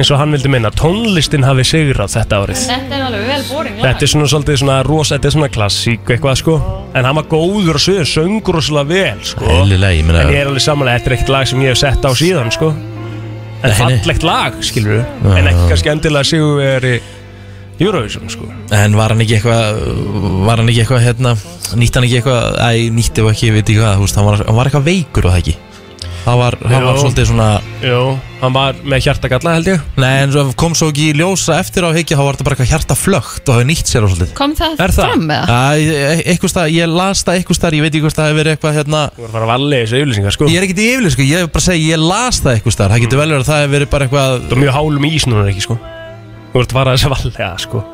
D: eins og hann vildi minna, tónlistin hafi sigrað þetta árið.
C: Þetta er alveg vel boring
D: Þetta er svona svolítið svona rosa, þetta er svona klassík eitthvað sko, en hann var góður og sögur, söngur rosalega vel sko
B: Eðlilega, ég meina-
D: En ég er alveg samanlega, þetta er ekkert lag sem ég hef sett á síðan sko En fallegt lag, skilur við En ekki kannski endilega sigur er í Eurovision sko
B: En var hann ekki eitthvað Var hann ekki eitthvað hérna Nýtti hann ekki eitthvað Æ, nýtti hann ekki, ég veit ekki hvað þú veist, hann, var, hann var eitthvað veikur og það ekki Það var, hann var
D: Jú.
B: svolítið svona
D: Jú, hann var með hjartagalla held ég
B: Nei, en svo kom svo ekki í ljósa eftir á higgja Þá var þetta bara eitthvað hjarta flögt og hafi nýtt sér og svolítið
C: Kom það fram með það?
B: Æ, e, eitthvað stað, ég las það eitthvað stað Ég veit ekki hvort það hefur verið eitthvað hérna
D: Þú var að fara að valli þessu yfirlýsingar sko
B: Ég er ekkert í yfirlið, sko, ég hef bara að segja, ég las það eitthvað stað Það getur vel verið að það hefur verið bara eitthvað
D: Þú er mjög hálum í ís núna ekki sko Þú ert að fara þess að vallega sko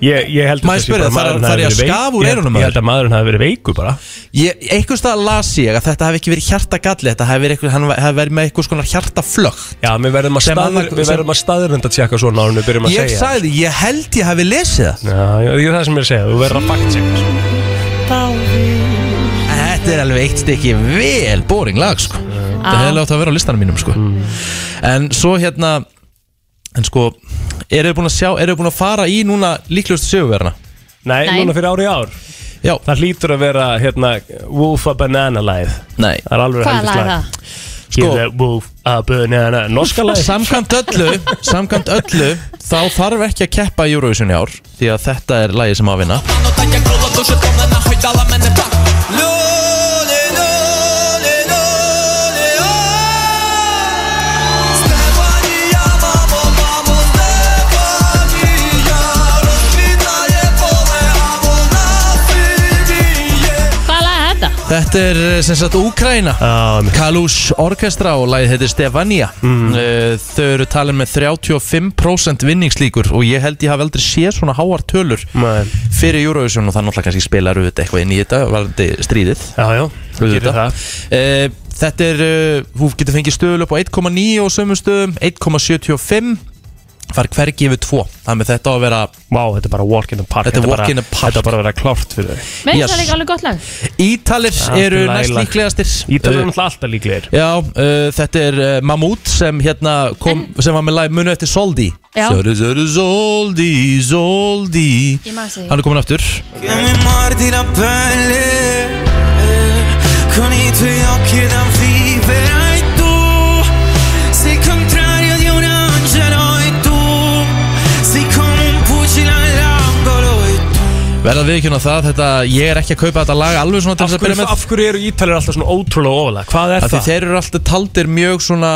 D: Ég, ég held
B: Má ég spyrja, þarf- þarf ég að skafa úr eyrunum,
D: maður? Ég held að maðurinn hafi verið veiku bara
B: Ég, einhvers staðar las ég að þetta hafi ekki verið hjartagalli Þetta hafi verið, eitthvað- hann hafi verið með einhvers konar hjartaflögt
D: Já, við verðum að,
B: Sem
D: staður,
B: annað-
D: við
B: sem-
D: verðum að staðurinn að tjekka svona árum við byrjum að
B: Ég
D: segja
B: sagði, ég held ég hafi lesið það
D: Já, já, það er það sem ég er að segja, þú verður að fakt segja
B: Þetta er alveg eitt stykki vel boring lag sko. Þetta
D: Já.
B: hefði átt að vera á listanum mínum sko. En svo hérna En sko, eru þið búin að sjá Eru þið búin að fara í núna líklegustu söguverna?
D: Nei,
B: Nei.
D: núna fyrir ári í ár
B: Já
D: Það hlýtur að vera, hérna, Wolf a Banana lagið
B: Nei
D: Það er alveg
C: Hvað lag
D: heldislag
C: er það?
B: Sko-
D: Give that wolf a banana Norska lagið
B: Samkvæmt öllu Samkvæmt öllu Þá þarf ekki að keppa í Eurovision í ár Því að þetta er lagið sem á að vinna
C: Hvað lag er þetta?
B: Þetta er eh, sem sagt Úkraina Kalús Orkestra og lagið heitir Stefania mm. Þau eru talin með 35% vinningslíkur og ég held ég hafi aldrei séð svona háar tölur
D: Nei.
B: fyrir Eurovision og það náttúrulega kannski spilar auðvitað eitthvað inn í þetta varandi stríðið
D: Já, já, gerir það.
B: Eh, Þetta er, eh, þú getur fengið stöðul upp á 1,9 og sömum stöðum 1,75 far hvergi yfir 2 þannig að þetta á að vera
D: Vá, þetta er bara walk in the park
B: Þetta er
D: bara-
B: walk in the park
D: Þetta er bara að vera klárt fyrir þau
C: Með það er líka alveg gott lag
B: Ítalir eru næst líklegastir
D: Ítalir
B: Eh,
D: eru náttúrulega alltaf líklegir
B: Já, uh, þetta er uh, Mamút sem hérna kom, sem var með lag munu eftir Soldi
D: Já.
B: Söru, söru, Soldi, Soldi
C: Ég man eftir því.
B: Hann er komin aftur
P: Che mi mordi la pelle eh, Con i tuoi occhi da vivere E tu Sei il contrario di un angelo E tu Sei come un pugile all'angolo E tu
B: Verða við ekki hún á það, þetta, ég er ekki að kaupa þetta lag alveg svona til
D: af
B: þess að
D: hverju,
B: byrja með
D: af hverju eru Ítalir alltaf svona ótrúlega ofalega? Hvað er
B: Af Því
D: það?
B: þeir eru alltaf taldir mjög svona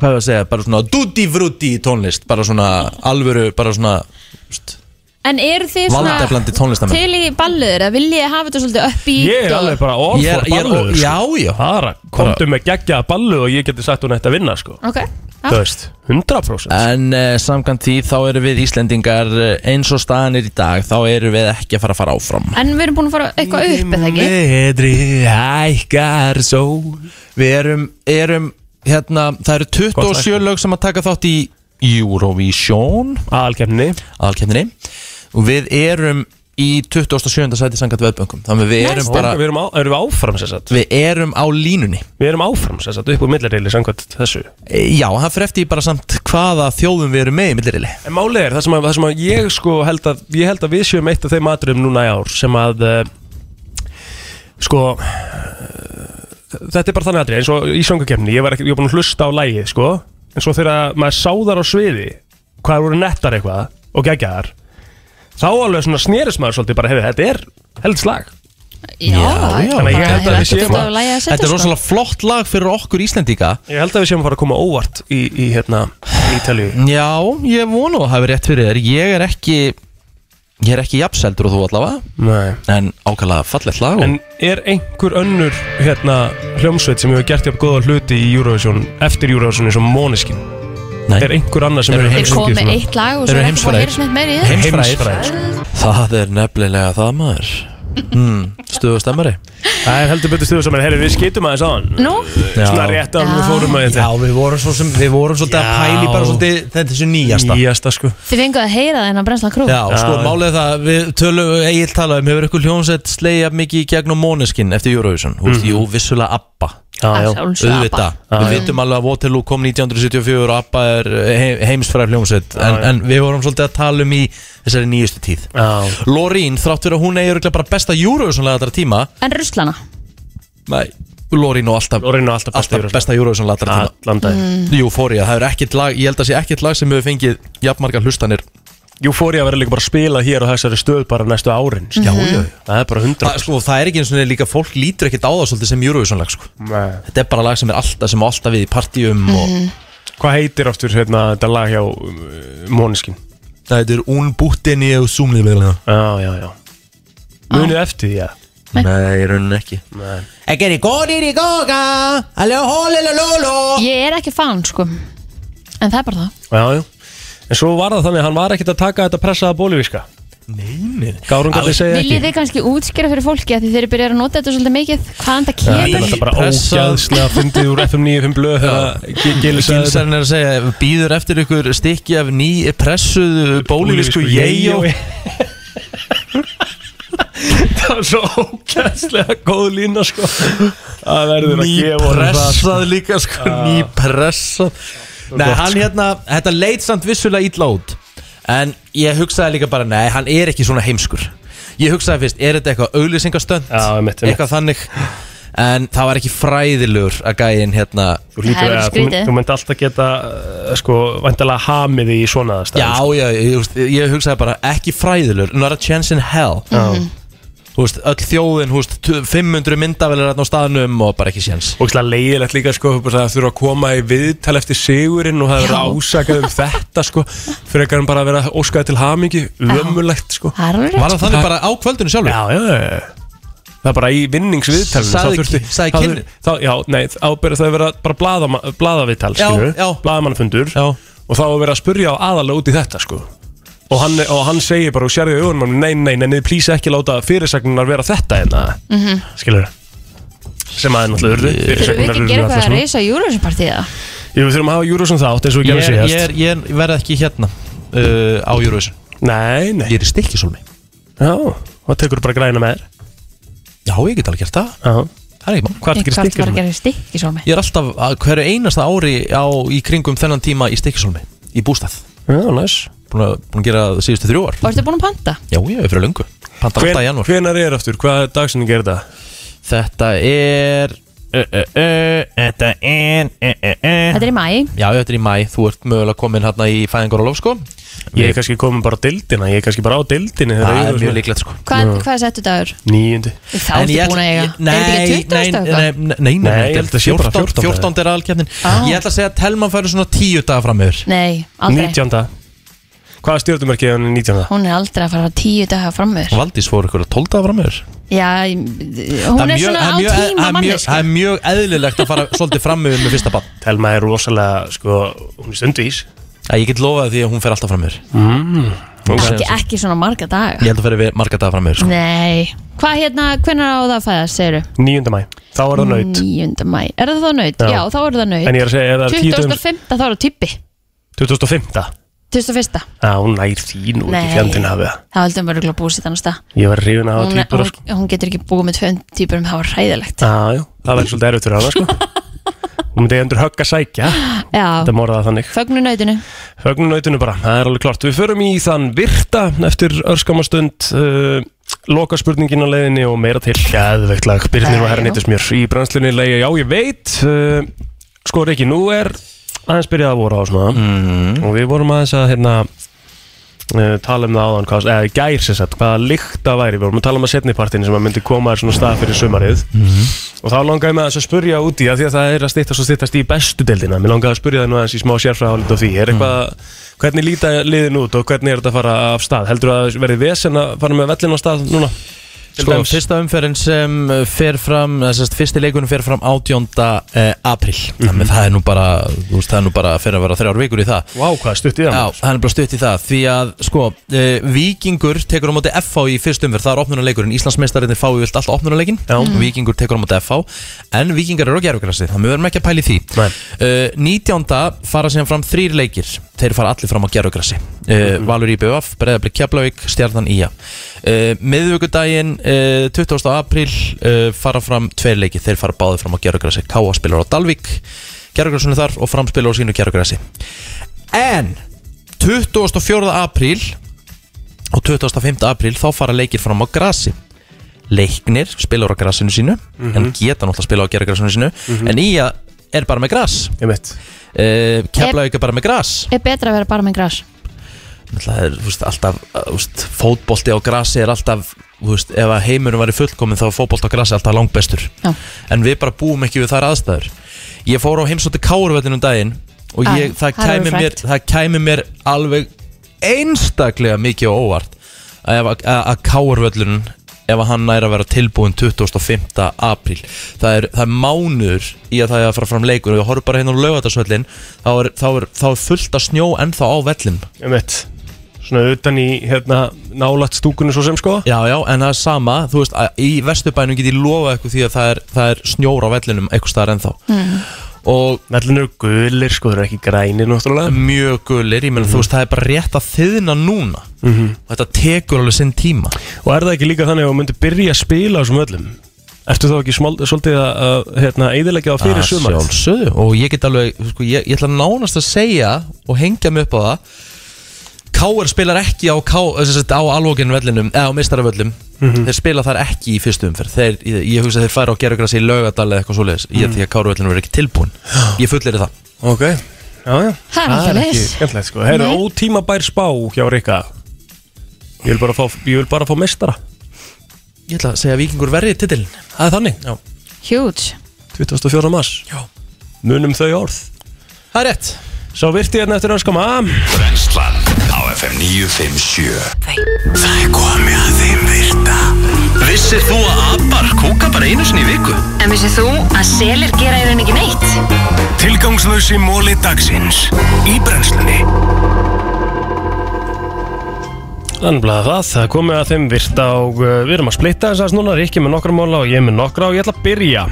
B: Hvað er að segja, bara svona Dutti vrutti í tónlist, bara svona alvöru, bara svona
C: En eru þið svona
B: Vandablandi tónlistamenn.
C: til í balluður að viljið hafa þetta svolítið upp í
D: Ég er alveg bara all
B: Ég er-
D: for
B: ég er-
D: balluður sko.
B: já, já.
D: Bara, komdu með geggjaða ballu og ég geti sagt hún ætti að vinna sko.
C: Ok,
D: Þú veist, 100%
B: En uh, samkvæmt því þá eru við Íslendingar eh, eins og staðan er í dag þá eru við ekki að fara að fara áfram
C: en við erum búin að fara eitthvað upp eða ekki
B: Vedri hækkar sól Við erum, erum hérna, það eru 27 lög sem að taka þátt í Eurovision
D: Alkefni
B: Alkefni Og við erum í 27. sæti sangat veðböngum Þannig að við erum bara
D: Við erum, á, erum við áfram sér satt
B: Við erum á línunni
D: Við erum áfram sér satt upp úr millireili samkvæmt þessu
B: E, Já, það fyrir eftir bara samt hvaða þjóðum við erum með í millirili
D: En málið er það sem að, það sem að ég sko held að Ég held að við séum eitt af þeim atriðum núna í ár Sem að uh, Sko uh, Þetta er bara þannig atrið eins og í söngakefni Ég var ekki, ég var búin að hlusta á lægið sko En svo þegar maður sá þar á sviði Hvað voru nettar eitthvað og geggjaðar Þá alveg svona snerist maður svolítið bara Hefði þetta er held slag
C: Já,
D: Þannig að ég held að við séum
C: að lægi að setja sko.
B: Þetta er rosalega flott lag fyrir okkur Íslendinga
D: Ég held að við séum að fara að koma óvart í, í hérna Ítalíu
B: Já, ég vonu að hafa rétt fyrir þér Ég er ekki Ég er ekki jafnseldur og þú allavega
D: Nei.
B: En ákvæmlega fallegt lag
D: En er einhver önnur hérna hljómsveit sem hefur gert jafn góða hluti í Eurovision eftir Eurovision eins og Måneskin?
B: Nei.
D: Er einhver annar sem
B: Eru
D: hefur
C: Þeir komið með eitt lag og svo
B: Eru
C: er ekki búin að
B: heimsfrægir?
C: heyra sem eitt meiri í þeim.
B: Heimsfræðir Það er nefnilega það maður mm, Stuðu stemmari
D: Það er heldur betur stuðu stemmari Herri, við skitum aðeins á hann
C: Nú?
D: Svona rétt að við fórum að þetta
B: Já, við vorum, svo sem, við vorum svolítið að pæli bara svolítið þetta þessu nýjasta
D: Nýjasta sko
C: Þið fenguð að heyra það en að brensla krú
B: Já, sko, málið er það, við tölum, Egil talaði um, hefur ykkur hljónsett slegja mikið í gegnum Måneskin eftir Eurovision, þú veist,
D: Mhm.
B: jú, vissulega ABBA
D: Já, já. Að sjálfsögðu
B: auðvitað,
D: ABBA.
B: við
D: Já, já.
B: veitum alveg að Waterloo kom 1974 og ABBA er eh, he- heimsfræð hljónsett, en,
D: já.
B: en við vorum svolítið að tala um í þessari nýjustu tíð
D: Já
B: Lorín, þrátt fyrir að hún eigi örugglega bara besta Eurovision lagatara tíma,
C: En ruslana
B: nei, Lorín og alltaf,
D: Lorín og alltaf,
B: alltaf besta Eurovision lagatara tíma
D: Allan dag
B: mm. Euphoria, það er ekkert lag, ég held að sé ekkert lag sem hefur fengið jafnmargar hlustanir
D: Euphoria verður líka bara að spila hér á þessari stöð bara næstu árin sko.
B: Já, já, já.
D: Það er bara 100
B: það, sko, það er ekki eins og líka fólk lítur ekkert á það svolítið sem Eurovision-lag sko.
D: Nei.
B: þetta er bara lag sem er alltaf sem á alltaf við í partíum og...
D: Hvað heitir aftur hérna, þetta lag hjá um, Måneskin?
B: Það er Un Búttinni og Zoomlið Já,
D: já, já Munið eftir því, já
B: Nei, í rauninni ekki
D: Nei.
B: Ekki er í góðir í góða Alveg hólil og lólo
C: Ég er ekki fan sko En það er bara það
D: Já, já En svo var það þannig að hann var ekkert að taka þetta pressaða bólivíska
B: Nei, nei
D: Gárun gæti segja ekki
C: Viljið þið kannski útskýra fyrir fólki að þið þeir byrjar að nota þetta svolítið mikið Hvaðan
D: Það er
C: það kemur
D: náttúrulega bara
B: Pressað-
D: ógæðslega fyndið úr FM 95 blöð þegar Gillis sagði þetta.
B: Gilsarinn er að segja Býður eftir ykkur stykki af ný pressuðu bólivisku Jejó
D: Það var svo ógæðslega góð lína sko Það verður að gefa honum það, sko.
B: Nýpressað líka sko
D: Já.
B: Nýpressað
D: var
B: Nei,
D: gott,
B: hann
D: sko.
B: hérna Þetta leit samt vissulega ítla út En ég hugsaði líka bara Nei, hann er ekki svona heimskur Ég hugsaði fyrst, er þetta eitthvað auglýsingastönd?
D: Já, mitt, mitt.
B: Eitthvað þannig En það var ekki fræðilegur að gæin hérna
D: Þú hlýtur að þú, þú myndi alltaf geta uh, sko vandalega hamið í svona stað sko.
B: Já, já, ég, þú veist, ég hugsaði bara Ekki fræðilegur, not a chance in hell
D: Mhm.
B: Þú veist, öll þjóðin, þú veist 500 myndavelar hérna á staðnum og bara ekki séns
D: Og slag leiðilegt líka sko, bara það þurfa að koma í viðtal eftir sigurinn og það verður ásakað um þetta sko, fyrir ekki bara að vera óskaði til hamingi, ömulegt sko.
C: Það er alveg rétt,
B: Var það þannig bara á kvöldinu sjálfur?
D: Já, já, já. Það er bara í vinningsviðtalinu
B: Sagði-
D: þá þurfti-
B: sagði
D: þá
B: kynni?
D: þur- Þá, já, nei, ábyrða það að vera bara blaðama, blaðaviðtal,
B: Já,
D: skilju,
B: já.
D: blaðamannfundur
B: já.
D: og þá að vera að spurja á aðalega út í þetta sko. Og hann, og hann segir bara og sérði augunum, honum, nei, nei, nei, nei, plís ekki láta fyrirsagnunar vera þetta en það,
C: Mhm.
D: skilur sem aðeins náttúrulega urðu
C: Þurfum við
D: fyrirsagnurar
C: ekki að
D: urðu að
C: gera eitthvað að
D: þessum.
C: reysa Eurovision partíða?
D: Jú, við þurfum að hafa Eurovision þátt eins og við
B: Ég,
D: gerum
B: ég,
D: síðast
B: er- ég verð ekki hérna uh, á Eurovision
D: Nei, nei
B: Ég er í stikkisólmi
D: Já, og tekur bara græna með þér
B: Já, ég get alveg gert það
D: Já
B: Það er ekki mál
D: Hvað er það að
C: var
D: gera
C: að
D: stikkið?
C: gera stikki svo með
B: Ég er alltaf að hverju einasta ári á, í kringum þennan tíma í stikkisólmi Í bústað
D: Já, næs
B: Búin að, búin að gera það síðustu þrjú ár
C: Og ertu búin að panta?
B: Já, ég er fyrir löngu Panta
D: Hven-
B: alltaf í janúar
D: Hvenær er aftur? Hvaða dagsinni gerir það?
B: Þetta er ö, ö, ö, Þetta er ö, ö, ö.
C: Þetta er í mæ
B: Já, þetta er í mæ Þú ert mögulega komin hérna í fæðingar og lof sko
D: Ég er kannski komin bara á dildina Ég er kannski bara á dildinni þegar
B: Það er
D: Eurovision
B: mjög líklegt sko
C: Hvað hvað er settu dagur?
D: Níundi
C: Þá
B: En
C: ertu
B: ég ætla-
C: búin að eiga
B: ég- Nei,
C: Er þetta
B: nei,
C: ekki 20
B: nei,
C: dagur?
B: nei, nei,
D: Nei,
B: nei,
D: ég held að sé bara
B: 14
D: 14
B: 14 er alkjæfnin
C: Ah.
B: Ég ætla að segja að Telman færi svona 10 daga fram yfir
C: Nei, aldrei
D: Nítjánda Hvaða stjórnumarki er hann í 19?
C: Hún er aldrei að fara tíu daga fram með þér.
B: Valdís fór ykkur að tólda fram með þér
C: Já, ég-
B: Það
C: hún er svona á
B: það er mjög- það er
C: tíma
B: mjög-
C: mannesk
B: Það er mjög eðlilegt að fara svolítið fram með með fyrsta bann
D: Telma er rosalega, sko, hún er stundu ís
B: Ég get lofað því að hún fer alltaf fram með þér
D: mm,
C: ekki, ekki svona marga daga
B: Ég held að fara við marga daga fram með þér sko.
C: Nei, hvað hérna, hvenær á það að fæða, segiru?
D: 9. mæ, þá er það naut
C: 9. mæ, er það þá naut?
D: Já.
C: Já, þá er það naut
D: En ég er að segja, ef það er 10 dögum-
C: 2005, þá er það typi
D: 2005
C: 2001,
D: Já, hún nær því nú
C: Nei.
D: ekki fjandina af það
C: þá heldum við að búið sér þannig stað
D: Ég var hrifin að hafa
C: hún,
D: týpur
C: hún, hún getur ekki búið með tveim týpurum, það var hræðilegt
D: Já, já, það verður svolítið erfitt fyrir hana, sko Hún myndi endur högg að sækja
C: Já,
D: Þetta morða það þannig
C: fögnu nautinu
D: Högnum nautinu bara, það er alveg klart Við förum í þann virta eftir örskamastund uh, Loka spurningin á leiðinni og meira til Gæðvegt lag, Byrnir og Hernýttis mjör Í brennslunni leiði, já ég veit uh, Sko Riki, nú er aðeins byrjað að voru á svona Og við vorum aðeins að hérna uh, tala um það áðan, hvað, eða í gær sér sett hvaða líkta væri, við vorum að tala um að setni partin sem að myndi koma þér svona stað fyrir sumarið og þá langaði mig aðeins að spurja út í að því að það er að styttast og styttast í bestu deildina mér langaði að spurja það nú aðeins í smá sérfræðalit og því er eitthvað, hvernig líta liðin út og hvernig er þetta að fara af stað, heldur að það verði vesen að fara með vellin á stað núna Til
B: Sko,
D: dæmis.
B: fyrsta umferðin sem uh, fer fram eða sem sagt, fyrsti leikunum fer fram 18. eh, april þannig að það er nú bara þú veist, það er nú bara fyrir að vera þrjár vikur í það
D: Vá, wow, hvað stutt í það
B: Já, það er bara stutt í það því að, sko, uh, Víkingur tekur á móti FH í fyrst umferð það er opnunuleikurinn, Íslandsmeistarinnir fá yfirlt alltaf opnunuleikin Víkingur tekur á móti FH en Víkingar eru á gerfugrassi, þannig við verum ekki að pæli því uh, 19. fara síðan fram þrýr leikir, þeir fara allir fram á gerfugrassi uh, Valur í BVF, Breiðablik Keflavík, Stjarnan Ía uh, miðvíkudaginn uh, 20. april uh, fara fram tveir leiki, þeir fara báði fram á gerfugrassi K.A. spilar á Dalvík gerfugrassunni þar og framspilar á sínu gerfugrassi en 24. apríl og 25. apríl þá fara leikir fram á grasi leiknir spilar á grasinu sínu
D: Mhm.
B: en geta náttúrulega spila á gerðgrasinu sínu
D: Mhm.
B: en Ía er bara með gras uh, Keflavík er bara með gras
C: Er betra að vera bara með græs
B: Náttúrulega er, þú veist, alltaf eh, þú veist, fótbolti á grasi er alltaf þú veist, ef að heimurinn væri fullkomin þá er fótbolti á grasi alltaf langbestur
C: Já.
B: en við bara búum ekki við þar aðstæður ég fór á heimsótti káruvöllin um daginn og
D: Æ,
B: ég, það,
D: það er
B: kæmi
D: alveg
B: mér,
D: frægt.
B: það kæmi mér alveg einstaklega mikið á óvart að, ef að, að, að káruvöllin ef að hann næri að vera tilbúin 25. apríl það er, það er mánuður í að það er að fara fram leikur og ég horf bara hérna á laugatarsvöllin þá er, þá, er, þá er fullt að snjó ennþá á vellin
D: um eitt svona utan í hérna nálat stúkunni svo sem sko
B: Já, já, en það er sama, þú veist, að í vesturbænum get ég lofað eitthvað því að það er, það er snjór á vellinum eitthvað staðar ennþá
D: Mhm.
B: og
D: Vellin eru gulir sko, þeir eru ekki grænir náttúrulega
B: Mjög gulir, ég meina þú veist, það er bara rétt að þiðna núna
D: Mhm.
B: og þetta tekur alveg sinn tíma
D: Og er það ekki líka þannig að þú myndir byrja að spila á þessum öllum? Ertu þá ekki smál, svolítið að- að hérna, eðilegja það fyrir
B: Að
D: sumar?
B: Sjálfsögðu, og ég get alveg, sko, ég, ég ætla nánast að segja og hengja mig upp á það K.R. spilar ekki á, K- eh, sem sagt, á alvókinn vellinum, eða á mistaravöllum
D: Mhm.
B: Þeir spila þar ekki í fyrstu umferð Þeir, ég, ég hugsa að þeir færa á gerugras í laugadal eða eitthvað svoleiðis mm
D: Mhm.
B: Því að K.R. vellinu er ekki tilbúin Ég fullir það
D: Ok, já, já
C: Það er
D: Það er ekki
C: alltaf leis
D: skemmtilegt sko Það eru
C: Nei.
D: ótímabær spá hjá Rikka Ég vil bara fá, ég vil bara fá mestara
B: Ég ætla að segja að vikingur verði titilin Það er þannig já.
C: Huge
D: 24. mars Já Munum þau orð
B: Það er rétt
D: Sá virti hérna eftir öskama
G: Brennslan á FM 957 Það er komið að þeim virta
L: Vissir þú að abar kúka bara einu sinni í viku?
Q: En vissið þú að selir gera í raun ekki neitt?
L: Tilgangslösi móli dagsins í brennslunni
D: Þannig að það, það er komið að þeim virta og uh, við erum að splitta þess að núna Rikki með nokkra móla og ég með nokkra og ég ætla að byrja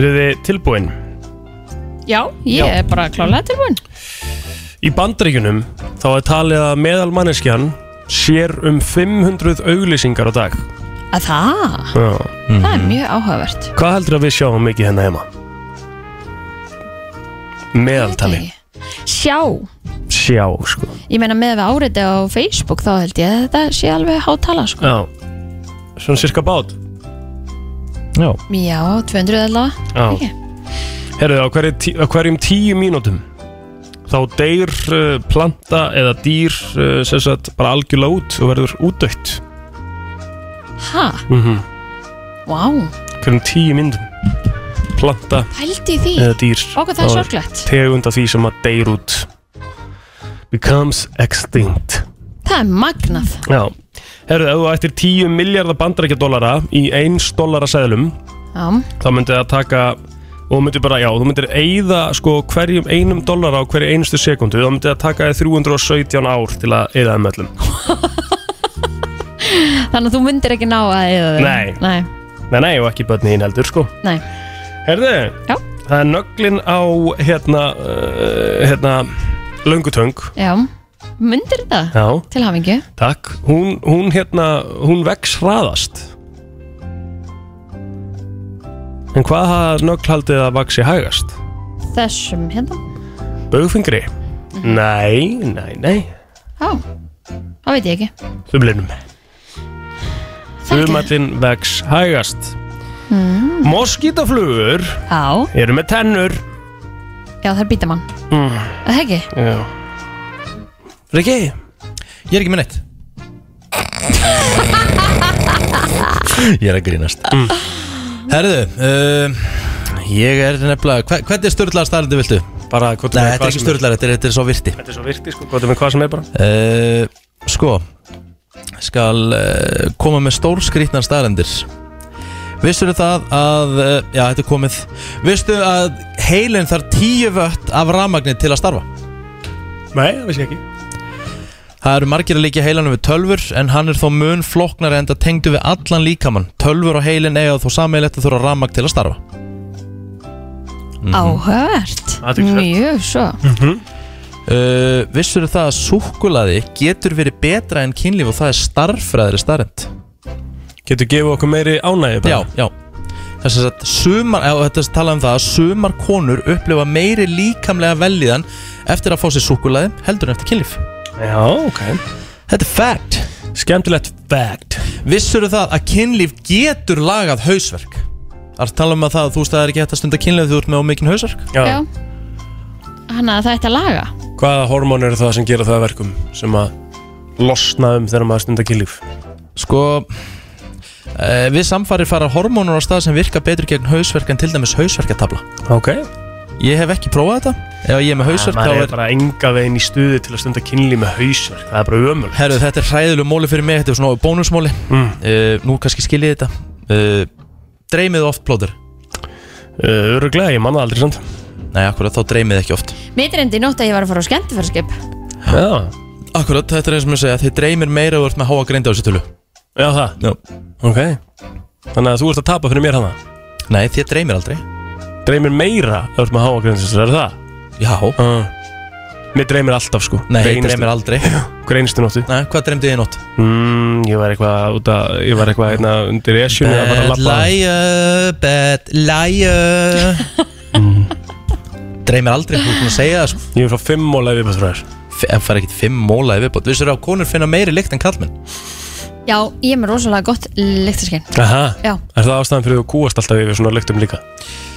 D: Eru þið tilbúin?
C: Já, ég
D: Já.
C: er bara klálega tilbúin
D: Í bandaríkunum þá er talið að meðalmanneskjan sér um 500 auglýsingar á dag.
C: Að það,
D: Já.
C: það er mjög áhugavert
D: Hvað heldur að við sjáum mikið hérna heima? Meðaltali.
C: Sjá,
D: Sjá, sko.
C: ég meina með við áriði á Facebook þá held ég að þetta sé alveg hátala sko.
D: Já. Svona cirka bát. Já.
C: Já, 200 eða
D: Já.
C: Ekki.
D: Herðu, á, hverju, tí- á hverjum tíu mínútum þá deyr uh, planta eða dýr uh, sem sagt bara algjörlega út og verður útdött.
C: Ha,
D: Mm -hmm.
C: vá,
D: Hverjum tíu mínútum. Planta
C: hældi því
D: eða dýr
C: Okkur það er
D: þá
C: sorglegt
D: tegund af því sem að deyr út becomes extinct
C: Það er magnað
D: Já, herru, ef þú ættir 10 miljardar bandarækjadólara í 1 dólara seðlum
C: Já,
D: þá myndi það taka og þú myndir bara, já, þú myndir eyða sko hverjum einum dólar á hverju einustu sekundu þá myndi það taka þér 317 ár til að eyða þeim öllum
C: þannig að þú myndir ekki ná að eða þig
D: Nei.
C: Nei,
D: Nei, nei, og ekki börni hinn heldur, sko
C: nei
D: Herðu,
C: Já.
D: það er nöglin á hérna, uh, hérna löngutöng,
C: Já, myndir það
D: já,
C: Til hafingju
D: takk hún, hún hérna, hún vex hraðast En hvað hafði nögl haldið að vaxi hægast?
C: Þessum hérna
D: Bögfingri? Nei, nei, nei
C: Já, það veit ég ekki
D: Þumlinum Þumallin vex hægast
C: mm.
D: Moskítaflugur
C: Já,
D: eru með tennur
C: já það er bítamann
D: mm.
C: Það er ekki
D: Já Riki,
B: ég er ekki með neitt Ég er að grínast Herðu uh, Ég er nefnilega hva, Hvernig störðlar starfandi viltu?
D: Bara, Nei,
B: þetta er ekki störðlar, þetta, er- þetta er svo virti
D: Þetta er svo virti, sko, gott er með hvað sem er bara
B: uh, Sko Skal uh, koma með stórskrítnar staðarendir Vistu það að uh, Já, þetta er komið Vistu að heilin þarf 10 vött af rafmagni til að starfa
D: Nei, það vissi ég ekki
B: Það eru margir að líka heilanum við tölfur en hann er þó mun flóknari enda tengdu við allan líkamann. Tölfur og heilin eiga þó sammeilegt að þurfa rafmagn til að starfa.
D: Mhm.
C: Áhört
B: Athyglisvert.
C: Mjög svo
B: Uh, vissur það að súkkulaði getur verið betra en kynlíf og það er starffræðri starrend?
D: Getur gefið okkur meiri ánægi
B: bara? Já, já. Þess að sumar, eða þetta er talað um það að sumar konur upplifa meiri líkamlega velliðan eftir að fá sér súkkulaði heldur en eftir kynlíf.
D: Já, ok
B: Þetta er fact.
D: Skemmtilegt fact.
B: Vissur það að kynlíf getur lagað hausverk? Það er að tala um að það að þú veist að það er ekki hægt að stunda kynlíf þegar þú ert með ómikinn hausverk?
C: Já Þannig að það ætti að laga
D: Hvaða hormón eru það sem gera það að verkum sem að losna um þegar maður stundar kynlíf?
B: Sko eh, Við samfari fara hormónur á stað sem virka betur gegn hausverk en til dæmis hausverkatabla
D: Ok
B: Ég hef ekki prófað þetta Ef ég er með hausverk
D: Það
B: þá
D: Ah, er
B: er
D: bara enga veginn í stuði til að stunda kynlíf með hausverk Það er bara ömul
B: Herru, þetta er hræðilegu móli fyrir mig Þetta er svona bónusmóli
D: Mm.
B: uh, Nú kannski skiljið þetta uh, Dreymið oft plóður
D: uh, Öruglega, ég manna aldrei samt
B: Nei, akkurat, þá dreymið ekki oft
C: Mér er endi í nótt að ég var að fara á skemmtifærskip
D: Já
B: Akkurat, þetta er eins og mér segja Þið dreymir meira og ert með háa grinda á þessu tölu
D: Já, það?
B: Já
D: Ok Þannig að þú ert að tapa fyrir mér hana
B: Nei, þér dreymir aldrei
D: Dreymir meira ef Þú ert með háa grindsinstur, er það?
B: Já
D: uh, Mér dreymir alltaf sko
B: Nei, ég dreymir aldrei
D: Hver einustu nóttu
B: Nei, hvað dreymdi ég nótt?
D: Mm, ég var eitthvað út að Ég var eitthvað hérna undir esjunni að bara
B: Bad
D: labba
B: liar, bad liar Mm. Dreymir aldrei, þú erum að segja það sko.
D: Ég er frá fimm móla í viðbátt fræðar
B: En fara ekkit fimm móla í viðbátt Vissur að konur finna meiri lykt en kallmenn
C: Já, ég er með rosalega gott lyktarskinn
D: Aha
C: Já.
D: Er það ástæðan fyrir þú kúast alltaf yfir svona lyktum líka?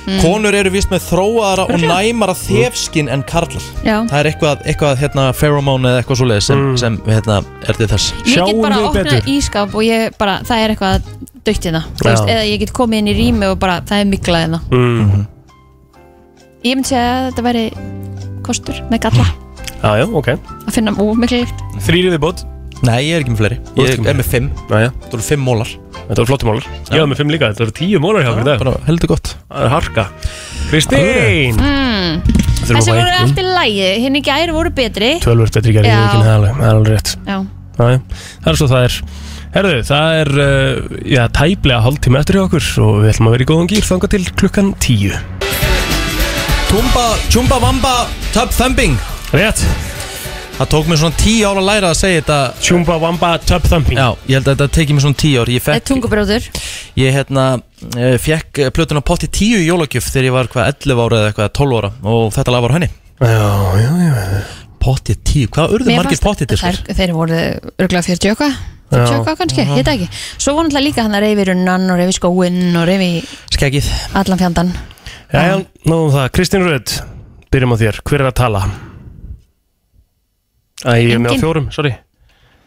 C: Mm.
B: Konur eru vist með þróaðara og
C: Örugglega.
B: næmara þefskinn en karlar
C: Já.
B: Það er eitthvað, eitthvað hérna, pheromone eða eitthvað svoleiðis sem, sem hérna, er til þess
C: Ég get bara að opna ískap og ég bara, það er eitthvað dögt hérna Þú
B: Já.
C: veist, Eða ég get komið inn í rými og bara, það er miklað hérna
B: Mhm.
D: mm.
C: Ég myndi segja að þetta væri kostur með galla
D: Já, Ah, já, ok
C: Að finna of miklu lykt
D: Þrýrið viðbót
B: Nei, ég er ekki með fleiri Ég er með fimm
D: Næja
B: Þetta eru fimm mólar
D: Þetta eru flotti mólar Ég var með fimm líka Þetta eru tíu mólar hjá okkur í dag
B: Bara heldur gott
D: Það er harka Kristín
C: mm.
D: Þurfum að
C: Þessi
D: fá
C: voru
D: einhvern.
C: eftir lægi, hinn í gæri voru betri
D: Tölvöld betri gerði
C: Já.
D: ég ekki alveg Það er alveg rétt
C: Já,
D: Já, já. Það er svo það er Herðu, það er uh, já, tæplega hálftíma eftir hjá okkur og við ætlum að vera í góðan gýr þangað til klukkan tíu
B: Tumba, Chumba Wamba Tub Thumping
D: Rétt
B: Það tók mér svona tíu ára að læra að segja þetta
D: Chumba Wamba Tub Thumping
B: Já, ég held að þetta tekið mér svona tíu ár Ég,
C: það er
B: fekk,
C: tungubróður
B: ég hérna, eh, fekk eh, plötuna potti tíu í jólagjöf þegar ég var hvað 11 ára eða eitthvað 12 ára og þetta lag var á henni
D: Já, já, já
B: Potti tíu, hvað urðu
C: Mér
B: margir
C: fannst-
B: potti
C: þær- Þeir voru örgulega 40 okkar 40
B: Já.
C: okkar kannski,
B: Já.
C: ég veit það ekki Svo voru náttúrulega líka hann að reyfi runnan og reyfi skóinn og reyfi
B: Skegið
C: allan fjandan
D: Já, já, nóðum það Kristín Rödd, byrjum á þér Hver er að tala? Æ, ég er með á
C: Enginn.
D: fjórum, sorry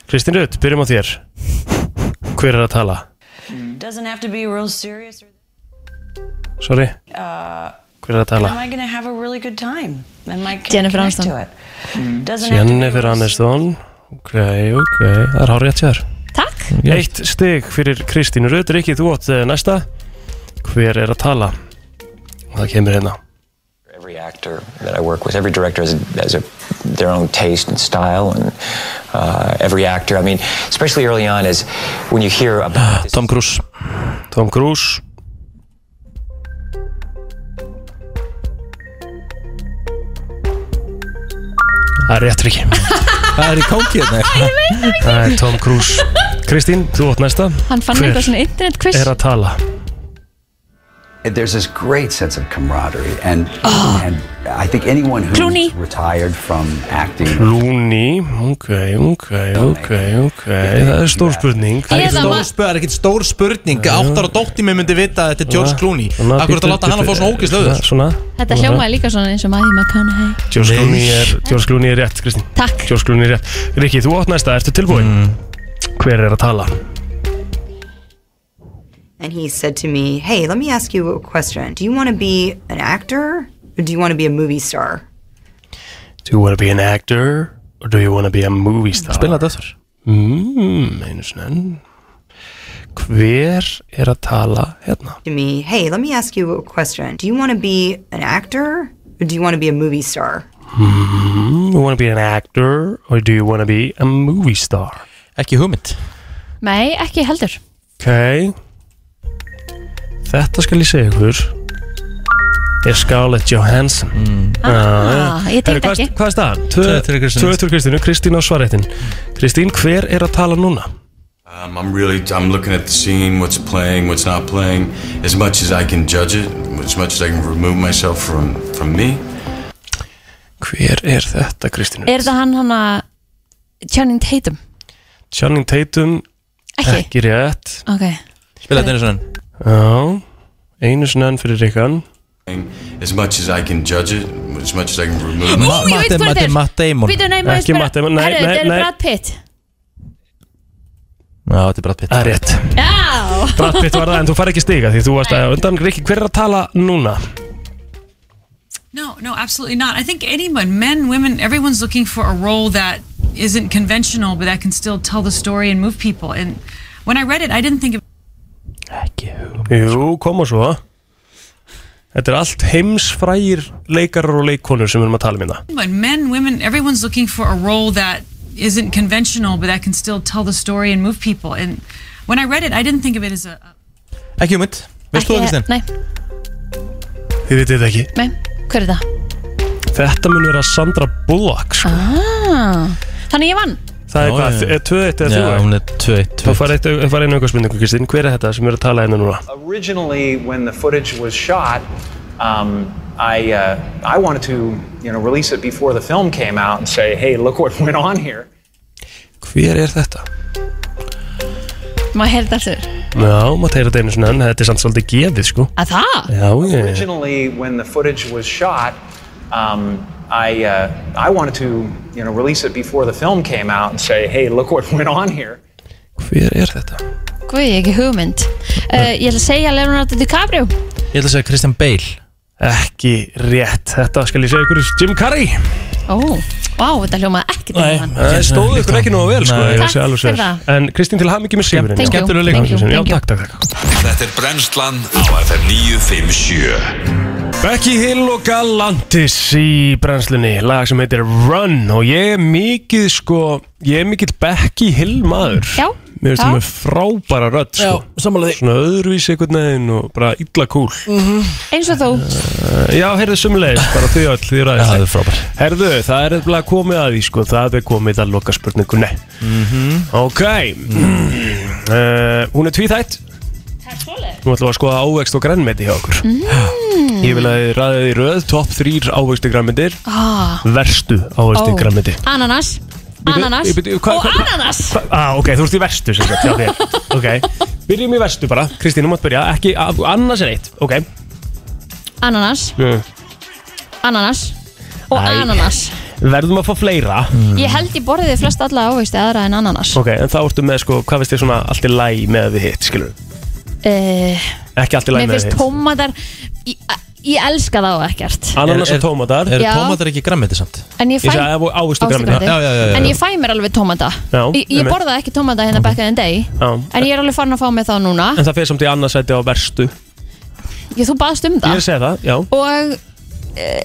D: Kristín Rödd, byrjum á þér Hver er að tala?
R: Doesn't have to be real serious.
D: Sorry,
R: Uh,
D: hver er
R: am
D: að tala?
R: I going to have a really good time? Am I gonna
C: Jennifer
R: connect
C: Aniston.
R: to it? Doesn't have to be
D: Jennifer Aniston Ok, ok, það er hárið að tjár
C: Takk
D: Eitt stig fyrir Kristínu Röð Rikki, þú átt eh, næsta Hver er að tala? Og það kemur hérna
S: Every actor that I work with, every director has, has a, their own taste and style, and uh, every actor. I mean, especially early on, is when you hear about this.
D: Tom Cruise. Tom Cruise. Það er rétt Rikki Það er í gangi hérna Það er Tom Cruise Kristín, þú átt næsta
C: Hann fann
D: Hver
C: eitthvað svona internet quiz
D: Er að tala
T: There's this great sense of camaraderie, and and I think anyone who's
C: Clooney.
T: retired from acting
D: Clooney, ok, ok, ok, ok Það er stór spurning
B: Það er ekkert stór, spu- það er ekkert stór spurning Áttar og dótti mér myndi vita að þetta er George Clooney Akkur þetta láta hann að fá svona ógist löður
D: Svona
C: Þetta
D: svona.
C: hljómaði líka svona eins og maður McConaughey
D: George Clooney er, George Clooney er rétt, Kristín
C: Takk.
D: George Clooney er rétt Rikki, þú átt næsta, ertu tilbúin?
B: Mm.
D: Hver er að tala?
U: And he said to me, Hey, let me ask you a question. Do you want to be an actor or do you want to be a movie star?
D: Do you wanna be an actor or do you wanna be a movie star?
B: Spila þetta aftur.
D: mm, Einu svona enn Hver er að tala hérna?
U: To me, Hey, let me ask you a question. Do you want to be an actor or do you want to be a movie star?
D: Mm, you wanna be an actor or do you wanna be a movie star?
B: Ekki hugmynd
C: Nei, ekki heldur
D: Ok Þetta skal ég segja ykkur er Scarlett Johansson mm.
C: Ah, ég tengdi ekki.
D: eh? Hvað er staðan?
B: Tvö til Kristínu.
D: Tvö til Kristínu, Kristín á svarréttin Kristín, hver er að tala núna?
V: Um, I'm really I'm looking at the scene, what's playing, what's not playing, as much as I can judge it, as much as I can remove myself from from me.
D: Hver er þetta, Kristín?
C: Er það hann hana Channing Tatum?
D: Channing Tatum
C: Ekki.
D: rétt
C: Ok
B: Spila þetta einu svona
D: Já, einu svona enn fyrir Rikkan
V: As much as I can judge it, as much as I can remove
C: Ó, ég veit hvað þetta er Býtu, nei, maður
D: Ekki
C: spyrja-
D: Matt Damon, nei,
C: Herru,
D: nei,
C: þetta er
D: nei.
C: Brad Pitt
B: Já, þetta er Brad Pitt
D: Það er rétt
C: Já
D: Brad Pitt var það en þú far ekki stiga því þú varst að undan Rikki, hver er að tala núna?
W: No, no, absolutely not. I think anyone, men, women, everyone's looking for a role that isn't conventional, but that can still tell the story and move people. And when I read it, I didn't think of.
D: Jú, koma svo Þetta er allt heimsfrægir leikarar og leikkonur sem við erum að tala um hérna
W: But men, women, everyone's looking for a role that isn't conventional, but that can still tell the story and move people. And when I read it, I didn't think of it as a.
B: Ekki hugmynd Veist þú það Kristín?
C: Nei,
D: Þið vitið þetta ekki
C: nei, hver er það?
D: Þetta mun vera Sandra Bullock sko.
C: Ah, þannig ég vann
D: Það er
B: Já,
D: hvað,
B: já.
D: er 2-1 eða 3-1?
B: Já, hún er 2-1
D: Þá fara eitt- fara einu auka spurningu, Kristín, hver er þetta sem við erum að tala hérna núna?
X: Originally, when the footage was shot, um, I uh, I wanted to you know release it before the film came out and say, hey, look what went on here.
D: Hver er þetta?
C: Maður heyrði þetta aftur
D: Já, maður tegir þetta einu svona en þetta er samt svolítið gefið sko
C: Að það?
D: Já, ég
X: Originally, when the footage was shot, um, I uh, I wanted to you know release it before the film came out and say, hey, look what went on here.
D: Hver er þetta?
C: Guð, ég hef ekki hugmynd uh, Ég ætla að segja Leonardo DiCaprio
B: Ég ætla að segja Christian Bale
D: Ekki rétt, þetta skal ég segja ykkur Jim Carrey
C: Ó, vá, þetta hljómaði ekki til hann
D: Það stóðu ykkur ekki nú að vel sko
B: Nei.
D: ég vil segja alveg svo
C: Takk fyrir
D: þér. En Kristín til hamingi með sigurinn
C: Thank you,
D: Skemmtilegur
C: thank you,
D: leikur Já,
C: thank you.
D: takk, takk, takk
G: Þetta er brennslan á FM 957
D: Becky Hill og Galantis í brennslunni, lag sem heitir Run og ég er mikið sko, ég er mikið Becky Hill maður
C: Já
D: Mér finnst
C: Já.
D: það með frábæra rödd sko Já, samanlega Svona öðruvísi einhvern veginn og bara illa kúl
C: Eins og þú
D: uh, Já, heyrðu sumulegis, bara þau öll, þau ræðist Já, það er frábær Heyrðu, það er eitthvað komið að því sko, það er komið að loka spurningunni Ok Mhm. uh, Hún er tvíþætt Nú ætlum við að skoða ávext og grænmeti hjá okkur
C: mm.
D: Ég vil að þið ræða þið í röð Top 3 ávegsti græmyndir
C: Ah.
D: Verstu ávegsti
C: Ó.
D: græmyndi
C: Ananas Ananas
D: ég byrju, hvað-
C: Og
D: hvað-
C: ananas
D: ah, Ok, þú ert í verstu sem sagt, já, ok. ok, byrjum í verstu bara Kristín, þú mátt byrja, ekki, af- annars er eitt Ok
C: Ananas Ananas Og
D: Æ. Mm.
C: ananas
D: Verðum að fá fleira
C: Ég held ég borðið flest alla ávegsti aðra en ananas
D: Ok, en þá ertu með sko, hvað veist þið svona allt í læg með við hitt, skilur
C: uh,
D: Ekki allt í læg
C: Mér
D: með
C: finnst
D: við hitt
C: tómatar Ég, ég elska þá ekkert
D: Ananas og tómatar
C: Eru Já. tómatar
B: ekki grammeti samt?
C: En ég fæ-
D: Ávistu
C: Ávaxtagræmeti.
D: grammeti
C: En ég fæ mér alveg tómata
D: Já,
C: Ég, ég
D: einmitt.
C: borða ekki tómata hérna back in the day
D: Já.
C: En ég er alveg farin að fá mig þá núna
D: En það fyrir samt í annarsæti á verstu
C: ég, Þú baðst um
D: Ég er
C: það
D: að segja það, já
C: Og eh,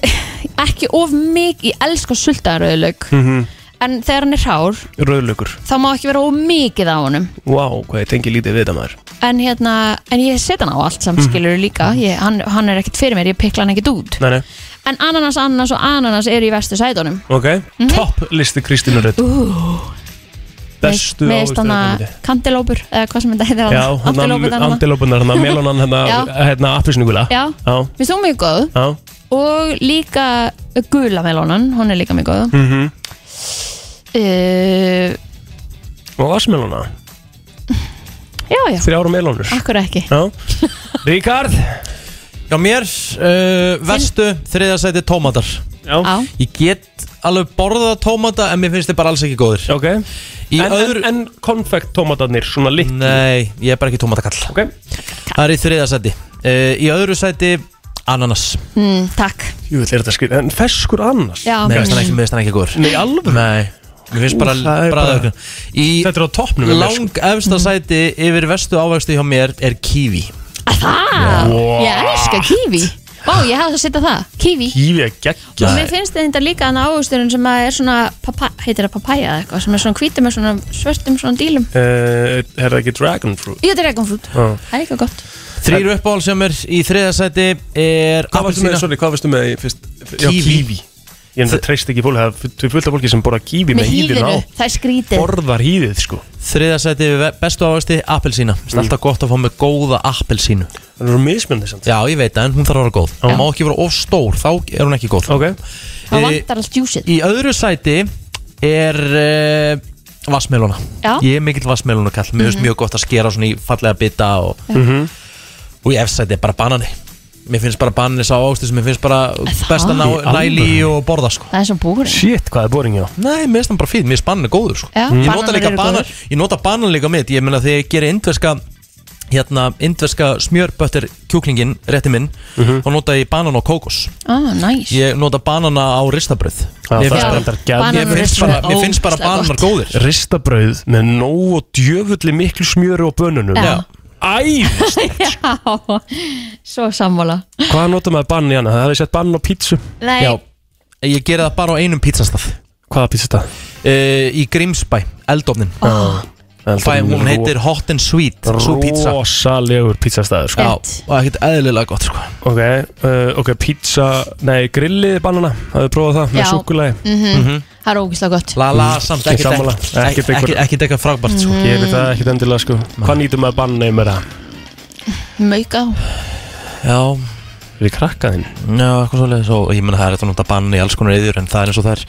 C: ekki of mikið Ég elska sultaröðlaug
D: mm
C: En þegar hann er hrár
D: Rauðlökur
C: þá má ekki vera of mikið á honum
D: Vá, hvað ég tengi lítið við þetta maður
C: En, hérna, en ég set hann á allt samt
D: Mhm.
C: skilur líka ég, hann, hann er ekkert fyrir mér, ég pikla hann ekkert út
D: Nei, nei,
C: En ananas, ananas og ananas eru í vestu sætunum
D: ok Topp listi Kristínu Rödd
C: Mhm. Ú,
D: Bestu
C: Með stanna
D: ávistaðargrænmeti.
C: kantilópur eða hvað sem þetta heitir
D: Já,
C: hann Antilópurnar hana.
D: antilópunar hann, melonan hann,
C: Já.
D: hérna, appisnugula
C: Já.
D: Já,
C: Mér finnst hún mjög góð
D: já
C: og líka gula melónan, hún er líka mjög góð
D: Mhm.
C: uh,
D: Og vassmelona,
C: Já, Ah. já,
D: þrjára melonur
C: akkur ekki
D: Já, Ríkard
B: Já, mér, uh, vestu, þriðasæti tómatar Já
C: Á.
B: Ég get alveg borðað tómata en mér finnst þið bara alls ekki góðir
D: Ok En,
B: öðru...
D: en, en konfekt tómatarnir, svona litlu
B: Nei, ég er bara ekki tómatakall
D: Ok
B: Það er í þriðasæti uh, Í öðru sæti, ananas
C: mm, Takk
D: Jú, þetta er þetta skrið, en ferskur annars
C: Já.
B: Mér finnst hann ekki, mér finnst hann ekki góður
D: Nei, alveg?
B: Nei, mér finnst
D: Ú,
B: bara,
D: það er
B: bara,
D: bara-
B: bara í
D: Þetta er á toppnum hjá mér, sko.
B: Lang efsta sæti yfir vestu ávegstu hjá mér er kiwi
C: Ah, Það,
B: What?
C: ég elska kífi Vá, ég hafði að setja það, kífi
D: Kífi er
C: Og
D: geggja
C: mér finnst þetta líka hann águsturinn sem að er svona, papa, heitir það papaya eða eitthvað, sem er svona hvítum með svona svörtum svona dílum.
D: Eh, Er það ekki dragon fruit?
C: Ég þetta er regnfrút.
D: Já.
C: um Það er eitthvað gott.
B: Þrýr uppáhald sem er í þriðasæti er
D: Hvað varstu með,
B: appelsína.
D: sorry, hvað varstu með í fyrst? Já,
B: Kíwi.
D: kíwi Ég enda treyst ekki fólk, það er fullt af fólki sem borða kíwi með hýðin á
C: það er skrítið.
D: Borðar hýðið, sko
B: Þriðasæti við bestu ávegsti, appelsína Það er
D: Mm.
B: alltaf gott að fá með góða appelsínu
D: Það eru mismjöndi samt
B: Já, ég veit það, en hún þarf að vera góð Hún má ekki vera of stór, þá er hún ekki góð
D: okay.
C: Það vantar allt djúsið.
B: Í öðru sæti er uh, vassmelona
C: Já.
B: Ég er mikill vassmelona kall Mér finnst
C: Mhm.
B: mjög gott að skera svona í fallega bita og,
C: Já. Mhm.
B: og í efsæti er bara banani Mér finnst bara banani sá ástu sem mér finnst bara best að ná,
D: Í
B: næli í
D: alvöru?
B: og borða sko
C: Það er svona búring.
D: Shit, hvað er boring, já
B: Nei, mér finnst hann bara fín, mér finnst banan góður sko.
C: Já,
B: Ég nota
C: bananar
B: líka
C: eru
B: banan,
C: góðir.
B: ég nota banan líka mitt Ég meina þegar ég gerir indverska hérna, indverska smjörböttir kjúklingin rétti minn,
D: Mhm.
B: þá nota ég banan og kókos
C: Ah, næs.
B: Ég nota banana á ristabröð
D: Já, það
B: Mér finnst
D: er
B: bara-
D: reyndar geðveikt.
B: Mér finnst bara- mér finnst bara bananar góðir
D: Ristabrauð með nóg og djöfulli miklu smjöru og bönunum
C: Já.
D: Æ,
C: Já, svo sammála.
D: hvað notar maður bann í hana? Það hefði sett bann á pítsu
C: Nei. Já.
B: Ég gera það bara á einum pizzastað
D: Hvaða pizzastað?
B: Uh, í Grímsbæ, Eldofnin oh. Fæ, Hún heitir Hot and Sweet Svo pizza
D: Rósalegur pizzastæður sko.
B: Já, og ekkert eðlilega gott sko.
D: Ok, uh, ok, pizza Nei, grillið banana, hafðu prófað það
C: Já.
D: Með súkulagi
C: Mhm. Það er ógislega gott.
B: La la samt ekkert
D: Sammála. Ekkert
B: Ekkert
D: einhver-
B: ekkert eitthvað frábært sko.
C: Mhm.
D: Gerir það ekkert endilega sko Hvað nýtum maður banna í mér það?
C: Mauka.
B: Já
D: Við krakkaðinn
B: Já, eitthvað svolítið og ég menna það er þetta náttúrulega bann í alls konar eður en það er eins og það er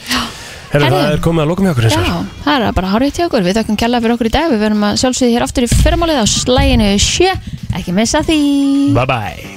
D: Herra,
C: Herðu.
D: það er komið að lokum hjá okkur eins og
C: Já, það er bara hárið til okkur. Við þökkum kjalla fyrir okkur í dag. Við verum að sjálfsögðu hér aftur í fyrramálið á slæginu sjö. Ekki missa því.
D: Bye bye